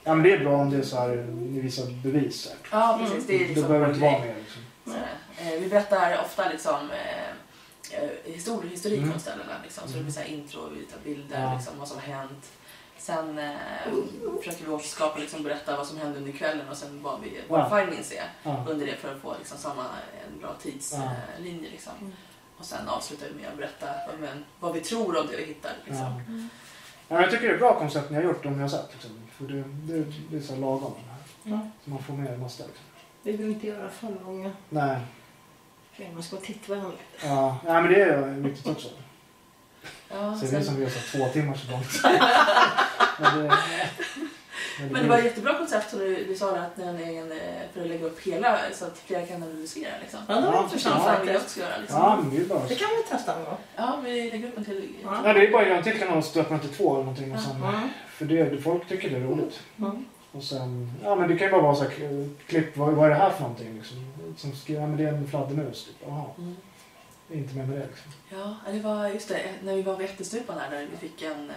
Speaker 1: Ja men det är bra om det är så här, ni visar bevis. så här.
Speaker 2: Ja precis, det är
Speaker 1: Det
Speaker 2: liksom...
Speaker 1: behöver inte vara mer liksom.
Speaker 2: Sådär. Eh, Vi berättar ofta liksom eh, eh, histor historik
Speaker 1: Mm.
Speaker 2: om ställena. Liksom. Så det blir så här intro, vi tar bilder,
Speaker 1: Ja.
Speaker 2: liksom, vad som har hänt. Sen eh, försöker vi återskapa, liksom, berätta vad som hände under kvällen och sen vad vi
Speaker 1: Ja.
Speaker 2: vad findings är
Speaker 1: Ja.
Speaker 2: under det för att få liksom, samma, en bra
Speaker 1: Ja.
Speaker 2: tidslinje. Liksom.
Speaker 5: Mm.
Speaker 2: Och sen avslutar vi med att berätta vad, men, vad vi tror om det vi hittar.
Speaker 1: Ja.
Speaker 2: Liksom.
Speaker 1: Ja, men jag tycker det är ett bra koncept ni har gjort om ni har sett. Liksom. För det, det, det är så här lagom.
Speaker 5: Ja.
Speaker 1: Så man får med det mesta. Liksom.
Speaker 5: Vi vill inte göra för långa
Speaker 1: Nej.
Speaker 5: grejer. Man ska vara tittvänlig.
Speaker 1: Ja. ja, men det är viktigt också.
Speaker 2: Ja,
Speaker 1: Så det är
Speaker 2: sen,
Speaker 1: vi som gör så här två timmar så långt. men det, men
Speaker 2: men det var ett jättebra koncept som du, du sa där, att ni har en egen, eh, för att lägga upp hela så att flera kan analysera. Liksom.
Speaker 3: Ja, det var
Speaker 1: Ja,
Speaker 3: intressant
Speaker 2: Ja, det vill jag
Speaker 3: faktiskt.
Speaker 2: också göra. Liksom.
Speaker 1: Ja, men det är bra.
Speaker 3: Det kan vi testa en gång.
Speaker 2: Ja, vi lägger upp en till.
Speaker 3: Ja.
Speaker 1: Ja, det är bara att göra en till kanal och stöpa den till två eller någonting. Och sen,
Speaker 3: Mm.
Speaker 1: För det, folk tycker det är roligt.
Speaker 3: Mm.
Speaker 1: Och sen, ja men det kan ju bara vara så här k- klipp, vad, vad är det här för någonting liksom? Som skriver, ja men det är en fladdermus typ. Jaha,
Speaker 2: Mm.
Speaker 1: inte mer med det liksom.
Speaker 2: Ja, det var just det, när vi var vid ättestupan här där vi fick en, eh,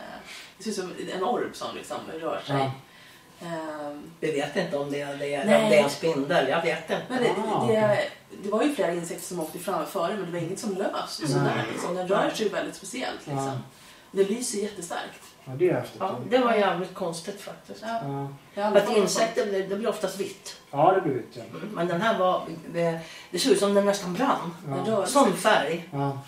Speaker 2: det ser ut som en orb som liksom rör sig.
Speaker 1: Ja.
Speaker 2: Ehm,
Speaker 3: Vi vet inte om det, är- det, är-
Speaker 2: Nej.
Speaker 3: om det är en spindel. Jag vet inte.
Speaker 2: Men det,
Speaker 1: Ah,
Speaker 2: det, det var ju flera insekter som åkte fram och före men det var inget som löst. Så
Speaker 1: Nej.
Speaker 2: där, liksom, den rör sig ju väldigt speciellt liksom.
Speaker 1: Ja.
Speaker 2: Det lyser jättestarkt.
Speaker 1: ja, det är häftigt.
Speaker 3: Ja, det var jävligt konstigt faktiskt.
Speaker 2: Ja,
Speaker 1: Ja,
Speaker 2: jag har aldrig
Speaker 3: Att
Speaker 2: fått något
Speaker 3: insekter det, det blir oftast vitt. Mm.
Speaker 1: ja det blir vitt ja.
Speaker 3: Men den här var... Det, det såg ut som den nästan brann.
Speaker 2: sånt. Den
Speaker 1: Ja,
Speaker 2: rör sig.
Speaker 3: Sån färg.
Speaker 1: ja.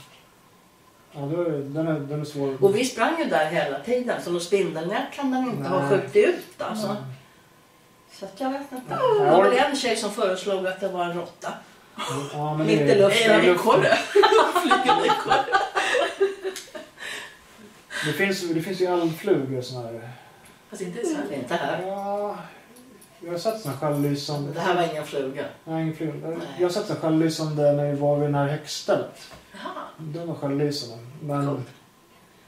Speaker 1: ja då är, det- den, är, den är svår.
Speaker 3: Och vi sprang ju där hela tiden. Så någon spindelnät kan den inte ha
Speaker 1: Nej.
Speaker 3: skjutit ut alltså.
Speaker 1: Ja.
Speaker 3: Så att jag vet inte.
Speaker 1: Ja.
Speaker 3: Det var väl en tjej som föreslog att det var en råtta.
Speaker 1: Ja, men
Speaker 3: Mitt
Speaker 1: det är-
Speaker 3: i luften.
Speaker 1: det är
Speaker 2: En ekorre! Flygande ekorre.
Speaker 1: Det finns, det finns ju almflugor och såna här.
Speaker 2: Fast inte i Sverige.
Speaker 3: Inte här.
Speaker 1: Ja, jag har sett såna självlysande.
Speaker 3: Det här var ingen fluga.
Speaker 1: Nej, ingen fluga.
Speaker 3: Nej.
Speaker 1: Jag har sett såna självlysande när vi var vid det här häckstället.
Speaker 2: Jaha,
Speaker 1: Den var självlysande. Men...
Speaker 2: Coolt.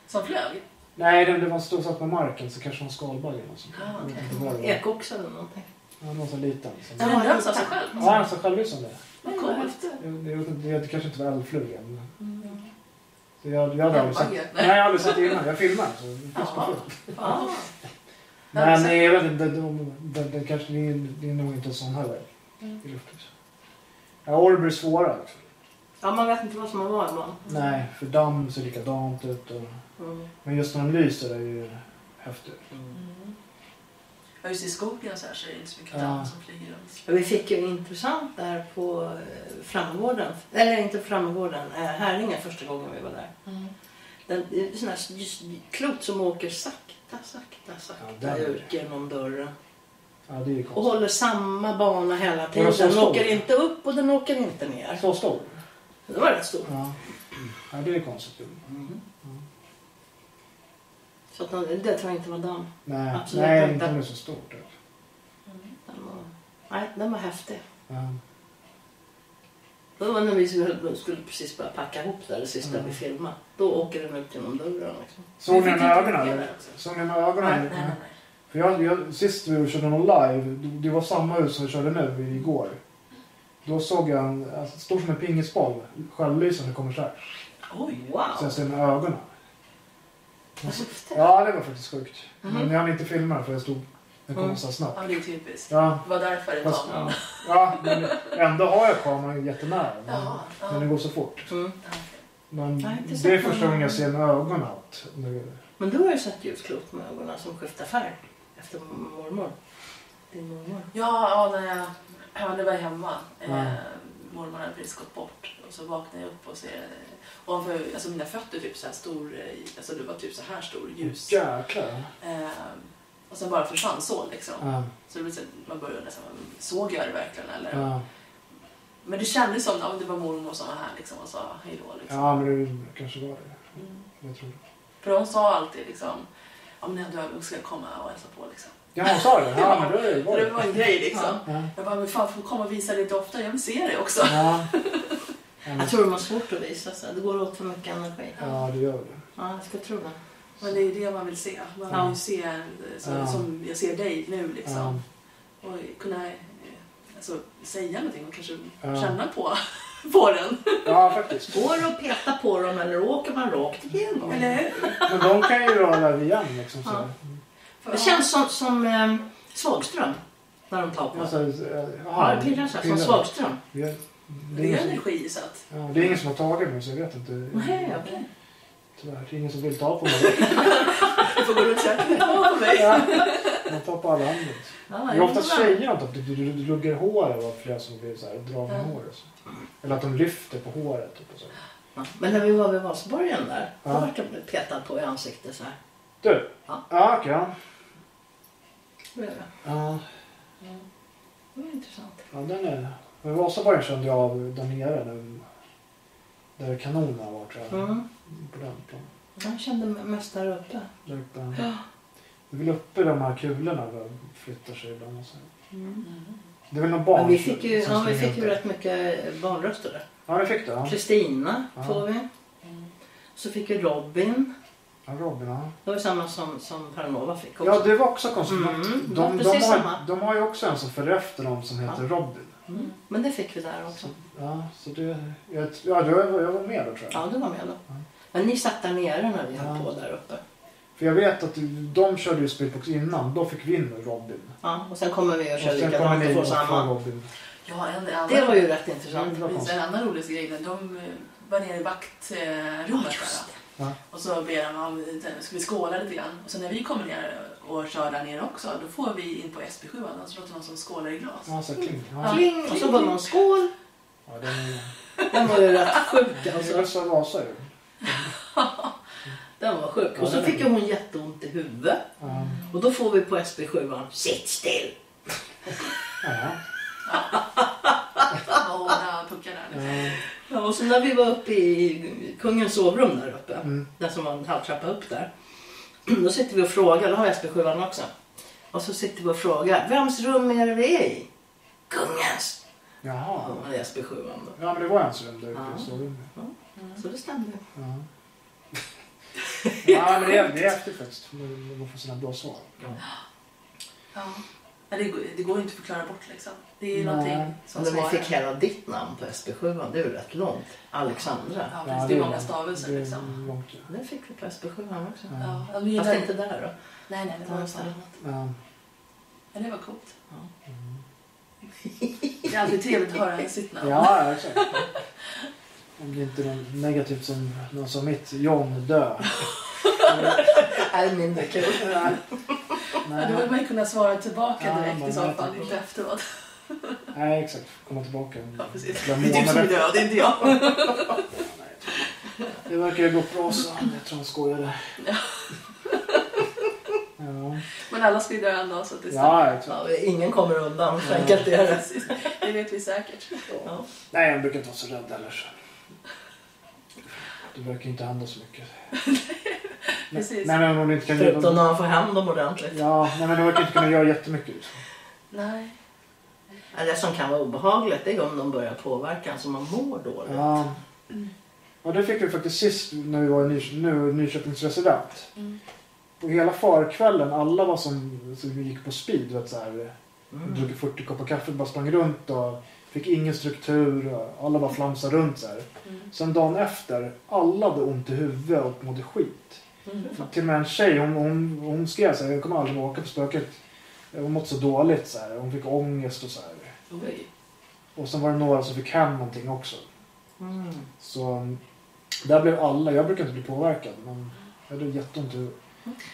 Speaker 2: som flög?
Speaker 1: Nej, den, det var en stor sak på marken så kanske var en skalbagge eller något sånt.
Speaker 2: Ah, okej.
Speaker 1: Jag vet inte vad det var.
Speaker 3: Ekoxe eller någonting.
Speaker 1: Ja, någon sån liten. Som...
Speaker 2: Den lös av sig själv?
Speaker 1: Ja, han sa självlysande.
Speaker 2: Vad coolt! Mm.
Speaker 1: Jag, jag, vet inte, det kanske inte var älgfluga. men- Så Jag, jag hade aldrig sett.
Speaker 2: Älgbagge?
Speaker 1: Nej, jag har aldrig sett det innan. Jag filmar. Så det finns på
Speaker 2: Ja.
Speaker 1: film.
Speaker 2: Ja.
Speaker 1: Men nej, jag vet inte, de- den, den kanske, det, är, det är nog inte en sån heller.
Speaker 2: Mm.
Speaker 1: I luften. Ja, Orber är svårare. också.
Speaker 3: Ja, man vet inte vad som har varit man.
Speaker 1: Nej, för damm ser likadant ut. Och,
Speaker 3: Mm.
Speaker 1: men just när de lyser är det ju häftigt.
Speaker 2: Mm. Ja, just i skogen och så här så är det inte så mycket
Speaker 1: Ja.
Speaker 2: damm som flyger runt.
Speaker 3: Vi fick ju intressant där på eh, Framgården. Eller inte Framgården, eh, Häringe första gången vi var där. Den, det är en sån här s- klot som åker sakta, sakta,
Speaker 1: Ja,
Speaker 3: sakta
Speaker 1: den.
Speaker 3: ut genom dörren.
Speaker 1: Ja, det är ju
Speaker 3: Och
Speaker 1: konstigt.
Speaker 3: håller samma bana hela tiden.
Speaker 1: så
Speaker 3: Den
Speaker 1: stor?
Speaker 3: åker inte upp och den åker inte ner.
Speaker 1: Så stor?
Speaker 3: Det var rätt stort.
Speaker 1: Ja. ja, det är konstigt. ju.
Speaker 3: Mm. Så att den, det tror jag inte var damm.
Speaker 1: Nej,
Speaker 3: Absolut
Speaker 1: nej
Speaker 3: inte.
Speaker 1: inte om det är så stort. alltså.
Speaker 3: Den var, nej, den var häftig.
Speaker 1: Ja.
Speaker 3: Det var när vi skulle- skulle precis börja packa ihop där det sista
Speaker 1: Mm.
Speaker 3: vi filmade. Då åker den ut genom dörren. Liksom.
Speaker 1: Såg ni
Speaker 2: Vi
Speaker 1: den
Speaker 2: fick
Speaker 1: här
Speaker 2: inte
Speaker 1: ögonen?
Speaker 2: uppleva
Speaker 1: eller?
Speaker 2: det också.
Speaker 1: Såg ni den här ögonen?
Speaker 3: Nej,
Speaker 2: Nej, nej, nej.
Speaker 1: För jag, jag, sist vi körde någon live, det- det var samma hus som vi körde nu igår. Då såg jag en, alltså, stor som en pingisboll, självlysande kommer så här.
Speaker 2: Oj!
Speaker 1: Sen
Speaker 3: Wow!
Speaker 1: stämde ögonen.
Speaker 3: Vad häftigt.
Speaker 1: Ja, det var faktiskt sjukt. Men jag hann inte filma den för jag stod... Den kom
Speaker 3: Mm.
Speaker 1: så snabbt.
Speaker 2: Ja, men det är typiskt.
Speaker 1: Ja,
Speaker 2: Det var därför det
Speaker 1: Fast-
Speaker 2: kom.
Speaker 1: ja, men ändå har jag kameran jättenära. Men,
Speaker 2: Jaha, ja.
Speaker 1: men det går så fort.
Speaker 3: Mm.
Speaker 1: Men
Speaker 6: Jag har inte
Speaker 1: det är
Speaker 6: sett
Speaker 1: första
Speaker 6: någon-
Speaker 1: gången jag ser med ögonen allt. Nu-
Speaker 3: Men du har ju sett ljusklot med ögonen som skiftar färg efter mormor. Din mormor.
Speaker 2: Ja, ja, när jag ja, när jag var hemma.
Speaker 1: Ja.
Speaker 2: Eh, mormor hade precis gått bort. Och så vaknade jag upp och ser eh, ovanför alltså mina fötter typ så här stor, eh, alltså det var typ så här stor ljus.
Speaker 1: Jäklar.
Speaker 2: Eh, och sen bara försvann så liksom.
Speaker 1: Ja,
Speaker 2: Så det blev så, man började nästan, såg jag det verkligen eller?
Speaker 1: ja,
Speaker 2: Men det kändes som att det var mormor som var här liksom och sa hej då liksom.
Speaker 1: ja, men det kanske var det.
Speaker 2: Mm.
Speaker 1: Jag tror det.
Speaker 2: För hon sa alltid liksom, om ni har dödgång ska jag komma och hälsa på liksom.
Speaker 1: Ja, hon sa det. Ja, men då är det
Speaker 2: Så
Speaker 1: var
Speaker 2: det
Speaker 1: det.
Speaker 2: var en grej liksom.
Speaker 1: Ja.
Speaker 2: Jag bara, men fan får du komma och visa dig lite oftare? Jag vill se dig också.
Speaker 1: Ja. Ja, men-
Speaker 3: Jag tror de har svårt att visa sig. Det går åt för mycket energi.
Speaker 1: ja, det gör det.
Speaker 3: Ja, jag ska tro det.
Speaker 2: Men det är det man vill se. Man vill ju se en- så,
Speaker 1: Ja.
Speaker 2: som jag ser dig nu liksom.
Speaker 1: Ja.
Speaker 2: Och kunna eh, alltså, säga någonting och kanske
Speaker 1: Ja.
Speaker 2: känna på, på den.
Speaker 1: Ja, faktiskt.
Speaker 3: Går det att peta på dem eller åker man rakt igenom?
Speaker 2: Eller hur?
Speaker 1: Men de kan ju rada över igen liksom. Så.
Speaker 3: Ja.
Speaker 1: Ja.
Speaker 3: Det känns som, som eh, Svagström. När de tar på
Speaker 1: Alltså,
Speaker 3: Ja, det pillar sig. Som Svagström.
Speaker 1: Det,
Speaker 2: Men
Speaker 1: det,
Speaker 2: Det
Speaker 1: är
Speaker 2: är
Speaker 1: ingen, som-
Speaker 2: energi så att...
Speaker 1: ja, det är ingen som har tagit mig så jag vet inte.
Speaker 3: Nej, okej.
Speaker 1: Tyvärr, det är ingen som vill ta på mig.
Speaker 2: Du får gå runt och säga "Ta av mig.
Speaker 1: Ja. Man tar på alla andra.
Speaker 3: Ja,
Speaker 1: Det är oftast tjejer de tar- du- du- du- ruggar håret. Det var flera som blev så här, drar med
Speaker 2: Ja.
Speaker 1: håret. Så. Eller att de lyfter på håret. Typ, och så.
Speaker 3: Ja, Men när vi var vid Valsborgen där,
Speaker 1: Ja.
Speaker 3: då vart jag petad på i ansiktet så här.
Speaker 1: Du!
Speaker 3: Ja.
Speaker 1: Ja, okej. ja.
Speaker 3: Det blev jag.
Speaker 1: ja.
Speaker 3: Det var intressant.
Speaker 1: Ja, den är... Men Vasaborgen kände jag av där nere. Där, där kanonerna var tror jag.
Speaker 3: Mm.
Speaker 1: På den planen.
Speaker 3: Jag kände mig mest där uppe.
Speaker 1: Där uppe. Det är väl uppe de här kulorna där flyttar sig ibland. Och så.
Speaker 2: Mm.
Speaker 1: Det är väl någon barn
Speaker 3: Men vi fick ju,
Speaker 1: som
Speaker 3: ja, vi
Speaker 1: springer
Speaker 3: fick ju
Speaker 1: runt där.
Speaker 3: rätt mycket barnröster där.
Speaker 1: Ja, det fick du. Ja,
Speaker 3: Kristina
Speaker 1: Ja.
Speaker 3: får vi. Så fick vi Robin.
Speaker 1: ja Robin. Ja.
Speaker 3: Det var samma som, som Paranova fick också.
Speaker 1: ja, det var också konstigt.
Speaker 3: Mm,
Speaker 1: De,
Speaker 3: det var
Speaker 1: de,
Speaker 3: precis
Speaker 1: har,
Speaker 3: samma.
Speaker 1: de har ju också en som följer efter dem som heter Robin.
Speaker 3: Mm. Men det fick vi där också.
Speaker 1: Ja, så det... Jag, ja, det var, jag var med då tror jag.
Speaker 3: Ja, du var med då. Men ni satt där nere när vi höll
Speaker 1: Ja.
Speaker 3: på där uppe.
Speaker 1: För jag vet att de körde ju Speedbox innan. Då fick vi in Robin.
Speaker 3: Ja, och sen kommer vi och
Speaker 1: Och
Speaker 3: kör
Speaker 1: sen
Speaker 3: likadant
Speaker 1: kommer
Speaker 3: och Mm.
Speaker 1: ni
Speaker 3: får
Speaker 1: och får
Speaker 3: samma.
Speaker 1: Robin.
Speaker 2: Ja, en annan,
Speaker 3: Det var ju rätt
Speaker 1: Ja,
Speaker 3: intressant.
Speaker 1: det var
Speaker 2: Minns
Speaker 1: konstigt.
Speaker 2: en annan rolig grej när de eh, var nere i vaktrummet.
Speaker 3: just
Speaker 2: där.
Speaker 1: Ja.
Speaker 2: Och så ber de om ska vi skåla lite grann. Och sen när vi kommer ner och kör där nere också, då får vi in på SB7 och så låter någon som skålar i glas.
Speaker 1: Ja, så här, kling. Ja.
Speaker 3: Kling, och så var någon skål.
Speaker 1: Ja, den är...
Speaker 3: Den var ju rätt sjuk
Speaker 1: Det
Speaker 3: alltså.
Speaker 1: är Östra Vasa ju.
Speaker 3: Den var sjuk. Och så fick ju hon jätteont i huvudet.
Speaker 1: Ja.
Speaker 3: Och då får vi på SB7 sitt still.
Speaker 1: Ja.
Speaker 2: Och hårda puckar där. Liksom.
Speaker 1: Eh,
Speaker 3: Ja, och så när vi var uppe i kungens sovrum där uppe,
Speaker 1: Mm.
Speaker 3: där som var en halvtrappa upp där. Då sitter vi och frågar, då har jag SB7 också. Och så sitter vi och frågar, vems rum är det vi är i? Kungens! Ja,
Speaker 1: Jaha.
Speaker 3: det var SB7 då.
Speaker 1: Ja, men det var en sån där ute
Speaker 3: Ja.
Speaker 1: i sovrummet.
Speaker 3: Så det stämde ju.
Speaker 1: Ja. ja, men det är, det är häftigt faktiskt. Man man får sådana bra svar.
Speaker 2: Ja. Nej, Det, går, det går inte att förklara bort liksom. Det är
Speaker 1: Nej.
Speaker 2: ju någonting
Speaker 3: Så
Speaker 2: som
Speaker 3: när vi
Speaker 2: svarar.
Speaker 3: fick höra ditt namn på SB7, det är ju rätt långt. Alexandra.
Speaker 2: Ja,
Speaker 1: Ja,
Speaker 2: precis. Det är många
Speaker 1: det
Speaker 2: stavelser
Speaker 1: är
Speaker 2: liksom.
Speaker 1: Långt, ja.
Speaker 3: Det fick vi på SB7 också.
Speaker 2: Ja, men det är
Speaker 3: Fast
Speaker 2: där-
Speaker 3: inte där då.
Speaker 2: Nej, nej, det var någonstans annat.
Speaker 1: Ja.
Speaker 2: Men det var coolt.
Speaker 3: Ja.
Speaker 2: Det är alltid trevligt att höra sitt namn.
Speaker 1: Ja, exakt. Om det inte är något negativt som någon som mitt, John, dö.
Speaker 3: Nej, mindre kul.
Speaker 1: Nej.
Speaker 2: Ja, då vill
Speaker 1: Nej.
Speaker 2: man ju kunna svara tillbaka
Speaker 1: Ja,
Speaker 2: direkt
Speaker 1: man
Speaker 2: i så
Speaker 1: vet
Speaker 2: fall,
Speaker 1: inte.
Speaker 2: inte efteråt.
Speaker 1: Nej, exakt. Komma tillbaka.
Speaker 2: Ja, precis. Det
Speaker 1: Flera
Speaker 2: är du som är
Speaker 1: månader.
Speaker 2: död, inte jag.
Speaker 1: Det verkar ju gå bra så. Jag tror han skojade. Ja.
Speaker 2: Men alla ska ju dö en dag så att det är
Speaker 1: Ja, exakt.
Speaker 3: Ja, ingen kommer undan, så enkelt är det.
Speaker 2: Precis. Det vet vi säkert.
Speaker 3: Ja.
Speaker 1: Nej, jag brukar inte vara så rädd heller. så. Det verkar inte hända så mycket.
Speaker 2: Precis.
Speaker 1: Nej, men om du inte kan göra...
Speaker 3: Förutom när han får hem dem ordentligt.
Speaker 1: Ja, nej, men de verkar inte kunna göra jättemycket. Liksom.
Speaker 2: Nej.
Speaker 3: Ja, Det som kan vara obehagligt det är om de börjar påverka en så man mår dåligt.
Speaker 1: Ja. ja, det fick vi faktiskt sist när vi var i Nyköping, nu, Nyköpings resident.
Speaker 2: Mm.
Speaker 1: På hela förkvällen, alla var som, som gick på speed. Vet, så här,
Speaker 3: Mm.
Speaker 1: Druckit 40 koppar kaffe, bara sprang runt och fick ingen struktur. Och alla bara flamsade runt så här.
Speaker 2: Mm.
Speaker 1: Sen dagen efter, alla hade ont i huvudet och mådde skit.
Speaker 2: Mm.
Speaker 1: Till och med en tjej, hon, hon, hon skrev så här, jag kommer aldrig åka på spöket. Hon mått så dåligt så här. Hon fick ångest och så här.
Speaker 2: Oj.
Speaker 1: Och sen var det några som fick hem någonting också.
Speaker 7: Mm,
Speaker 1: Så um, där blev alla, jag brukar inte bli påverkad men jag hade jätteont i huvudet.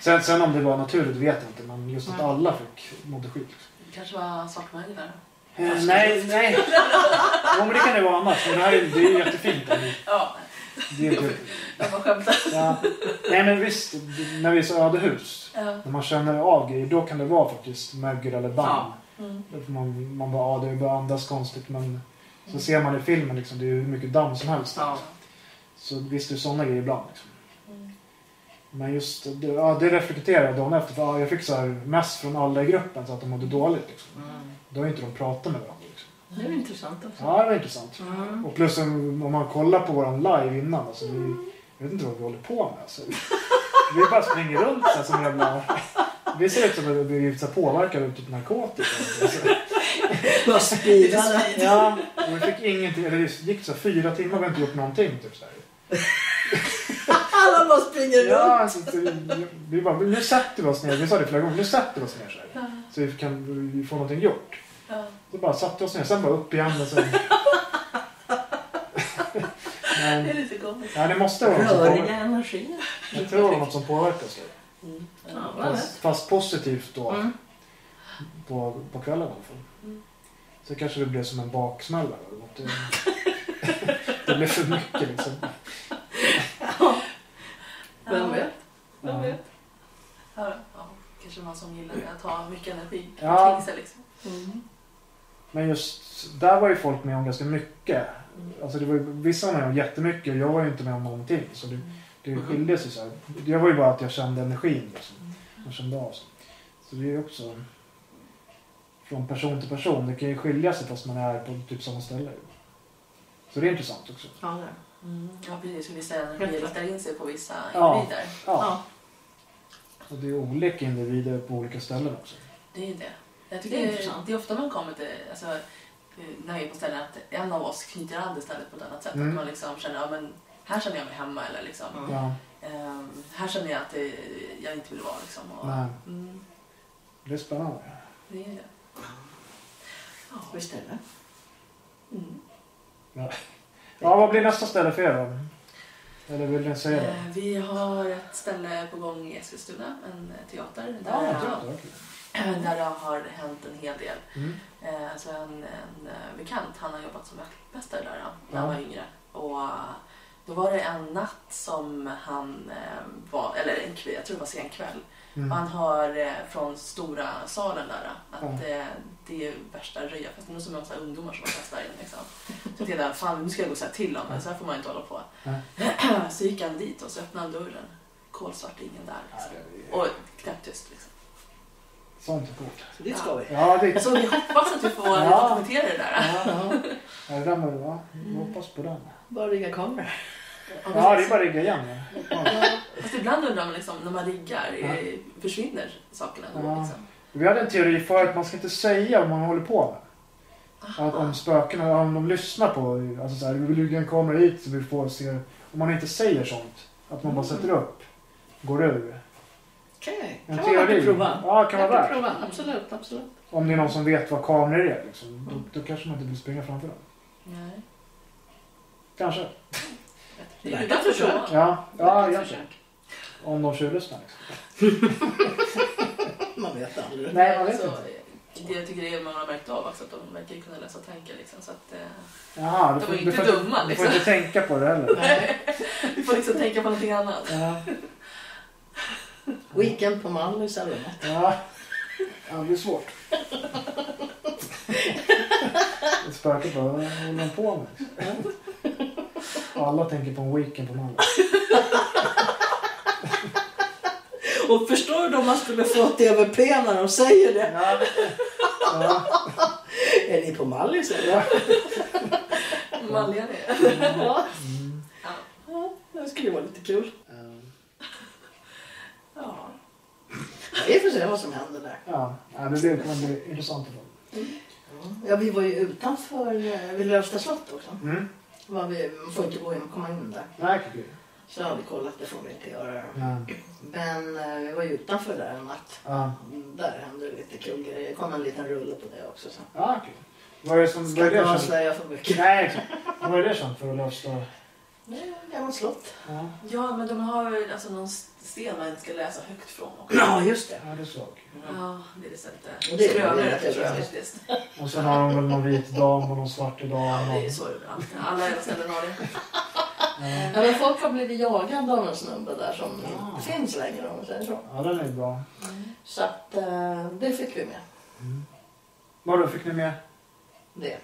Speaker 1: Sen, sen om det var naturligt vet jag inte men just att
Speaker 3: Nej.
Speaker 1: alla fick mådde skit. liksom.
Speaker 2: Det kanske var svartmagi där.
Speaker 1: Eh, nej, nej. Jo men det kan det vara annars. Men det här är, det är ju jättefint.
Speaker 2: Ja,
Speaker 1: Det är typ,
Speaker 2: jag bara skämtar.
Speaker 1: ja. Nej men visst, när vi är så ödehus.
Speaker 2: Ja.
Speaker 1: När man känner av grejer då kan det vara faktiskt mögel eller band.
Speaker 2: Mm.
Speaker 1: Då får Man, man bara, ja det börjar andas konstigt men så ser man i filmen liksom, det är ju hur mycket damm som helst.
Speaker 7: Ja.
Speaker 1: Så visst det är sådana grejer ibland. Liksom.
Speaker 2: Mm.
Speaker 1: Men just det, ja, det reflekterade jag dagen efter. För, ja, jag fick så här mest från alla i gruppen så att de mådde dåligt. Liksom.
Speaker 7: Mm.
Speaker 1: Då har ju inte de pratat med varandra. Liksom.
Speaker 7: Det är intressant också.
Speaker 1: Ja, det var intressant.
Speaker 7: Mm.
Speaker 1: Och plus om om man kollar på våran live innan. Alltså, vi, jag vet inte vad vi håller på med. Alltså. Vi bara springer runt så här, som jävla... Vi ser ut som att vi har blivit så här påverkade av typ narkotika. Alltså.
Speaker 7: Bara spirade.
Speaker 1: Ja, och vi fick ingenting. Eller det gick så här, fyra timmar och vi har inte gjort någonting. Typ, så här.
Speaker 7: Alla bara springer runt.
Speaker 1: Ja, alltså, vi, vi bara, nu sätter vi oss ner. Vi sa det flera gånger. Nu sätter vi oss ner så, här,
Speaker 2: Ja.
Speaker 1: så vi kan få någonting gjort.
Speaker 2: Ja.
Speaker 1: Så bara satte oss ner, sen bara upp igen och sen...
Speaker 2: Det är
Speaker 1: Men,
Speaker 2: lite komiskt.
Speaker 1: nej, det måste vara något som
Speaker 7: Röriga
Speaker 1: påverkar.
Speaker 7: energier.
Speaker 1: Jag tror det var något som påverkar sig.
Speaker 2: Mm.
Speaker 7: Ja, vad
Speaker 1: Fast, fast positivt då,
Speaker 7: Mm.
Speaker 1: på, på kvällen i alla fall.
Speaker 2: Mm.
Speaker 1: Så kanske det blev som en baksmälla eller något. Det, det blev för mycket liksom.
Speaker 7: Vem vet?
Speaker 2: Vem vet? Ja, ja, kanske man som gillar att ha mycket energi
Speaker 1: Ja.
Speaker 2: till sig. Liksom.
Speaker 7: Mm.
Speaker 1: Men just där var ju folk med om ganska mycket. Alltså det var ju, vissa var med om jättemycket och jag var ju inte med om någonting. Så det, det skilde sig så här. Jag var ju bara att jag kände energin liksom. Jag kände av sig. Så det är ju också från person till person. Det kan ju skilja sig fast man är på typ samma ställe. Så det är intressant också.
Speaker 7: Ja, det.
Speaker 2: Mm. Ja, precis. För vissa energier
Speaker 7: Helt
Speaker 2: riktar in sig på vissa
Speaker 1: Ja.
Speaker 2: individer.
Speaker 1: Ja.
Speaker 7: Ja.
Speaker 1: Och det är olika individer på olika ställen också.
Speaker 2: Det är ju det. Jag tycker
Speaker 7: Det är
Speaker 2: det är,
Speaker 7: intressant.
Speaker 2: ofta man kommer till, alltså, eh, när jag är på ställen, att en av oss knyter an till stället på ett annat sätt.
Speaker 1: Mm.
Speaker 2: Att man liksom känner, ja men här känner jag mig hemma eller liksom,
Speaker 7: Mm.
Speaker 1: Ja,
Speaker 2: ehm, här känner jag att det, jag inte vill vara liksom. Och,
Speaker 1: nej,
Speaker 2: mm,
Speaker 1: det är spännande.
Speaker 2: det är ju det. Ja.
Speaker 7: Visst är det.
Speaker 2: Mm.
Speaker 1: Ja, vad blir nästa ställe för er då? Eller vill ni säga det?
Speaker 2: Eh, Vi har ett ställe på gång i Eskilstuna, en teater. Där,
Speaker 1: Ja, typ jag tyckte det var kul.
Speaker 2: där det har hänt en hel del.
Speaker 1: Mm.
Speaker 2: Eh, Så en, en eh, bekant, han har jobbat som vaktmästare där då, när
Speaker 1: Ja.
Speaker 2: han var yngre. Och eh, då var det en natt som han eh, var, eller en kväll, jag tror det var sen kväll.
Speaker 1: Mm.
Speaker 2: Och han hör eh, från stora salen där då, att
Speaker 1: Mm.
Speaker 2: eh, det är värsta röjarfesten. Det är så många så här ungdomar som har fest där inne liksom. Så tänkte jag, fan nu ska jag gå och säga till honom, så här får man ju inte hålla på.
Speaker 1: Mm.
Speaker 2: Så gick han dit och så öppnade han dörren. Kolsvart, det är ingen där
Speaker 1: Ja,
Speaker 2: liksom.
Speaker 1: det är-
Speaker 2: Och knäpptyst liksom.
Speaker 1: Sånt är coolt.
Speaker 7: Så dit ska vi.
Speaker 1: Ja, det
Speaker 2: Så vi hoppas att vi får
Speaker 1: Ja.
Speaker 2: kommentera det där.
Speaker 1: Ja, ja. det där med, ja. Vi hoppas på den.
Speaker 7: Bara rigga kameror.
Speaker 1: Ja, det är bara att rigga igen. Ja.
Speaker 2: Fast ibland undrar man liksom, när man riggar, eh, försvinner sakerna då?
Speaker 1: Ja.
Speaker 2: Liksom?
Speaker 1: Vi hade en teori för att man ska inte säga vad man håller på med. Att om spökena, om de lyssnar på, alltså så här, vi vill lägga en kamera hit så vi får se. Om man inte säger sånt, att man bara sätter upp, går ur.
Speaker 7: Okej,
Speaker 1: En
Speaker 7: kan vara värt att prova.
Speaker 1: Ja, kan vara
Speaker 7: Värt att
Speaker 1: värt.
Speaker 7: prova, absolut, absolut.
Speaker 1: Om det är någon som vet vad kameror är liksom, då, då kanske man inte vill springa framför dem.
Speaker 2: Nej.
Speaker 1: Kanske.
Speaker 2: Det är
Speaker 7: Värt
Speaker 2: ju
Speaker 7: ett försök.
Speaker 1: Ja, ja,
Speaker 2: Ett
Speaker 1: ja.
Speaker 2: försök.
Speaker 1: Om de tjuvlyssnar liksom.
Speaker 7: Man vet aldrig.
Speaker 1: Nej, man vet
Speaker 2: Så,
Speaker 1: inte.
Speaker 2: eh, Det jag tycker det är man har märkt av också, att de verkar ju kunna läsa tankar liksom. Så att, eh,
Speaker 1: Jaha,
Speaker 2: De
Speaker 1: du
Speaker 2: är
Speaker 1: får,
Speaker 2: inte
Speaker 1: du, får,
Speaker 2: dumma, liksom.
Speaker 1: du får inte tänka på det heller.
Speaker 2: vi får liksom tänka på någonting annat.
Speaker 1: Ja.
Speaker 7: Weekend på Mallis eller något.
Speaker 1: Ja. ja, det blir svårt. Ett spöke bara, vad håller de på med? Alla tänker på en weekend på måndag.
Speaker 7: Och förstår du om man skulle få TVP när de säger det?
Speaker 1: Ja. Ja.
Speaker 7: Är ni på Mallis eller?
Speaker 1: Ja.
Speaker 2: Manliga det.
Speaker 7: Ja.
Speaker 1: Mm.
Speaker 7: ja, det skulle vara lite kul.
Speaker 2: Ja.
Speaker 7: Vi får se vad som händer där.
Speaker 1: ja, Ja, det blir- kommer bli intressant. i alla fall.
Speaker 7: Ja, vi var ju utanför eh, vid Lövsta slott också.
Speaker 1: Mm.
Speaker 3: Vad vi, man får inte gå in, komma in där.
Speaker 1: Nej, okej.
Speaker 3: Så har vi kollat, det får vi inte göra.
Speaker 1: Ja.
Speaker 3: Men eh, vi var ju utanför där en natt.
Speaker 1: Ja.
Speaker 3: Där hände lite kul grejer. Det kom en liten rulle på det också. Så.
Speaker 1: Ja, okej. Vad är det som...
Speaker 3: Ska
Speaker 1: Vad är
Speaker 3: inte
Speaker 1: det känt?
Speaker 3: avslöja för mycket.
Speaker 1: Nej, exakt. Vad är det känt för att lösa?
Speaker 3: Det är ett gammalt slott.
Speaker 1: Ja,
Speaker 2: Ja, men de har väl alltså någon sten man inte ska läsa högt från också.
Speaker 3: Ja, just det.
Speaker 1: ja, det såg jag.
Speaker 2: Ja, det är lite
Speaker 3: Och
Speaker 2: lite
Speaker 3: det är
Speaker 2: grönare
Speaker 3: lite
Speaker 2: tror jag
Speaker 3: grönare.
Speaker 2: faktiskt.
Speaker 1: Och sen har de väl någon vit dam och någon svart
Speaker 2: Ja,
Speaker 1: dam.
Speaker 2: det är ju
Speaker 1: Och,
Speaker 2: så överallt. Alla jävla ställen har det.
Speaker 1: ja.
Speaker 3: Ja, men folk har blivit jagade av en snubbe där som
Speaker 1: Ja.
Speaker 3: inte finns längre om man säger så.
Speaker 1: ja, den är ju bra.
Speaker 2: Mm.
Speaker 1: Mm.
Speaker 3: Så att eh, det fick vi med.
Speaker 1: Vadå, fick ni med
Speaker 3: Det.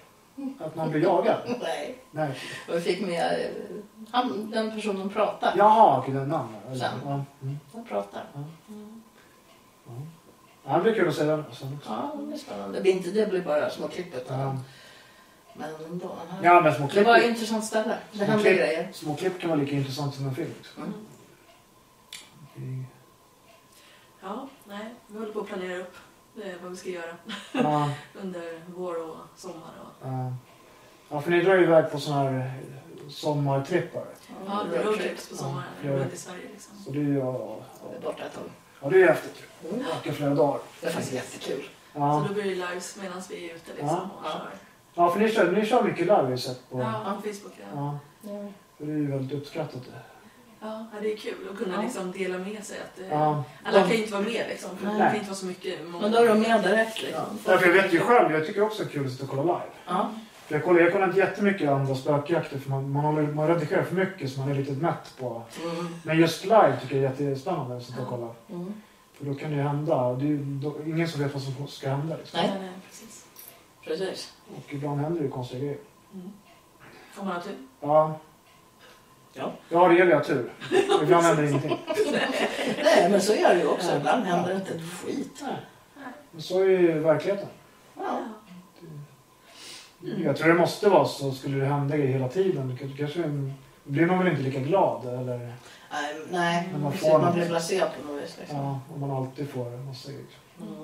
Speaker 1: att någon blir jagad?
Speaker 3: Nej.
Speaker 1: Nej.
Speaker 3: Och vi fick med eh, han, den personen pratar.
Speaker 1: Jaha, okej, den namn. Ja.
Speaker 3: Sen.
Speaker 1: Mm.
Speaker 3: Den pratar.
Speaker 2: Mm.
Speaker 1: Ja, det blir kul att se den sen också.
Speaker 3: Ja, det blir spännande. Det blir inte det blir bara små klipp utan
Speaker 1: Ja.
Speaker 3: men ändå. den här-
Speaker 1: Ja, men små
Speaker 3: Det
Speaker 1: klipp,
Speaker 3: var ett intressant ställe. Det
Speaker 1: Små
Speaker 3: hände
Speaker 1: klipp.
Speaker 3: grejer.
Speaker 1: små klipp kan vara lika intressant som en film. Liksom.
Speaker 3: Mm.
Speaker 1: Okej.
Speaker 2: Ja, nej, vi håller på att planera upp eh, vad vi ska göra
Speaker 1: Ja,
Speaker 2: under vår och sommar. Och...
Speaker 1: ja. ja, för ni drar ju iväg på såna här eh, sommartrippar.
Speaker 2: Ja, det är roadtrips på sommaren.
Speaker 1: Ja.
Speaker 2: Runt i Sverige liksom.
Speaker 1: Så det är ju, ja,
Speaker 3: Vi är borta ett tag.
Speaker 1: ja, det är ju häftigt. Åka flera dagar.
Speaker 3: Det var faktiskt jättekul.
Speaker 2: Så
Speaker 1: Ja,
Speaker 2: då blir det lives medan vi är ute liksom
Speaker 1: Ja.
Speaker 2: och kör.
Speaker 1: ja för ni kör, ni kör mycket live har jag sett på.
Speaker 2: Ja, på Facebook. Ja.
Speaker 1: Ja, för det är ju väldigt uppskattat. det.
Speaker 2: Ja, det är kul att kunna
Speaker 3: Ja.
Speaker 2: liksom dela med sig. Att, eh,
Speaker 1: Ja.
Speaker 2: Alla kan ju inte vara med liksom. För det
Speaker 1: Nej.
Speaker 2: kan inte vara så mycket. Många.
Speaker 3: Men då är de med direkt liksom.
Speaker 1: Ja, för jag vet ju själv, jag tycker också det är kul att sitta och kolla live.
Speaker 3: Ja.
Speaker 1: För jag, kollar, jag kollar inte jättemycket andra spökjakter för man, man, håller, man redigerar för mycket så man är lite mätt på.
Speaker 3: Mm.
Speaker 1: Men just live tycker jag är jättespännande att sitta och kolla.
Speaker 3: Mm.
Speaker 1: För då kan det ju hända. och Det är ju då, ingen som vet vad som ska hända. Liksom.
Speaker 3: Nej.
Speaker 2: Nej, nej, precis.
Speaker 3: Precis.
Speaker 1: Och ibland händer det ju konstiga grejer.
Speaker 2: Får man ha tur?
Speaker 1: Ja.
Speaker 3: Ja.
Speaker 1: Ja, det gäller jag tur. Ibland händer ingenting.
Speaker 3: Nej, men så gör det ju också.
Speaker 1: Ja.
Speaker 3: Ibland händer det inte ett skit.
Speaker 1: Men så är ju verkligheten.
Speaker 3: Ja.
Speaker 1: Jag tror det måste vara så. Skulle det hända grejer hela tiden då kanske blir man väl inte lika glad. Eller
Speaker 3: Nej, Nej,
Speaker 1: Men man
Speaker 3: precis.
Speaker 1: får
Speaker 3: Man
Speaker 1: något.
Speaker 3: blir blasé på något vis. Liksom.
Speaker 1: ja, om man alltid får en massa grejer.
Speaker 3: Mm.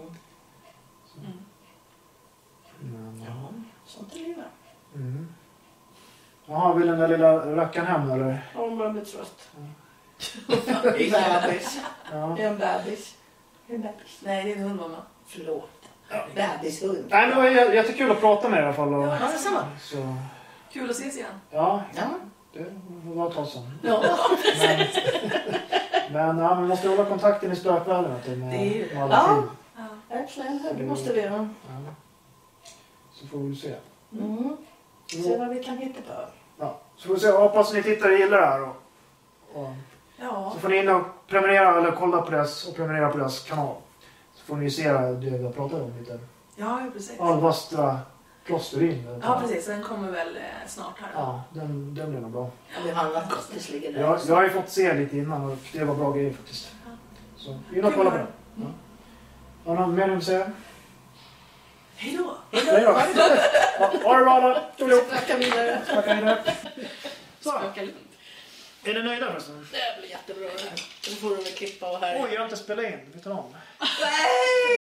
Speaker 2: Mm.
Speaker 1: Men, ja.
Speaker 3: Sånt är livet.
Speaker 1: Mm. Jaha, vill den där lilla rackaren hem eller?
Speaker 3: Hon börjar bli trött.
Speaker 2: Nej,
Speaker 3: Bebis.
Speaker 1: Ja.
Speaker 3: Det är en bebis. Det är en bebis.
Speaker 2: det är en hund mamma.
Speaker 3: Förlåt. Bebishund.
Speaker 1: Nej, men det var jä- jättekul att prata med er i alla fall. Och,
Speaker 3: Ja, detsamma.
Speaker 1: så,
Speaker 2: Kul att ses igen.
Speaker 1: ja,
Speaker 3: Ja.
Speaker 1: det var ett tag sedan.
Speaker 3: Ja.
Speaker 1: Men, men ja, man måste hålla kontakten i spökvärlden. vet du,
Speaker 2: Det är ju-
Speaker 1: med alla
Speaker 3: Ja.
Speaker 1: film.
Speaker 2: Ja.
Speaker 3: Verkligen, Det måste vi göra.
Speaker 1: Ja. Så får vi se.
Speaker 3: Mm. Se vad vi kan hitta på.
Speaker 1: Ja. Så får vi se. Jag hoppas ni tittar och gillar det här. Och, och,
Speaker 2: Ja.
Speaker 1: så får ni in och prenumerera eller kolla på deras, och prenumerera på deras kanal. Så får ni se det vi har pratat om lite.
Speaker 2: ja, precis.
Speaker 1: Alvastra klosterin.
Speaker 2: Ja, precis. Den kommer väl eh, snart här. då.
Speaker 1: Ja, den, den blir nog bra.
Speaker 3: Johanna Kostis ligger där.
Speaker 1: Jag, jag har ju fått se lite innan och det var bra grejer faktiskt. Så in och kolla på den. Ja. Har du något mer att säga?
Speaker 2: Hej då!
Speaker 1: Nej då. Ja, Ha det bra alla. Tjolipp.
Speaker 3: Snacka vidare.
Speaker 1: Tacka vidare. Så,
Speaker 3: Snacka lugnt.
Speaker 1: är ni nöjda förresten?
Speaker 3: Det blir jättebra det här. Nu får du väl klippa och här.
Speaker 1: Oj, jag har inte spelat in. Vet du om?
Speaker 3: Nej!